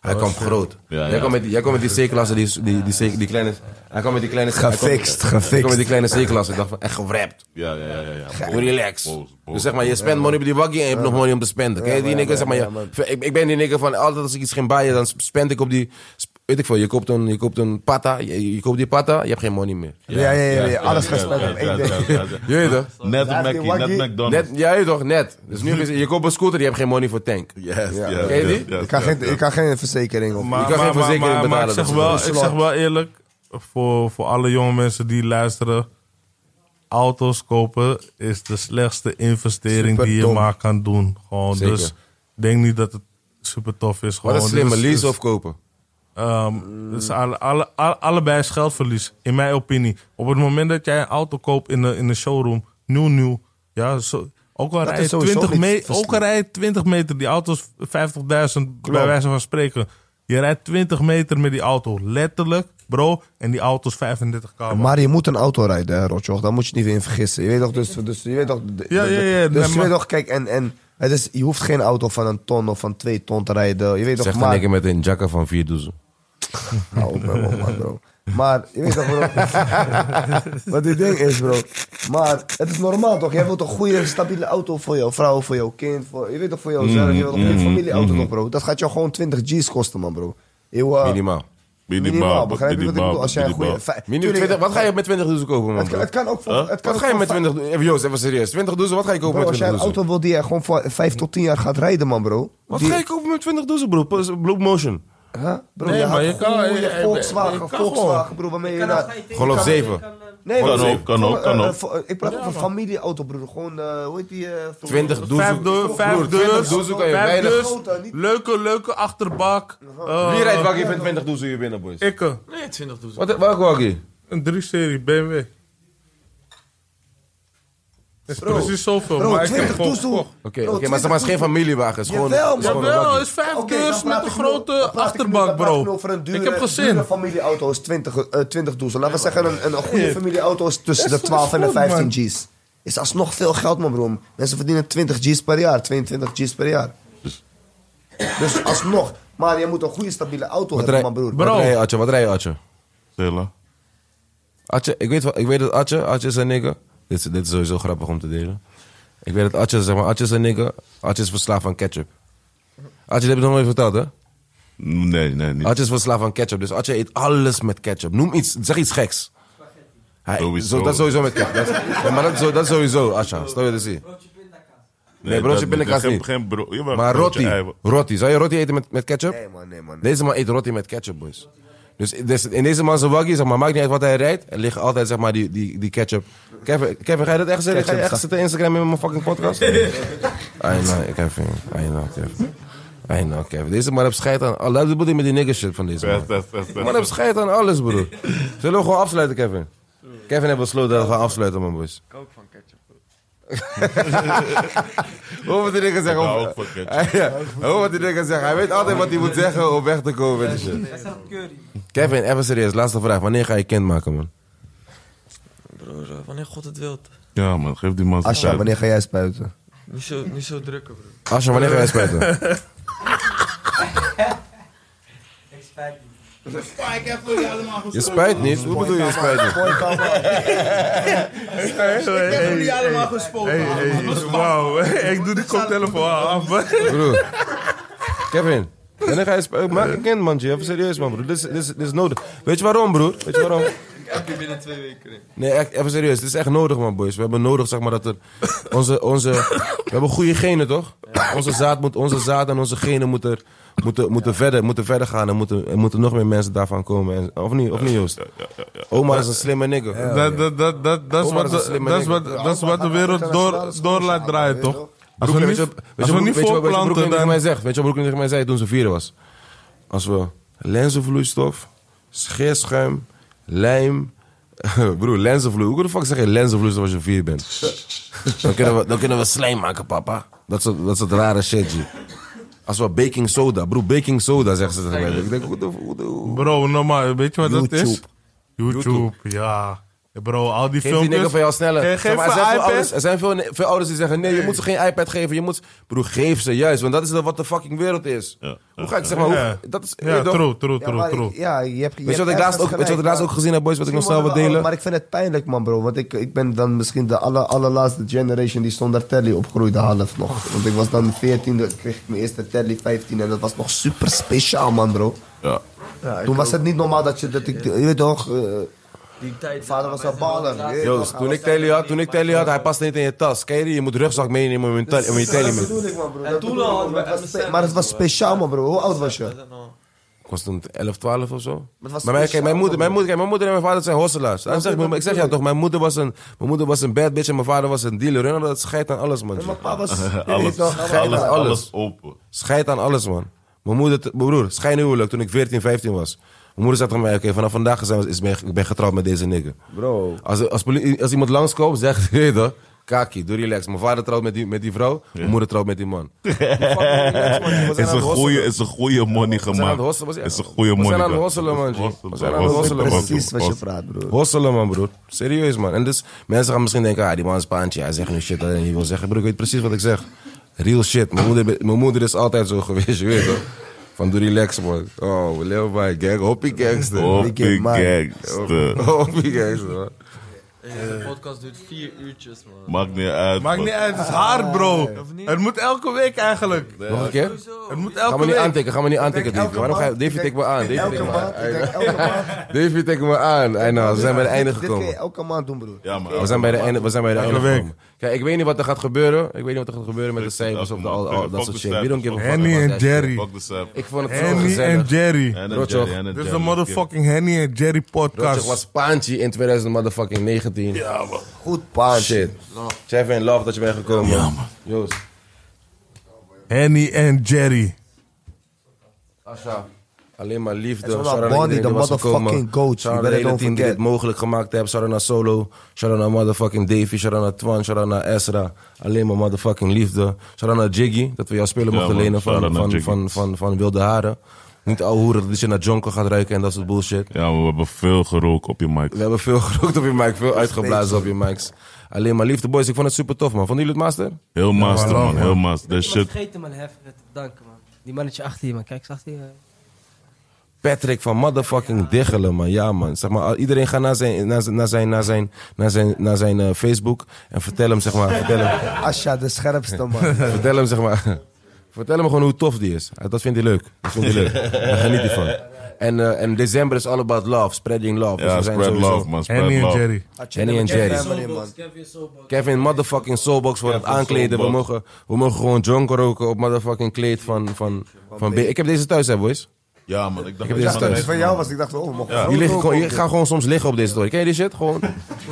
Hij kwam groot. Oh, Ja, Jij ja. kwam met die, jij kwam met die C-klasse, die, die, die, C- die kleine... Hij kwam met die kleine... hij kwam- Gefixt, Hij kwam gefixt. met die kleine C-klasse. Ik dacht van, echt gewrapt. Ja, ja, ja, ja. ja. Hoe relax. Boos, boos. Dus zeg maar, je spent money op die waggie en je hebt nog money om te spenden. Ken je die nigger? Zeg maar, je- ik, ik ben die nigger van altijd als ik iets ging baaien, dan spend ik op die... sp- Weet ik veel, je koopt een, je koopt een pata, je, je koopt die pata, je hebt geen money meer. Ja, ja, ja, ja. Alles ja, gespeeld ja, ja, op één ja, ding. ja, ja. Je weet toch? Net Laat die Mackie, waggie- net McDonald's. Net, ja, je toch, net. Dus nu heb je, je koopt een scooter, je hebt geen money voor tank. Yes, ja, Ken je ja, die? ja, Ik kan ja, geen- ja. ik kan geen verzekering op. Je kan geen verzekering maar, betalen, ik dat zeg, is wel, een ik zeg wel eerlijk, voor, voor alle jonge mensen die luisteren. Auto's kopen is de slechtste investering die je Superdom. maar kan doen. Gewoon, Zeker. dus denk niet dat het super tof is. Gewoon. Oh, Wat een dus- slimme Dit is- lease is- of kopen. Ehm, dus alle, alle, alle- allebei is geldverlies, in mijn opinie. Op het moment dat jij een auto koopt in de, in de showroom, nieuw, nieuw. Ja, zo, ook al Dat rij je is sowieso 20 niet me- versli- ook al rij je 20 meter, die auto is 50.000 bij wijze van spreken. Je rijdt 20 meter met die auto, letterlijk, bro. En die auto is 35 km. Maar je moet een auto rijden, hè, Rotjoch. Daar moet je niet in vergissen. Je weet toch, dus, dus je weet toch... de- Ja, ja, ja, de- Dus nee, je maar- weet toch, kijk, en... en het is, je hoeft geen auto van een ton of van twee ton te rijden. Je weet toch, Zegt een maar... Oh. nigger met een jacka van vier doezen. Hou op, man, man, bro. Maar, je weet toch, bro. wat dit ding is, bro. Maar, het is normaal, toch? Jij wilt een goede, stabiele auto voor jouw vrouw, voor jouw kind. Voor, je weet toch, voor jouzelf. Mm, je wilt toch een familieauto, toch, bro? Dat gaat jou gewoon 20 G's kosten, man, bro. Eeuw, eh, Minimaal. Minimaal, Minimaal, begrijp je wat ik minimaal, bedoel? Als jij een goede... minimaal. vij- Minimaal tuurlijk, 20 wat ga je met 20 doezen kopen, man? Het, bro? kan- het kan ook voor... Het kan Wat ook ga je voor met vij- 20 doezen? Even Joost, even serieus. 20 doezen, wat ga je kopen Bro, met als jij 20 een doezen? auto wil die je gewoon voor 5 tot 10 jaar gaat rijden, man, bro. Wat Die- ga je kopen met 20 doezen, bro? Pas- Blue Motion. Huh? Bro, Nee, je maar had je kan- goede je- je- Volkswagen, je kan Volkswagen, bro, waarmee je... naar- Golf 7. Nee, Kan bro, ook, kan ook, voor- eh, kan eh, ook. voor- eh, Ik praat over een familieauto, broer. Gewoon, eh, hoe heet die... eh, voor- 20 doezen. Vijf deur, Broer, vijf 20 deurs, doezen kan je vijf weinig. deurs, Grote, niet- leuke, leuke achterbak. eh, Wie rijdt waggie met 20 doezen hier binnen, boys? Ikke, Nee, 20 doezel. Wat, welke waggie? een 3-serie BMW. is precies zoveel, Bro, maar ik heb Oh. 20 gewoon toestoel. gekocht. Oké, oké, maar zeg maar, het is geen familiewagen. Het is gewoon, Jawel, het is gewoon een Jawel, waggie. is vijf Oké, dan deurs met praat een ik nu- dan grote praat ik nu- dan achterbak, praat ik nu bro. over een dure, ik heb dure gezin. familieauto is 20, eh, 20 doezel. Laten we zeggen, een, een goede familieauto is tussen Dat de is 12 en de goed, man. 15 G's. Is alsnog veel geld, man, bro. Mensen verdienen 20 G's per jaar, 22 G's per jaar. Dus alsnog. Maar je moet een goede, stabiele auto Wat hebben, rij, man, broer. wat rij je, Atje? Wat rij je, Atje? Telen. Atje, ik weet, wel- ik weet dat Atje, Atje is een nigger. Dit, is- dit is sowieso grappig om te delen. Ik weet dat Atje, zeg maar, Atje is een nigger. Atje is verslaafd aan ketchup. Atje, dat heb je nog nooit verteld, hè? Nee, nee, niet. Atje is verslaafd aan ketchup. Dus Atje eet alles met ketchup. Noem iets, zeg iets geks. Hij, Sowieso. Zo, dat sowieso met ketchup. Dat, is- nee, maar dat, zo- dat sowieso, Atje. Stel je te zien. Nee, broodje dat- pindakaas geen- niet. Geen bro- jawel, Maar broodje roti, eiwit. roti. Zou je roti eten met, met ketchup? Nee, man, nee, man. Deze man eet roti met ketchup, boys. Dus dus in deze man zijn waggie, zeg maar, maakt niet uit wat hij rijdt. Er ligt altijd zeg maar, die, die, die ketchup. Kevin, Kevin, ga je dat echt zeggen? Ga je echt zitten Instagram in mijn fucking podcast? I know, Kevin. I know, Kevin. I know, Kevin. Deze man heeft scheid aan Oh, alles. Dat bedoel ik met die nigger shit van deze man. Best, best, best, Man heeft best. scheid aan alles, broer. Zullen we gewoon afsluiten, Kevin? Kevin heeft besloten dat we gaan afsluiten, man, boys. Ik ook van ketchup. Hoe moet die nigger zeggen? Ik hou over- ook van ketchup. ja. Hoe wat die dingen zeggen. Hij weet altijd wat hij moet zeggen om weg te komen. met die shit. Kevin, even serieus. Laatste vraag. Wanneer ga je kind maken, man? Broer, eh, wanneer God het wilt. Ja, man, geef die Ah, man zijn Asja, tijd. wanneer ga jij spuiten? Niet zo, niet zo drukken, broer. Asja, wanneer ga je spuiten? Je spuit niet? Hoe bedoel je je spuit niet? Wauw, ik doe die cocktail voor haar af. Broer. Kevin. Wanneer ga je spuiten? eh, Maak een kind, man. G. Even serieus, man, broer. Dit is, dit, is, dit is nodig. Weet je waarom, broer? Weet je waarom? Heb je binnen twee weken, Nee, echt, even serieus. Dit is echt nodig, man, boys. We hebben nodig, zeg maar, dat er... Onze, onze, we hebben goede genen, toch? Onze, zaad moet, onze zaad en onze genen moeten, moeten, moeten, verder, moeten verder gaan. En moeten, er moeten nog meer mensen daarvan komen. En, of niet, of niet, Joost? Oma is een slimme nigger. Dat, dat, dat, dat, dat, is Omar wat is een de, slimme dat, is nigger. wat, dat is wat de wereld door, door laat draaien, toch? Als we Broekling, weet niet, je- weet als je we wat niet Broekling- weet je wat Broekling voorplanten, tegen mij dan... zegt? Weet je wat Broekling tegen mij zei toen ze vier was? Als we lenzenvloeistof, scheerschuim, lijm... Broer, lenzenvloei. Hoe de fuck zeg je lenzenvloeistof als je vier bent? dan, kunnen we, dan kunnen we slijm maken, papa. Dat soort, dat soort rare shit, G. Als we baking soda... Broer, baking soda, zeggen ze tegen mij. Ik denk, hoe de... Hoe de hoe- Bro, Oh, normaal, weet je wat dat is? YouTube. YouTube, ja. Bro, al die Geef die nigger filmpjes... van jou sneller. Eh, Zeg Geef maar, er zijn, veel een iPad. ouders, er zijn veel, veel ouders die zeggen: nee, je moet ze geen iPad geven. Je moet... Broer, geef ze juist, want dat is wat de fucking wereld is. Hoe ga ik zeg maar? Ja. Hoe, dat is, weet Ja, je toch? true, true, Ja, maar true, true. ik- Ja, je hebt, je Weet je, hebt wat ik laatst ergens ook, weet je wat ik gelijk, laatst maar- ook gezien heb, boys, wat ik nog Misschien snel wil worden we al- delen? Maar ik vind het pijnlijk, man, bro. Want ik, ik ben dan misschien de aller, allerlaatste generation die zonder telly opgroeide half nog. Want ik was dan 14, toen kreeg ik mijn eerste telly 15 en dat was nog super speciaal, man, bro. Ja. toen was het niet normaal dat je dat ik, je weet toch, eh, Die tijd. vader was een baller. je weet Joost, toch, dus toen hij ik was- telly had, toen ik telly had, hij past niet in je tas. Ken je die? Je moet rugzak meenemen om je telly, om je telly Dat mee te bedoel ik, man, bro. Dat toen bedoel ik, al man. hadden we Maar het was MSN, spe- Maar het was bro. speciaal, man, bro. Hoe oud was je? Ik was toen 11, 12 of zo. het was Maar mijn, kijk, mijn, speciaal, moeder, mijn, man. moeder, kijk, mijn moeder en mijn vader zijn hosselaars. Daarom zeg, ik- ik zeg jou toch, mijn moeder, was een, mijn moeder was een bad bitch en mijn vader was een dealer. En dat scheidt aan alles, man. Mijn pa was... je weet Alles, toch, alles, hij was- alles, alles. open. Scheid aan alles, man. Mijn moeder, mijn broer, schijnhuwelijk toen ik 14, 15 was. Mijn moeder zei tegen mij, oké, vanaf vandaag zijn we, is, ben, ik- ik ben getrouwd met deze nigger. Bro. Als, als, poli- als iemand langskomt, zegt hij, hey, toch, kaki, doe relax. Mijn vader trouwt met die, met die vrouw, mijn moeder trouwt met die man. Fucking relax, man. We zijn aan Is een het goeie, hosselen. is een goeie money We zijn aan het gemaakt. hosselen. we zijn- Is een goeie We money. zijn aan het hosselen, man. G. We zijn aan het hosselen, man. Precies wat je praat, bro. Hosselen, man, broer. Serieus, man. En dus, mensen gaan misschien denken, ah, die man is paantje. Hij zegt nu shit dat hij niet wil zeggen. Broer, ik weet precies wat ik zeg. Real shit. Mijn moeder, mijn moeder is altijd zo geweest, je weet toch? Van doe relax, man. Oh, we leven bij gang. Hoppie gangster. Hoppie man. gangster. Hoppie gangster, man. De podcast duurt vier uurtjes, man. Maakt niet uit. Maakt man. niet uit, het is hard, bro. Het moet elke week eigenlijk. Nog een keer? Het moet Eh, Ga me elke niet week. aantikken, ga me niet aantikken, Davy. Waarom ga je... Davy, tik me aan. Davy, tik Elke me maand, aan. ik denk elke maand. Davy, tik me aan. Ei, nou, we zijn bij het einde Dit kun je gekomen. elke maand doen, broer. Ja, maar We zijn bij de einde, we zijn bij de einde week. gekomen. Kijk, ik weet niet wat er gaat gebeuren. Ik weet niet wat er gaat gebeuren met de cijfers of de, al, al- dat soort shit. We don't give a fuck Henny about en that shit. Jerry. Fuck the sap. Ik vond het zo Henny en gezellig. Jerry. Rotjoch. Dit is de motherfucking Henny en Jerry Rotjoch podcast. was Paantje in 2019. Ja, Goed paardje. Shit. Chef in love dat je bent gekomen. Ja, man. Joost. Henny en Jerry. Ah, Asha. Alleen maar liefde. En Sharon Sharon Bondi, iedereen de die was motherfucking gekomen. coach. You Sharon de better hele don't team die dit forget. mogelijk gemaakt heeft. Sharon naar Solo. Sharon naar motherfucking Davy. Sharon naar Twan. Sharon naar Ezra. Alleen maar motherfucking liefde. Sharon naar Jiggy. Dat we jou spelen Ja, mochten man. lenen van, Shout-out van, naar van, Jiggy. van, van, Wilde Haren. Niet ouwe hoeren dat je naar Jonko gaat ruiken en dat soort bullshit. Ja, maar we hebben veel gerookt op je mic. We hebben veel gerookt op je mic, veel uitgeblazen op je mics. Alleen maar liefde, boys. Ik vond het super tof, man. Vonden jullie het master? Heel master, man. Heel master. Ik This Dus was shit. vergeten mijn hef te bedanken, man. Die mannetje achter je, man. Kijk, zag die... eh, Patrick van motherfucking Diggelen, man. Ja, man. Zeg maar, iedereen gaat naar zijn, naar zijn, naar zijn, naar zijn, naar zijn, naar zijn eh, Facebook en vertel hem, zeg maar, vertel hem, Asja, de scherpste man. vertel hem, zeg maar, vertel hem gewoon hoe tof die is. Eh, Dat vindt hij leuk. Dat vindt hij leuk. Daar geniet hij van. En, eh, en december is all about love, spreading love. Dus Ja, we zijn spread sowieso- love, man. Spread Henny en love. Jerry. Henny en Jerry. Kevin motherfucking Soulbox voor het Kevin aankleden. We Soulbox. mogen, we mogen gewoon junk roken op motherfucking kleed van, van, van B. Ik heb deze thuis, hè, boys. Ja, man. Ik heb dacht dat dit je- Ja, thuis. die van jou was, ik dacht, oh, we mogen Die groot liggen gewoon, roken. je gaat gewoon soms liggen op deze toren. Ken je die shit? Gewoon,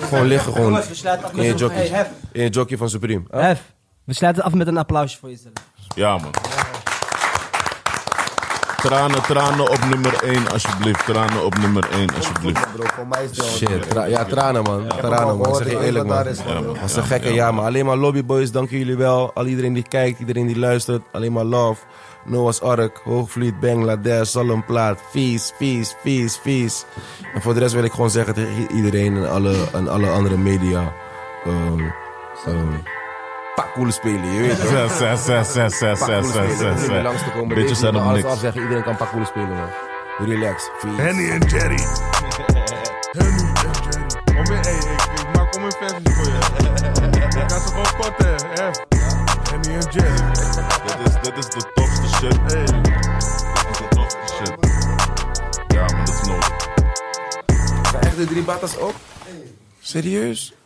gewoon liggen gewoon Jongens, we sluiten af in met je een... jockey. Hey, Hef. In je jockey van Supreme. Oh, Huh? Hef. We sluiten af met een applausje voor jezelf. Ja, man. Tranen, tranen op nummer 1, alsjeblieft. Tranen op nummer 1, alsjeblieft. Bro, voor mij is dat. Shit, tra- ja, tranen man. Tranen man, ik zeg je eerlijk man. Dat is een gekke, ja man. Alleen maar lobbyboys, dank jullie wel. Al iedereen die kijkt, iedereen die luistert. Alleen maar love. Noah's Ark, Hoogvliet, Bangladesh, Zalmplaat. Vies, vies, vies, vies. En voor de rest wil ik gewoon zeggen tegen i- iedereen en alle, en alle andere media. ehm ehm pak cool spelen, je weet toch? Zes, zes, zes, zes, zes, Pak cool zes, spelen, zes, er hoeft zes, niet meer langs zes. te komen. Bitches Deze zijn kan op alles niks. afzeggen, iedereen kan pak cool spelen man. Relax, vies. Henny en Jerry. Henny en Jerry. Kom in, hey, ik, ik maak om een versie voor je. Ik ga ze gewoon korten, hè. eh. Henny en Jerry. Dit is, dit is de tofste shit. Hey. Dit is de tofste shit. Ja, man, dat is nodig. Zijn echt de drie batas ook? Serieus?